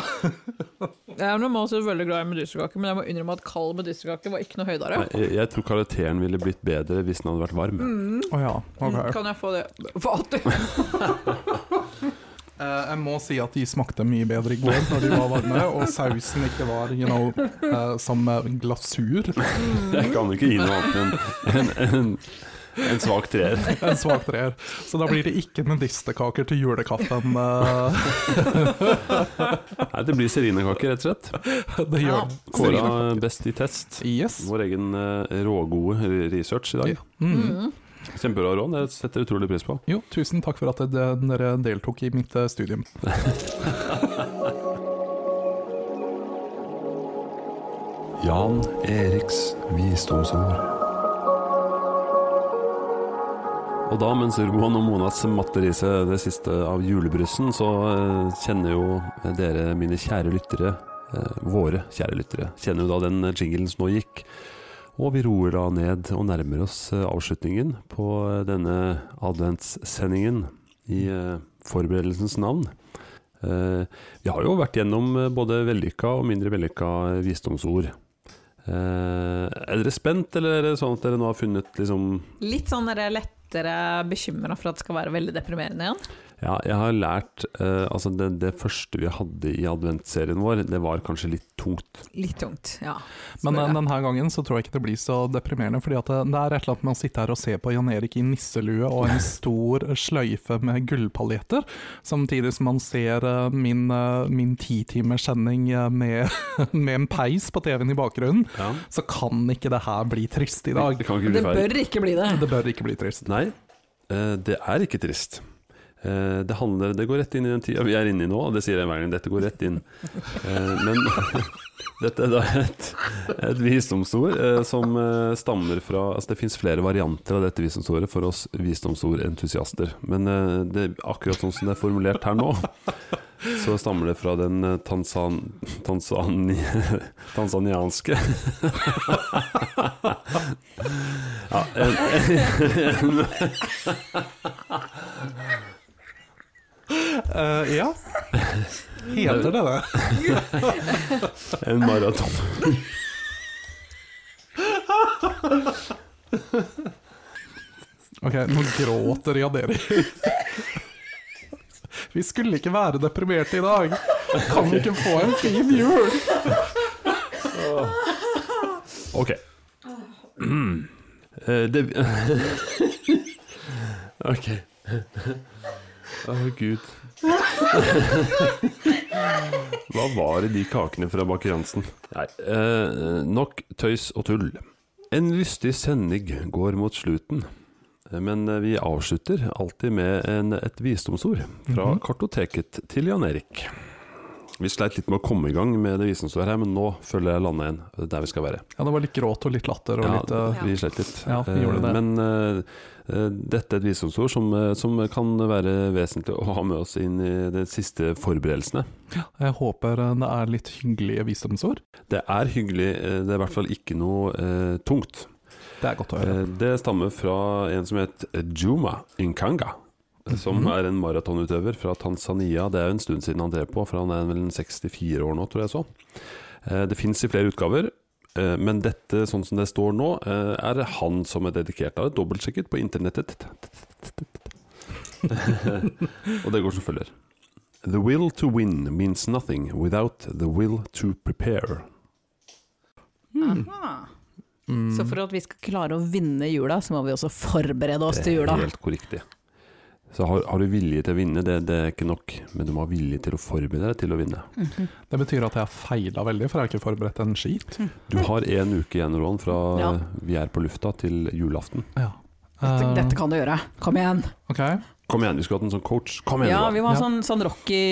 [SPEAKER 4] Jeg er normalt sett veldig glad i medisterkake, men jeg må innrømme at kald medisterkake var ikke noe høydere.
[SPEAKER 1] Nei, Jeg, jeg tror karakteren ville blitt bedre hvis den hadde vært varm.
[SPEAKER 3] Å ja, ok.
[SPEAKER 4] Mm, Kan jeg få det? Hva du?
[SPEAKER 3] Eh, jeg må si at de smakte mye bedre i går når de var varme, og sausen ikke var you know, eh, som eh, glasur.
[SPEAKER 1] Jeg kan ikke gi noe annet enn en, en, en svak treer.
[SPEAKER 3] En svak treer. Så da blir det ikke medisterkaker til julekaffen. eh,
[SPEAKER 1] Nei, det blir serinekake, rett og slett.
[SPEAKER 4] Ja.
[SPEAKER 3] det gjør det.
[SPEAKER 1] Kåra eh, best i test.
[SPEAKER 3] Yes.
[SPEAKER 1] Vår egen eh, rågode research i dag.
[SPEAKER 3] Mm.
[SPEAKER 4] Mm.
[SPEAKER 1] Kjempebra, Ron. Jeg setter utrolig pris på.
[SPEAKER 3] Jo, tusen takk for at det- dere deltok i mitt eh, studium.
[SPEAKER 5] Jan Eriks visdomsord.
[SPEAKER 1] Og da, mens Roan og Mona smatter i seg det siste av julebrussen, så eh, kjenner jo dere, mine kjære lyttere, eh, våre kjære lyttere, kjenner jo da den jinglen som nå gikk. Og vi roer da ned og nærmer oss eh, avslutningen på eh, denne adventssendingen i eh, forberedelsens navn. Eh, Vi har jo vært gjennom eh, både vellykka og mindre vellykka eh, visdomsord. Eh, Er dere spent, eller er det sånn at dere nå har funnet liksom
[SPEAKER 4] Litt sånn der lettere bekymra for at det skal være veldig deprimerende igjen.
[SPEAKER 1] Ja, jeg har lært eh, Altså, det, det første vi hadde i adventserien vår, det var kanskje litt tungt.
[SPEAKER 4] Litt tungt, ja.
[SPEAKER 3] Men eh,
[SPEAKER 4] Spør jeg.
[SPEAKER 3] denne gangen så tror jeg ikke det blir så deprimerende, fordi at eh, det det er et eller annet med å sitte her og se på Jan Erik i nisselue og en stor sløyfe med gullpaljetter, samtidig som man ser eh, min, eh, min titimers-sending eh, med, med en peis på TV-en i bakgrunnen, så kan ikke det her bli trist i dag.
[SPEAKER 1] Det kan ikke
[SPEAKER 4] Det
[SPEAKER 1] bli feil.
[SPEAKER 4] bør ikke bli det.
[SPEAKER 3] Det bør ikke bli trist.
[SPEAKER 1] Nei, eh, det er ikke trist. Eh, det, handler, det går rett inn i den tida vi er inne i nå, og det sier jeg hver gang. Dette går rett inn. Eh, men dette er da et, et visdomsord eh, som eh, stammer fra Altså, det fins flere varianter av dette visdomsordet for oss visdomsordentusiaster. Men eh, det, akkurat sånn som det er formulert her nå, så stammer det fra den eh, tansan, tansani, tansanianske Ja, en, en,
[SPEAKER 3] Eh, ja. Heter det det?
[SPEAKER 1] En maraton.
[SPEAKER 3] Ok, nå gråter Jan Erik. Vi skulle ikke være deprimerte i dag. Kan vi ikke få en fin jul?
[SPEAKER 1] Ok. Eh, det Ok. Å, gud. Hva var det de kakene fra Baker Jansen? Nei, eh, nok tøys og tull. En lystig sending går mot slutten. Eh, Men eh, vi avslutter alltid med en, et visdomsord fra kartoteket til Jan Erik. Vi sleit litt med å komme i gang med det vi som står her, men nå følger jeg landet igjen der vi skal være.
[SPEAKER 3] Ja, det var litt gråt og litt latter og
[SPEAKER 1] Ja,
[SPEAKER 3] litt eh,
[SPEAKER 1] vi sleit litt.
[SPEAKER 3] Ja, vi gjorde det.
[SPEAKER 1] Eh, Men eh, eh, dette er et visdomsord som, eh, som kan være vesentlig å ha med oss inn i de siste forberedelsene.
[SPEAKER 3] Jeg håper eh, det er litt hyggelige visdomsord.
[SPEAKER 1] Det er hyggelig, eh, det er i hvert fall ikke noe eh, tungt.
[SPEAKER 3] Det er godt å høre.
[SPEAKER 1] Eh, Det stammer fra en som het Juma Nkanga. Som
[SPEAKER 3] Mhm.
[SPEAKER 1] er en maratonutøver fra Tanzania. Det er jo en stund siden han drev på, for han er vel en 64 år nå, tror jeg så. Eh, Det fins i flere utgaver, eh, men dette, sånn som det står nå, eh, er han som er dedikert. Da er det dobbeltsjekket på internettet. Og det går som følger. The will to win means nothing without the will to prepare.
[SPEAKER 4] Aha.
[SPEAKER 1] Hmm.
[SPEAKER 3] Mm.
[SPEAKER 2] Hmm. Så for at vi skal klare å vinne jula, så må vi også forberede oss til
[SPEAKER 1] Det er
[SPEAKER 2] jula.
[SPEAKER 1] Helt korriktig. Så har, har du vilje til å vinne, det, det er ikke nok, men du må ha vilje til å forberede deg til å vinne.
[SPEAKER 3] Det betyr at jeg har feila veldig, for jeg har ikke forberedt en skit.
[SPEAKER 2] Hm.
[SPEAKER 1] Du har én uke igjen, Roan, fra
[SPEAKER 2] Ja.
[SPEAKER 1] vi er på lufta til julaften.
[SPEAKER 3] Ja.
[SPEAKER 2] Dette,
[SPEAKER 3] Eh,
[SPEAKER 2] dette kan du gjøre. Kom igjen.
[SPEAKER 3] ok.
[SPEAKER 1] Kom igjen, vi skulle hatt en sånn coach. Kom igjen,
[SPEAKER 2] Ja,
[SPEAKER 1] Roan.
[SPEAKER 2] vi må ha
[SPEAKER 3] Ja.
[SPEAKER 2] sånn, sånn Rocky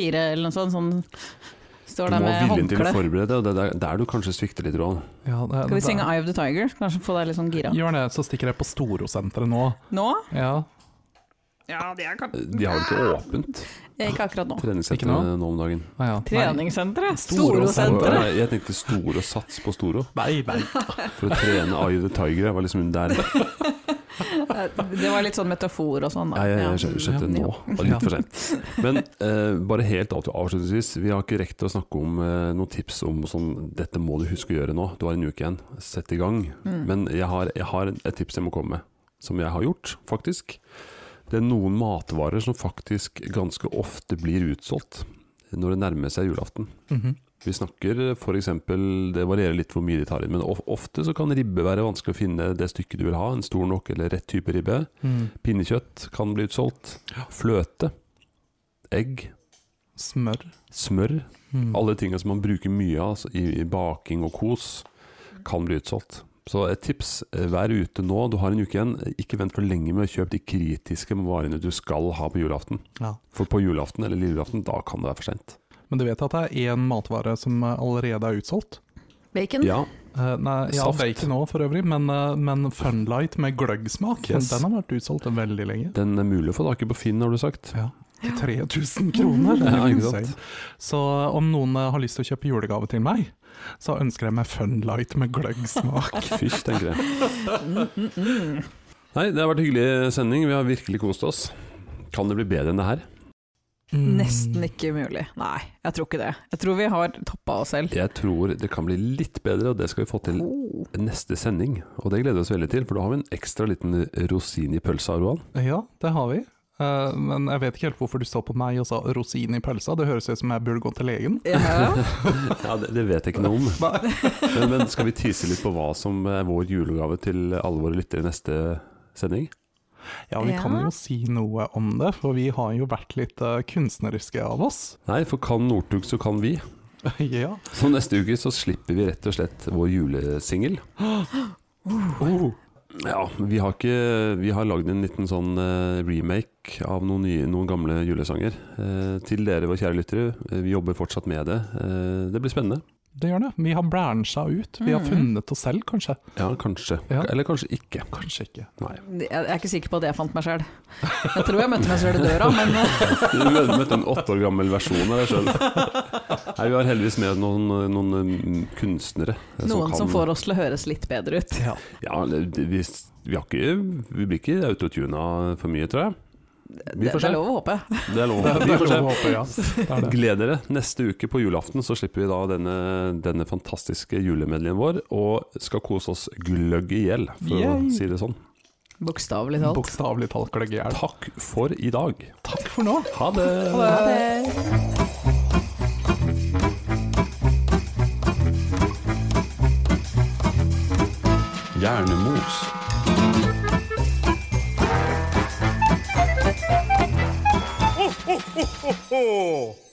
[SPEAKER 2] 4 eller noe sånt. Sånn,
[SPEAKER 1] Du
[SPEAKER 2] står
[SPEAKER 1] må
[SPEAKER 2] der
[SPEAKER 1] ha
[SPEAKER 2] med
[SPEAKER 1] viljen til å
[SPEAKER 2] håndkle.
[SPEAKER 1] forberede deg, og det er der- der du kanskje svikter litt, Roan.
[SPEAKER 3] Ja, det,
[SPEAKER 2] Skal vi
[SPEAKER 3] det-
[SPEAKER 2] synge Eye of the Tiger? Kanskje få deg litt sånn gira.
[SPEAKER 3] Gjør det, så stikker jeg på Storosenteret nå.
[SPEAKER 2] Nå?
[SPEAKER 3] Ja,
[SPEAKER 4] Ja, det er kanskje
[SPEAKER 1] Eh, De har vel ikke åpent
[SPEAKER 2] Ikke akkurat nå.
[SPEAKER 1] treningssenter
[SPEAKER 3] Ikke
[SPEAKER 1] nå om dagen?
[SPEAKER 3] ja, ja. Nei,
[SPEAKER 2] Treningssenteret.
[SPEAKER 3] Storosenteret.
[SPEAKER 2] Storosenteret.
[SPEAKER 1] Nei, Jeg tenkte Store Sats på Storo,
[SPEAKER 3] nei, nei.
[SPEAKER 1] for å trene Eye of the Tiger. Jeg var liksom der.
[SPEAKER 2] Det var litt sånn metafor og sånn. da.
[SPEAKER 1] Nei, jeg, jeg
[SPEAKER 2] Ja.
[SPEAKER 1] skjø- skjønte det nå. Det var
[SPEAKER 3] Ja.
[SPEAKER 1] litt for sent. Men eh, bare helt av- avslutningsvis, vi har ikke rekt å snakke om eh, noen tips om sånn Dette må du huske å gjøre nå, du har en uke igjen, sett i gang.
[SPEAKER 2] Mm.
[SPEAKER 1] Men jeg har, jeg har et tips jeg må komme med, som jeg har gjort, faktisk. Det er noen matvarer som faktisk ganske ofte blir utsolgt når det nærmer seg julaften.
[SPEAKER 3] Mhm.
[SPEAKER 1] Vi snakker f.eks. Det varierer litt hvor mye de tar inn, men of- ofte så kan ribbe være vanskelig å finne det stykket du vil ha. En stor nok eller rett type ribbe.
[SPEAKER 3] Mm.
[SPEAKER 1] Pinnekjøtt kan bli utsolgt. Fløte. Egg.
[SPEAKER 3] Smør.
[SPEAKER 1] Smør.
[SPEAKER 3] Mm.
[SPEAKER 1] Alle tinga som man bruker mye av altså, i, i baking og kos, kan bli utsolgt. Så et tips, eh, vær ute nå, du har en uke igjen. Ikke vent for lenge med å kjøpe de kritiske varene du skal ha på julaften.
[SPEAKER 3] Ja.
[SPEAKER 1] For på julaften eller lille julaften, da kan det være for seint.
[SPEAKER 3] Men du vet at det er én matvare som eh, allerede er utsolgt?
[SPEAKER 4] Mm.
[SPEAKER 2] Bacon.
[SPEAKER 1] Ja,
[SPEAKER 3] Eh, nei, ja,
[SPEAKER 1] Saft.
[SPEAKER 3] bacon òg for øvrig, men, eh, men Funlight med gløggsmak,
[SPEAKER 1] Yes.
[SPEAKER 3] den har vært utsolgt veldig lenge.
[SPEAKER 1] den er mulig å få tak i på Finn, har du sagt.
[SPEAKER 3] Ja. til 3000 kroner! Det er
[SPEAKER 1] Ja,
[SPEAKER 3] jo
[SPEAKER 1] ikke sant.
[SPEAKER 3] insane. Så om noen eh, har lyst til å kjøpe julegave til meg, så ønsker jeg meg Funlight med gløggsmak.
[SPEAKER 1] Fysj, tenker jeg.
[SPEAKER 2] Mm,
[SPEAKER 1] Nei, det har vært en hyggelig sending. Vi har virkelig kost oss. Kan det bli bedre enn det her?
[SPEAKER 3] Mm.
[SPEAKER 2] Nesten ikke mulig. Nei, jeg tror ikke det. Jeg tror vi har toppa oss selv.
[SPEAKER 1] Jeg tror det kan bli litt bedre, og det skal vi få til neste sending. Og det gleder vi oss veldig til, for da har vi en ekstra liten rosin i pølsa, Roan.
[SPEAKER 3] Mm. Ja, det har vi. Eh, men jeg vet ikke helt hvorfor du så på meg og sa rosin i pølsa. Det høres ut som jeg burde gå til legen.
[SPEAKER 2] Ja.
[SPEAKER 1] Ja, det, det vet jeg ikke noe om. Men, men skal vi tise litt på hva som er vår julegave til alle våre lyttere i neste sending?
[SPEAKER 3] Ja, vi kan
[SPEAKER 2] Ja.
[SPEAKER 3] jo si noe om det, for vi har jo vært litt eh, kunstneriske av oss.
[SPEAKER 1] Nei, for kan Northug, så kan vi.
[SPEAKER 3] ja.
[SPEAKER 1] Så neste uke så slipper vi rett og slett vår julesingel.
[SPEAKER 3] Oh.
[SPEAKER 1] Ja, vi har, ikke, vi har lagd en liten sånn eh, remake av noen, nye, noen gamle julesanger. Eh, til dere, våre kjære lyttere, eh, vi jobber fortsatt med det. Eh, det blir spennende.
[SPEAKER 3] Det gjør det. Vi har bransja ut. Vi har
[SPEAKER 2] Mhm.
[SPEAKER 3] funnet oss selv, kanskje.
[SPEAKER 1] Ja, kanskje.
[SPEAKER 3] Ja.
[SPEAKER 1] Eller kanskje ikke.
[SPEAKER 3] Kanskje ikke.
[SPEAKER 1] Nei.
[SPEAKER 2] Jeg jeg er ikke sikker på at jeg fant meg sjøl. Jeg tror jeg møtte meg sjøl i døra, men eh,
[SPEAKER 1] Du møtte en åtte år gammel versjon av deg sjøl. Nei, vi har heldigvis med noen, noen mm, kunstnere. eh,
[SPEAKER 2] noen som
[SPEAKER 1] kan-
[SPEAKER 2] får oss til å høres litt bedre ut.
[SPEAKER 3] Ja.
[SPEAKER 1] Ja, det- det- vi, vi, har ikke, vi blir ikke autotuna for mye, tror jeg. Vi
[SPEAKER 2] Det,
[SPEAKER 1] får
[SPEAKER 2] det
[SPEAKER 1] se.
[SPEAKER 2] er lov å håpe.
[SPEAKER 1] Det er lov.
[SPEAKER 3] Det, det
[SPEAKER 1] Vi
[SPEAKER 3] er
[SPEAKER 1] får se.
[SPEAKER 3] lov å håpe, ja. Det er det.
[SPEAKER 1] Gled dere. Neste uke på julaften så slipper vi da denne, denne fantastiske julemedleyen vår, og skal kose oss gløgg i hjel, for
[SPEAKER 3] Yay!
[SPEAKER 1] å si det sånn.
[SPEAKER 2] Bokstavelig talt.
[SPEAKER 3] Bokstavelig talt gløgg i hjel.
[SPEAKER 1] Takk for i dag.
[SPEAKER 3] Takk for nå!
[SPEAKER 1] Ha det!
[SPEAKER 2] Ha det.
[SPEAKER 1] Hjernemos.
[SPEAKER 6] ho, ho, ho, ho!